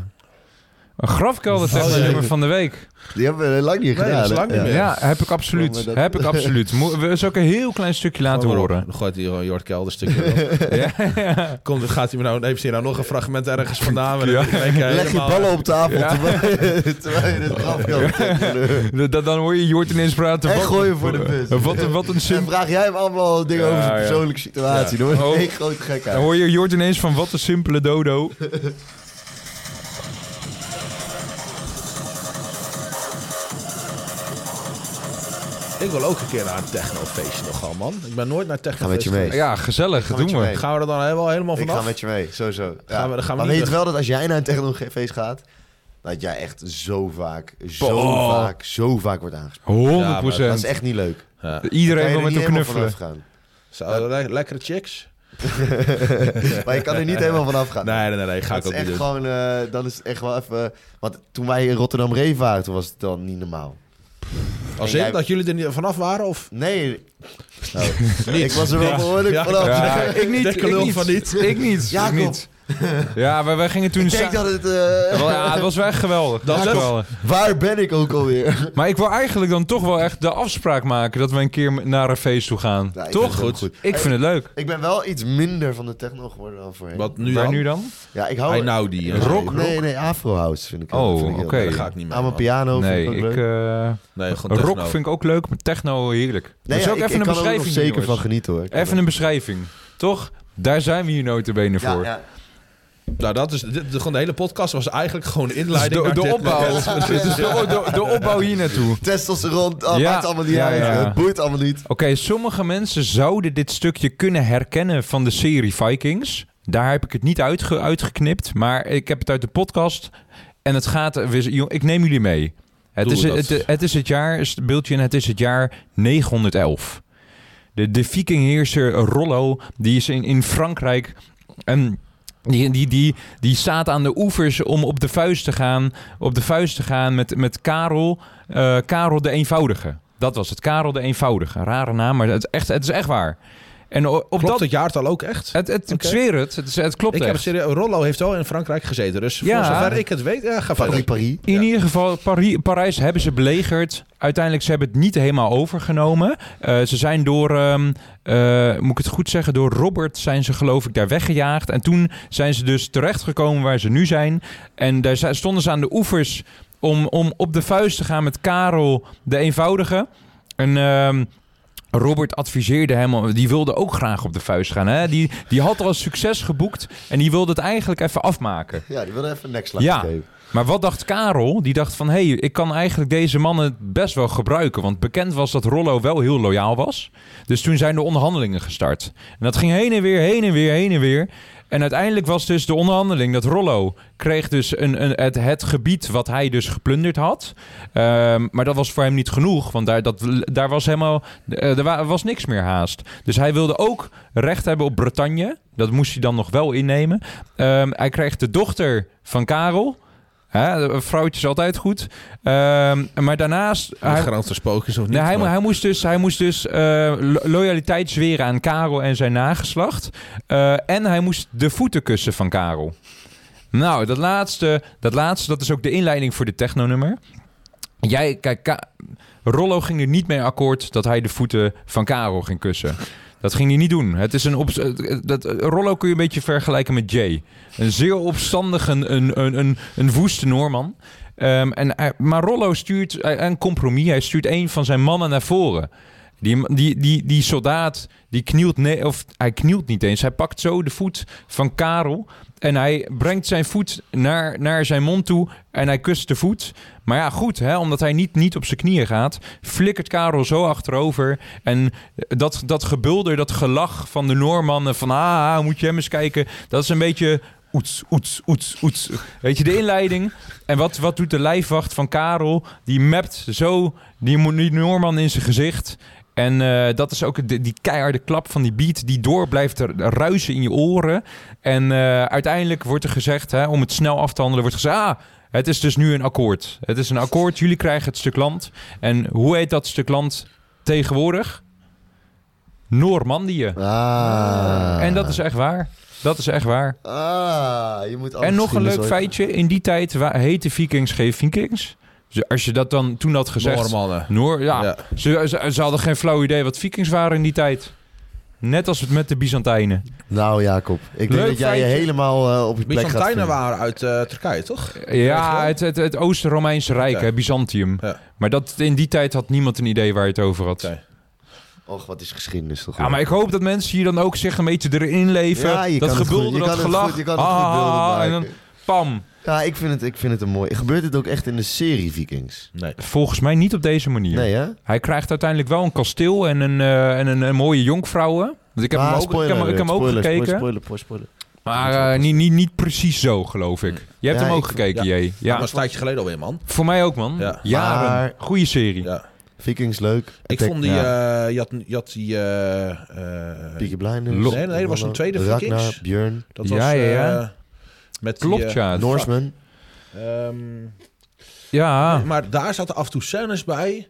Speaker 2: Een grafkelder
Speaker 1: Oh, ja,
Speaker 2: nummer
Speaker 1: ja.
Speaker 2: van de week.
Speaker 1: Die hebben we lang niet
Speaker 3: Nee, dat
Speaker 1: gedaan.
Speaker 3: is lang
Speaker 1: hè?
Speaker 3: niet
Speaker 2: Ja,
Speaker 3: Ja.
Speaker 2: heb ik absoluut.
Speaker 1: Ja, maar dat-
Speaker 2: Heb ik absoluut. Moet we zullen ook een heel klein stukje laten
Speaker 3: maar op.
Speaker 2: horen.
Speaker 3: Dan gooit hij gewoon Jort Kelder stukje.
Speaker 2: Ja, ja.
Speaker 3: Komt, gaat hij me nou, heeft hij nou nog een fragment ergens vandaan?
Speaker 2: Ja.
Speaker 1: Leg je ballen op tafel
Speaker 2: Ja.
Speaker 1: terwijl, terwijl je het graf kan
Speaker 2: Dat- dat- Dan hoor je Jort ineens praten.
Speaker 1: En
Speaker 2: Wat-
Speaker 1: gooien voor de bus.
Speaker 2: Wat, een- wat een
Speaker 1: En
Speaker 2: sim-
Speaker 1: vraag jij hem allemaal dingen
Speaker 2: Ja,
Speaker 1: over zijn
Speaker 2: ja.
Speaker 1: persoonlijke situatie. Dan
Speaker 2: Oh.
Speaker 1: wordt een grote gek
Speaker 2: Dan
Speaker 1: uit.
Speaker 2: hoor je Jort ineens van wat een simpele dodo.
Speaker 3: Ik wil ook een keer naar een technofeestje nogal, man. Ik ben nooit naar
Speaker 1: Ga met je
Speaker 3: technofeestje.
Speaker 1: mee.
Speaker 2: Ja, gezellig.
Speaker 1: met
Speaker 2: Doen
Speaker 1: je
Speaker 2: we.
Speaker 1: mee.
Speaker 3: Gaan we er dan helemaal, helemaal
Speaker 1: Ik
Speaker 3: vanaf?
Speaker 1: ga met je mee, sowieso. Ja.
Speaker 3: Gaan we-
Speaker 1: maar
Speaker 3: gaan we niet
Speaker 1: weet je
Speaker 3: weg.
Speaker 1: wel dat als jij naar een technofeest gaat, dat jij echt zo vaak, zo
Speaker 2: Boah.
Speaker 1: vaak, zo vaak wordt aangesproken.
Speaker 2: 100
Speaker 1: Dat is echt niet leuk.
Speaker 2: Iedereen wil
Speaker 1: Kan
Speaker 2: met
Speaker 1: je
Speaker 2: hem
Speaker 1: er niet helemaal
Speaker 2: knuffelen.
Speaker 1: vanaf gaan.
Speaker 3: Zo, le- lekkere chicks?
Speaker 1: Maar je kan er niet helemaal vanaf gaan.
Speaker 3: Nee, nee, nee, nee, ga
Speaker 1: dat
Speaker 3: ik
Speaker 1: is
Speaker 3: ook niet
Speaker 1: echt
Speaker 3: doen.
Speaker 1: gewoon, eh, dan is het echt wel even... Want toen wij in Rotterdam Ree waren, toen was het dan niet normaal.
Speaker 3: Als
Speaker 1: En
Speaker 3: in
Speaker 1: jij-
Speaker 3: dat jullie er niet vanaf waren of
Speaker 1: Nee, nou, ik was er wel behoorlijk
Speaker 3: Ja.
Speaker 1: vanaf.
Speaker 2: Ja, ik niet.
Speaker 3: Dikke
Speaker 2: Ik
Speaker 3: lul
Speaker 2: niet.
Speaker 3: van niet.
Speaker 2: Ik niet. Ik
Speaker 1: Jacob.
Speaker 2: niet. Ja, maar wij gingen toen...
Speaker 1: Ik
Speaker 2: sa-
Speaker 1: denk dat het... eh,
Speaker 2: Wel, Ja, het was wel echt geweldig. Dat
Speaker 3: Dat
Speaker 2: was
Speaker 3: is-
Speaker 2: geweldig.
Speaker 1: Waar ben ik ook alweer?
Speaker 2: Maar ik wil eigenlijk dan toch wel echt de afspraak maken dat we een keer naar een feest toe gaan.
Speaker 1: Ja, ik vind
Speaker 2: toch?
Speaker 1: het ook goed.
Speaker 2: Ik vind het leuk.
Speaker 1: Ik ben wel iets minder van de techno geworden dan voorheen.
Speaker 3: wat nu
Speaker 2: Waar
Speaker 3: dan?
Speaker 2: nu dan?
Speaker 1: Ja, ik
Speaker 3: Hij
Speaker 1: hou...
Speaker 3: nou die.
Speaker 1: Nee,
Speaker 3: eh,
Speaker 2: Rock,
Speaker 1: Nee, nee, Afro House vind ik
Speaker 2: Oh,
Speaker 1: vind ik heel
Speaker 2: oké.
Speaker 1: leuk.
Speaker 3: Daar ga ik niet mee.
Speaker 1: Aan mijn
Speaker 3: man.
Speaker 1: piano
Speaker 2: Nee,
Speaker 1: vind ik ook
Speaker 2: ik,
Speaker 1: leuk.
Speaker 2: eh,
Speaker 3: Nee, gewoon
Speaker 2: rock
Speaker 3: techno.
Speaker 2: vind ik ook leuk, maar techno heerlijk.
Speaker 1: Nee,
Speaker 2: dus
Speaker 1: ja,
Speaker 2: ook
Speaker 1: ik-
Speaker 2: even
Speaker 1: ik kan er
Speaker 2: een
Speaker 1: ook nog
Speaker 2: beschrijving.
Speaker 1: zeker
Speaker 2: jongens.
Speaker 1: van genieten hoor.
Speaker 2: even een beschrijving. Toch? Daar zijn we hier notabene
Speaker 1: Ja,
Speaker 2: voor.
Speaker 1: ja.
Speaker 3: Nou, dat is, dit, de, gewoon de hele podcast was eigenlijk gewoon de
Speaker 2: Dus
Speaker 3: inleiding
Speaker 2: de,
Speaker 3: naar
Speaker 2: de
Speaker 3: dit.
Speaker 2: opbouw.
Speaker 3: Ja,
Speaker 2: Dus de, de- de opbouw hier naartoe.
Speaker 1: Testosteron, ah,
Speaker 2: Ja,
Speaker 1: maakt allemaal niet
Speaker 2: ja,
Speaker 1: uit.
Speaker 2: ja.
Speaker 1: Het boeit allemaal niet.
Speaker 2: Oké, sommige mensen zouden dit stukje kunnen herkennen van de serie Vikings. Daar heb ik het niet uitge- uitgeknipt, maar ik heb het uit de podcast. En het gaat, we- jong, ik neem jullie mee. Het
Speaker 3: Doe
Speaker 2: is
Speaker 3: dat.
Speaker 2: het, het is het jaar, is het beeldje in, het is het jaar 911. De, de vikingheerser Rollo, die is in, in Frankrijk... En Ehm, die, die, die, die staat aan de oevers om op de vuist te gaan, op de vuist te gaan met, met Karel, eh, Karel de Eenvoudige. Dat was het, Karel de Eenvoudige. Rare naam, maar het, is echt, het is echt waar. En o- op
Speaker 3: Klopt
Speaker 2: dat...
Speaker 3: het jaartal ook echt?
Speaker 2: Het, het, Ik
Speaker 3: Oké.
Speaker 2: zweer het, het, is- het klopt
Speaker 3: Ik
Speaker 2: echt.
Speaker 3: heb serieus, Rollo heeft wel in Frankrijk gezeten, dus
Speaker 2: Ja.
Speaker 3: voor zover ik het weet, ja, ga verder.
Speaker 1: Paris, Paris.
Speaker 2: In ieder geval, Pari- Parijs hebben ze belegerd. Uiteindelijk, ze hebben het niet helemaal overgenomen. Eh, ze zijn door, ehm, eh, moet ik het goed zeggen, door Robert zijn ze geloof ik daar weggejaagd. En toen zijn ze dus terechtgekomen waar ze nu zijn. En daar sta- stonden ze aan de oevers om, om op de vuist te gaan met Karel de Eenvoudige. En... ehm, Robert adviseerde hem, om- die wilde ook graag op de vuist gaan. Hè? Die, die had al succes geboekt en die wilde het eigenlijk even afmaken.
Speaker 1: Ja, die wilde even een nekslag
Speaker 2: Ja.
Speaker 1: geven.
Speaker 2: Maar wat dacht Karel? Die dacht van, hé, hey, ik kan eigenlijk deze mannen best wel gebruiken. Want bekend was dat Rollo wel heel loyaal was. Dus toen zijn de onderhandelingen gestart. En dat ging heen en weer, heen en weer, heen en weer. En uiteindelijk was dus de onderhandeling dat Rollo kreeg dus een, een, het, het gebied wat hij dus geplunderd had. Ehm, maar dat was voor hem niet genoeg, want daar, dat, daar was helemaal, eh, er wa- was niks meer haast. Dus hij wilde ook recht hebben op Bretagne. Dat moest hij dan nog wel innemen. Ehm, hij kreeg de dochter van Karel. Hè, een vrouwtje is altijd goed. Ehm, maar daarnaast...
Speaker 3: Hij
Speaker 2: hij-
Speaker 3: grote spookjes of niet?
Speaker 2: Nee, hij, mo-
Speaker 3: maar-
Speaker 2: hij moest dus, hij moest dus eh, lo- loyaliteit zweren aan Karel en zijn nageslacht. Eh, en hij moest de voeten kussen van Karel. Nou, dat laatste, dat laatste, dat is ook de inleiding voor dit technonummer. Jij, kijk, Ka- Rollo ging er niet mee akkoord dat hij de voeten van Karel ging kussen. Dat ging hij niet doen. Het is een obs- eh, dat, eh, Rollo kun je een beetje vergelijken met Jay. Een zeer opstandige, een, een, een, een, een woeste Noorman. Ehm, en, hij- maar Rollo stuurt eh, een compromis. Hij stuurt een van zijn mannen naar voren. Die, die, die, die soldaat, die knielt, ne- of hij knielt niet eens. Hij pakt zo de voet van Karel. En hij brengt zijn voet naar, naar zijn mond toe. En hij kust de voet. Maar ja, goed, hè, omdat hij niet, niet op zijn knieën gaat, flikkert Karel zo achterover. En eh, dat, dat gebulder, dat gelach van de Noormannen, van ah, moet je hem eens kijken. Dat is een beetje oets, oets, oets, oets. Weet je, de inleiding. En wat, wat doet de lijfwacht van Karel? Die mapt zo die, mo- die Noorman in zijn gezicht. En eh, dat is ook de- die keiharde klap van die beat die door blijft r- ruisen in je oren. En eh, uiteindelijk wordt er gezegd, hè, om het snel af te handelen, wordt gezegd... Ah, het is dus nu een akkoord. Het is een akkoord, jullie krijgen het stuk land. En hoe heet dat stuk land tegenwoordig? Normandië.
Speaker 1: Ah.
Speaker 2: Ah. En dat is echt waar. Dat is echt waar.
Speaker 1: Ah, je moet alles
Speaker 2: en nog een
Speaker 1: schielen,
Speaker 2: leuk
Speaker 1: zo-
Speaker 2: feitje. In die tijd wa- heette Vikings geen Vikings. Dus als je dat dan toen had gezegd...
Speaker 3: Noormannen.
Speaker 2: Noor, ja.
Speaker 3: Ja.
Speaker 2: Ze, ze, ze hadden geen flauw idee wat Vikings waren in die tijd. Net als het met de Byzantijnen.
Speaker 1: Nou, Jacob, ik denk
Speaker 2: Leuk
Speaker 1: dat jij je
Speaker 2: feitje.
Speaker 1: helemaal eh, op je plek gaat
Speaker 3: Byzantijnen
Speaker 1: vinden.
Speaker 3: waren uit eh, Turkije, toch?
Speaker 2: Ja, het, het, het Oost-Romeinse Rijk,
Speaker 3: Ja.
Speaker 2: hè, Byzantium.
Speaker 3: Ja.
Speaker 2: Maar dat, in die tijd had niemand een idee waar je het over had.
Speaker 3: Oké.
Speaker 1: Och, wat is geschiedenis toch?
Speaker 2: Ja, maar ik hoop dat mensen hier dan ook zich een beetje erin leven.
Speaker 1: Ja, je
Speaker 2: dat
Speaker 1: kan het
Speaker 2: gebulder,
Speaker 1: goed- je
Speaker 2: dat
Speaker 1: kan het
Speaker 2: gelach.
Speaker 1: goed- je kan het goed
Speaker 2: Ah,
Speaker 1: beelden maken.
Speaker 2: En dan pam.
Speaker 1: Ja, ik vind, het, ik vind het een mooi. Gebeurt dit ook echt in de serie Vikings?
Speaker 3: Nee.
Speaker 2: Volgens mij niet op deze manier.
Speaker 1: Nee, hè?
Speaker 2: Hij krijgt uiteindelijk wel een kasteel en een, eh, en een, een mooie jonkvrouwen. Want ik heb
Speaker 1: Ah,
Speaker 2: hem ook,
Speaker 1: spoiler
Speaker 2: ik heb, hem- ik heb hem ook
Speaker 1: alert, spoiler,
Speaker 2: gekeken.
Speaker 1: Spoiler, spoiler, spoiler. Mm.
Speaker 2: Maar eh, niet, niet, niet precies zo, geloof ik. Je hebt
Speaker 1: Ja,
Speaker 2: hem ook
Speaker 1: ik-
Speaker 2: gekeken,
Speaker 3: ja.
Speaker 2: Jee.
Speaker 3: Ja.
Speaker 2: Ja.
Speaker 3: Dat was een tijdje geleden alweer, man.
Speaker 2: Voor mij ook, man.
Speaker 3: Ja.
Speaker 2: Jaren.
Speaker 1: Maar-
Speaker 2: Goeie serie.
Speaker 3: Ja.
Speaker 1: Vikings leuk.
Speaker 3: Ik
Speaker 1: Attack-
Speaker 3: vond die...
Speaker 1: ja.
Speaker 3: eh, je, had, je had die... eh, eh,
Speaker 1: Peaky Blinders.
Speaker 2: Lo-
Speaker 3: Nee, nee, er was een tweede
Speaker 1: Ragnar,
Speaker 3: Vikings.
Speaker 1: Björn,
Speaker 3: dat was...
Speaker 2: Ja, ja, ja.
Speaker 3: eh, met die,
Speaker 2: Klopt,
Speaker 3: eh,
Speaker 2: ja.
Speaker 1: Norseman.
Speaker 3: ehm,
Speaker 2: Ja.
Speaker 3: Maar daar zaten af en toe scènes bij.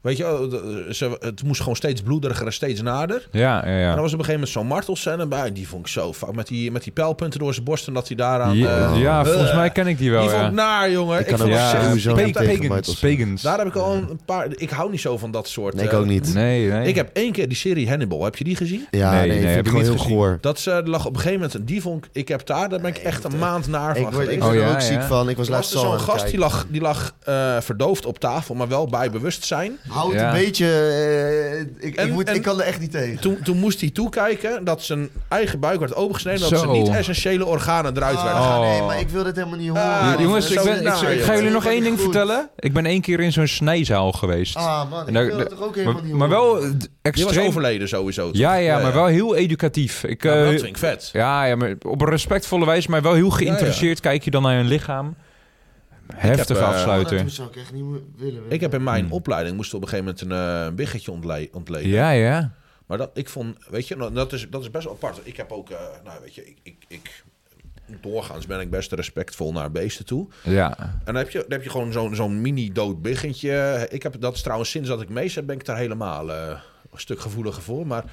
Speaker 3: Weet je, wel, de- ze, het moest gewoon steeds bloederiger en steeds nader.
Speaker 2: Ja, ja,
Speaker 3: En
Speaker 2: ja.
Speaker 3: dan was op een gegeven moment zo'n martelscène bij. Die vond ik zo fout. Met die, met die pijlpunten door zijn borst en dat hij daaraan...
Speaker 2: Ja,
Speaker 3: eh,
Speaker 2: ja,
Speaker 3: eh,
Speaker 2: volgens mij ken ik die wel,
Speaker 3: die vond nou,
Speaker 2: ja.
Speaker 3: ik naar, jongen.
Speaker 1: Ik kan
Speaker 3: vond
Speaker 1: ook
Speaker 3: het
Speaker 2: ja,
Speaker 3: zo-
Speaker 1: sowieso niet
Speaker 3: ik heb-
Speaker 1: tegen
Speaker 3: ik-
Speaker 1: Michael
Speaker 2: Pagans. Pagans.
Speaker 3: Daar heb ik al een paar... Ik hou niet zo van dat soort...
Speaker 1: Nee, ik
Speaker 3: eh,
Speaker 1: ook niet.
Speaker 2: Nee, nee.
Speaker 3: Ik heb één keer die serie Hannibal. Heb je die gezien?
Speaker 1: Ja,
Speaker 2: Nee,
Speaker 1: nee,
Speaker 2: nee,
Speaker 1: ik
Speaker 2: heb
Speaker 1: vind
Speaker 2: ik
Speaker 1: het gewoon
Speaker 2: niet
Speaker 1: heel
Speaker 2: gezien.
Speaker 1: goor.
Speaker 3: Dat ze, er lag op een gegeven moment... Die vond ik... Ik heb daar... Daar ben ik echt een maand naar
Speaker 1: Ik
Speaker 3: van
Speaker 1: word ik
Speaker 3: geweest.
Speaker 1: word er
Speaker 2: Oh, ja,
Speaker 1: ook ziek
Speaker 2: ja.
Speaker 1: van. Ik was
Speaker 3: Er was
Speaker 1: laatst
Speaker 3: er
Speaker 1: al aan
Speaker 3: zo'n
Speaker 1: het
Speaker 3: gast die
Speaker 1: kijken.
Speaker 3: lag, die lag eh, verdoofd op tafel, maar wel bij bewustzijn.
Speaker 1: Houdt
Speaker 2: Ja.
Speaker 1: een beetje... eh, ik- ik,
Speaker 3: En-
Speaker 1: moet,
Speaker 3: en-
Speaker 1: ik kan er echt niet tegen.
Speaker 3: Toen, toen moest hij toekijken dat zijn eigen buik werd opengesneden. Dat
Speaker 2: Zo.
Speaker 3: zijn niet-essentiële organen eruit
Speaker 1: Ah,
Speaker 3: werden. gehaald.
Speaker 1: Nee, maar ik wil dit helemaal niet horen.
Speaker 3: Ah,
Speaker 1: man.
Speaker 2: Oh. Jongens,
Speaker 3: dat is
Speaker 2: ik,
Speaker 3: zo
Speaker 2: ben, ik,
Speaker 3: naar,
Speaker 2: ik ga
Speaker 3: joh.
Speaker 2: jullie nog
Speaker 1: Dat
Speaker 2: één
Speaker 1: is
Speaker 2: ding
Speaker 1: goed.
Speaker 2: vertellen. Ik ben één keer in zo'n snijzaal geweest.
Speaker 1: Ah man,
Speaker 2: En
Speaker 1: ik
Speaker 2: daar-
Speaker 1: wil dat toch ook helemaal niet
Speaker 2: Nou, maar, maar wel
Speaker 1: horen.
Speaker 2: eh,
Speaker 3: Die was
Speaker 2: extreem.
Speaker 3: overleden sowieso. toch?
Speaker 2: Ja, ja, maar wel heel educatief. Ik,
Speaker 3: Ja, maar
Speaker 2: eh,
Speaker 3: Nou, dat vind ik vet.
Speaker 2: ja, ja, maar op een respectvolle wijze, maar wel heel geïnteresseerd kijk je dan naar hun lichaam. Heftige
Speaker 3: eh,
Speaker 1: Maar
Speaker 2: afsluiter.
Speaker 1: Oh, dat zou ik echt niet mo- willen.
Speaker 3: Ik heb in mijn
Speaker 2: Hmm.
Speaker 3: opleiding moest op een gegeven moment een eh, een biggetje ontle- ontleden.
Speaker 2: Ja, ja.
Speaker 3: Maar dat, ik vond, weet je, nou, dat, is, dat is best wel apart. Ik heb ook, eh, nou weet je, ik, ik, ik, doorgaans ben ik best respectvol naar beesten toe.
Speaker 2: Ja.
Speaker 3: En dan heb je, dan heb je gewoon zo'n zo'n mini-dood biggetje. Ik heb dat is trouwens sinds dat ik mees heb, ben ik daar helemaal eh, een stuk gevoeliger voor. Maar daar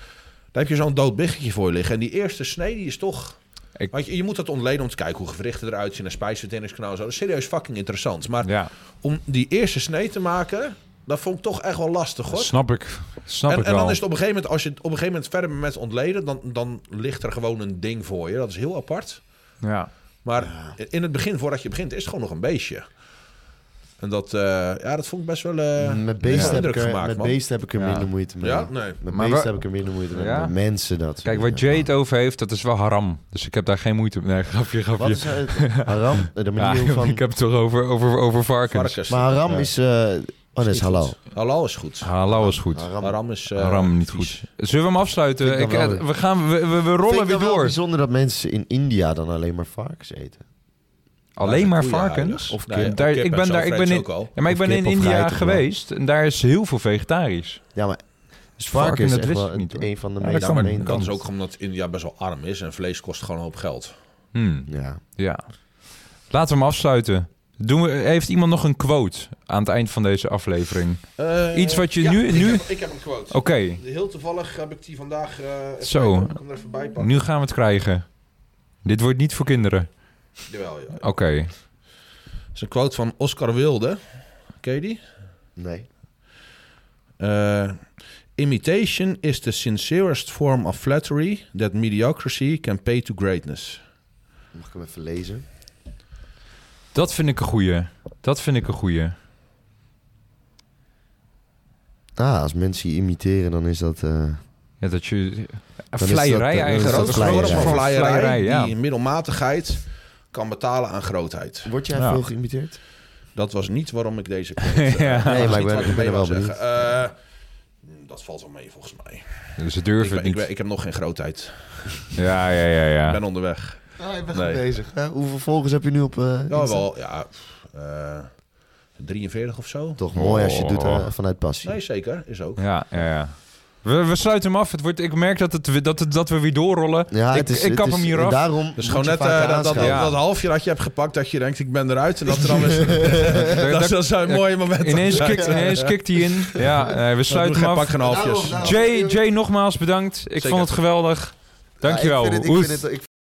Speaker 3: heb je zo'n dood biggetje voor liggen. En die eerste snee, die is toch...
Speaker 2: Ik-
Speaker 3: Want je, je moet dat ontleden om te kijken hoe gewrichten eruit zien... en spijsverteringskanaal en zo. Dat is serieus fucking interessant. Maar
Speaker 2: Ja,
Speaker 3: om die eerste snee te maken, dat vond ik toch echt wel lastig, hoor.
Speaker 2: snap ik. Snap
Speaker 3: En,
Speaker 2: ik
Speaker 3: en
Speaker 2: wel.
Speaker 3: dan is het op een gegeven moment, als je het op een gegeven moment verder bent met ontleden, dan, dan ligt er gewoon een ding voor je. Dat is heel apart.
Speaker 2: Ja.
Speaker 3: Maar in het begin, voordat je begint, is het gewoon nog een beestje. En dat, eh, ja, dat vond ik best wel. eh,
Speaker 1: Met beesten,
Speaker 3: Ja.
Speaker 1: heb, ik
Speaker 3: indruk
Speaker 1: er,
Speaker 3: gemaakt,
Speaker 1: met
Speaker 3: man.
Speaker 1: beesten heb ik er
Speaker 2: Ja.
Speaker 1: minder moeite mee.
Speaker 3: ja, nee.
Speaker 1: Met
Speaker 2: Maar
Speaker 1: beesten
Speaker 2: wa-
Speaker 1: heb ik er minder moeite mee.
Speaker 2: Ja?
Speaker 1: Met mensen dat.
Speaker 2: Kijk, waar
Speaker 1: wat
Speaker 2: Jay het over heeft, dat is wel haram. Dus ik heb daar geen moeite mee. Nee, grapje,
Speaker 1: Wat is
Speaker 2: grapje.
Speaker 1: het? Haram? De
Speaker 2: Ja,
Speaker 1: manier van...
Speaker 2: ik heb het toch over, over, over varkens.
Speaker 3: Varkens.
Speaker 1: Maar haram is... eh oh, dat is
Speaker 3: Niet
Speaker 1: halal.
Speaker 3: goed. Halal is goed.
Speaker 2: Halal Ah, is goed.
Speaker 1: Haram.
Speaker 3: Haram is. eh,
Speaker 2: Haram niet
Speaker 3: vies.
Speaker 2: goed. Zullen we hem afsluiten?
Speaker 1: Vind ik
Speaker 2: Ik,
Speaker 1: dan wel
Speaker 2: eh, we, gaan, we, we, we rollen
Speaker 1: Vind ik
Speaker 2: weer
Speaker 1: dan wel
Speaker 2: door.
Speaker 1: bijzonder dat mensen in India dan alleen maar varkens eten.
Speaker 2: Alleen maar
Speaker 3: Koeien
Speaker 2: varkens?
Speaker 3: heilig.
Speaker 2: Of
Speaker 3: Nee,
Speaker 2: Daar-
Speaker 3: kip
Speaker 2: ik
Speaker 3: en
Speaker 2: ben
Speaker 3: zo,
Speaker 2: daar, ik
Speaker 3: French
Speaker 2: ben in,
Speaker 3: ook al.
Speaker 2: ja, maar ik
Speaker 1: Of
Speaker 2: ben in
Speaker 1: kip of
Speaker 2: India
Speaker 1: geit of wel.
Speaker 2: geweest en daar is heel veel vegetarisch.
Speaker 1: Ja, maar
Speaker 2: Dus
Speaker 1: varkens is
Speaker 2: dat
Speaker 1: echt
Speaker 2: wist
Speaker 1: wel
Speaker 2: ik niet. hoor.
Speaker 1: een van de
Speaker 2: Ja,
Speaker 1: meest...
Speaker 2: dat kan,
Speaker 1: gemeen-
Speaker 3: Dat is ook omdat India best wel arm is en vlees kost gewoon een hoop geld.
Speaker 2: Hmm,
Speaker 1: Ja.
Speaker 2: ja. Laten we hem afsluiten. Doen we, heeft iemand nog een quote aan het eind van deze aflevering?
Speaker 3: Eh,
Speaker 2: Iets wat je
Speaker 3: ja,
Speaker 2: nu-
Speaker 3: Ik
Speaker 2: nu-
Speaker 3: heb, ik heb een quote.
Speaker 2: Oké,
Speaker 3: Heel toevallig heb ik die vandaag. eh, even
Speaker 2: Zo.
Speaker 3: kijken of Ik hem er even bij pakken.
Speaker 2: nu gaan we het krijgen. Dit wordt niet voor kinderen.
Speaker 3: Jawel, ja.
Speaker 2: Oké.
Speaker 3: Het is een quote van Oscar Wilde. Ken je die?
Speaker 1: Nee.
Speaker 3: Uh, imitation is the sincerest form of flattery that mediocrity can pay to greatness.
Speaker 1: Mag ik hem even lezen?
Speaker 2: Dat vind ik een goeie. Dat vind ik een goeie.
Speaker 1: Ah, als mensen je imiteren, dan is dat... eh,
Speaker 2: Ja, dat je...
Speaker 1: is dat,
Speaker 2: Vleierij
Speaker 1: eh,
Speaker 2: eigenlijk.
Speaker 1: dat
Speaker 3: Grote
Speaker 1: is vleierij.
Speaker 3: vorm van
Speaker 2: Vleierij,
Speaker 3: vleierij
Speaker 2: ja.
Speaker 3: die middelmatigheid kan betalen aan grootheid.
Speaker 1: Word jij
Speaker 2: Ja.
Speaker 1: veel geïmiteerd?
Speaker 3: Dat was niet waarom ik deze quote... eh,
Speaker 2: Ja.
Speaker 3: dat was
Speaker 1: Nee, maar
Speaker 3: niet
Speaker 1: ik ben- ik
Speaker 3: wat
Speaker 1: ben
Speaker 3: mee
Speaker 1: er wel
Speaker 3: wou zeggen. Eh, dat valt wel mee volgens mij.
Speaker 2: Ze
Speaker 3: Ik,
Speaker 2: durven het
Speaker 3: ben, ik,
Speaker 2: niet.
Speaker 3: ben- ik heb nog geen grootheid.
Speaker 2: Ja, ja, ja,
Speaker 3: Ik
Speaker 2: ja.
Speaker 3: ben onderweg.
Speaker 1: Ah, ik ben
Speaker 3: Nee.
Speaker 1: goed bezig. hè? Hoeveel volgers heb je nu op... eh, Insta?
Speaker 3: Ja, wel, ja, pff, eh, 43 of zo.
Speaker 1: Toch mooi als je het doet eh,
Speaker 2: Oh.
Speaker 1: vanuit passie.
Speaker 3: Nee, zeker. Is ook.
Speaker 2: Ja, ja, ja. We, we sluiten hem af. Het wordt, ik merk dat, het, dat, het, dat we weer doorrollen.
Speaker 1: Ja,
Speaker 2: ik,
Speaker 1: het is,
Speaker 2: ik kap
Speaker 1: het is-
Speaker 2: hem hier
Speaker 1: en
Speaker 2: af.
Speaker 1: Daarom
Speaker 3: Dus gewoon
Speaker 1: moet je
Speaker 3: net eh,
Speaker 1: vaker
Speaker 3: dat, dat, dat,
Speaker 2: aanschuiven.
Speaker 3: dat halfje dat je hebt gepakt, dat je denkt ik ben eruit. En dat er dan weer-
Speaker 2: Daar-
Speaker 3: dat,
Speaker 2: daar-
Speaker 3: is- dat zijn mooie momenten.
Speaker 2: ineens, kikt, ineens kikt hij in. Ja, nee, we sluiten hem
Speaker 3: Pak
Speaker 2: af.
Speaker 3: geen halfjes.
Speaker 2: nou, Jay, Jay, nogmaals bedankt. Ik
Speaker 3: Zeker.
Speaker 2: vond het geweldig.
Speaker 1: Ja, ik
Speaker 2: Dankjewel.
Speaker 1: vind het- ik
Speaker 2: Oef.
Speaker 1: vind het- ik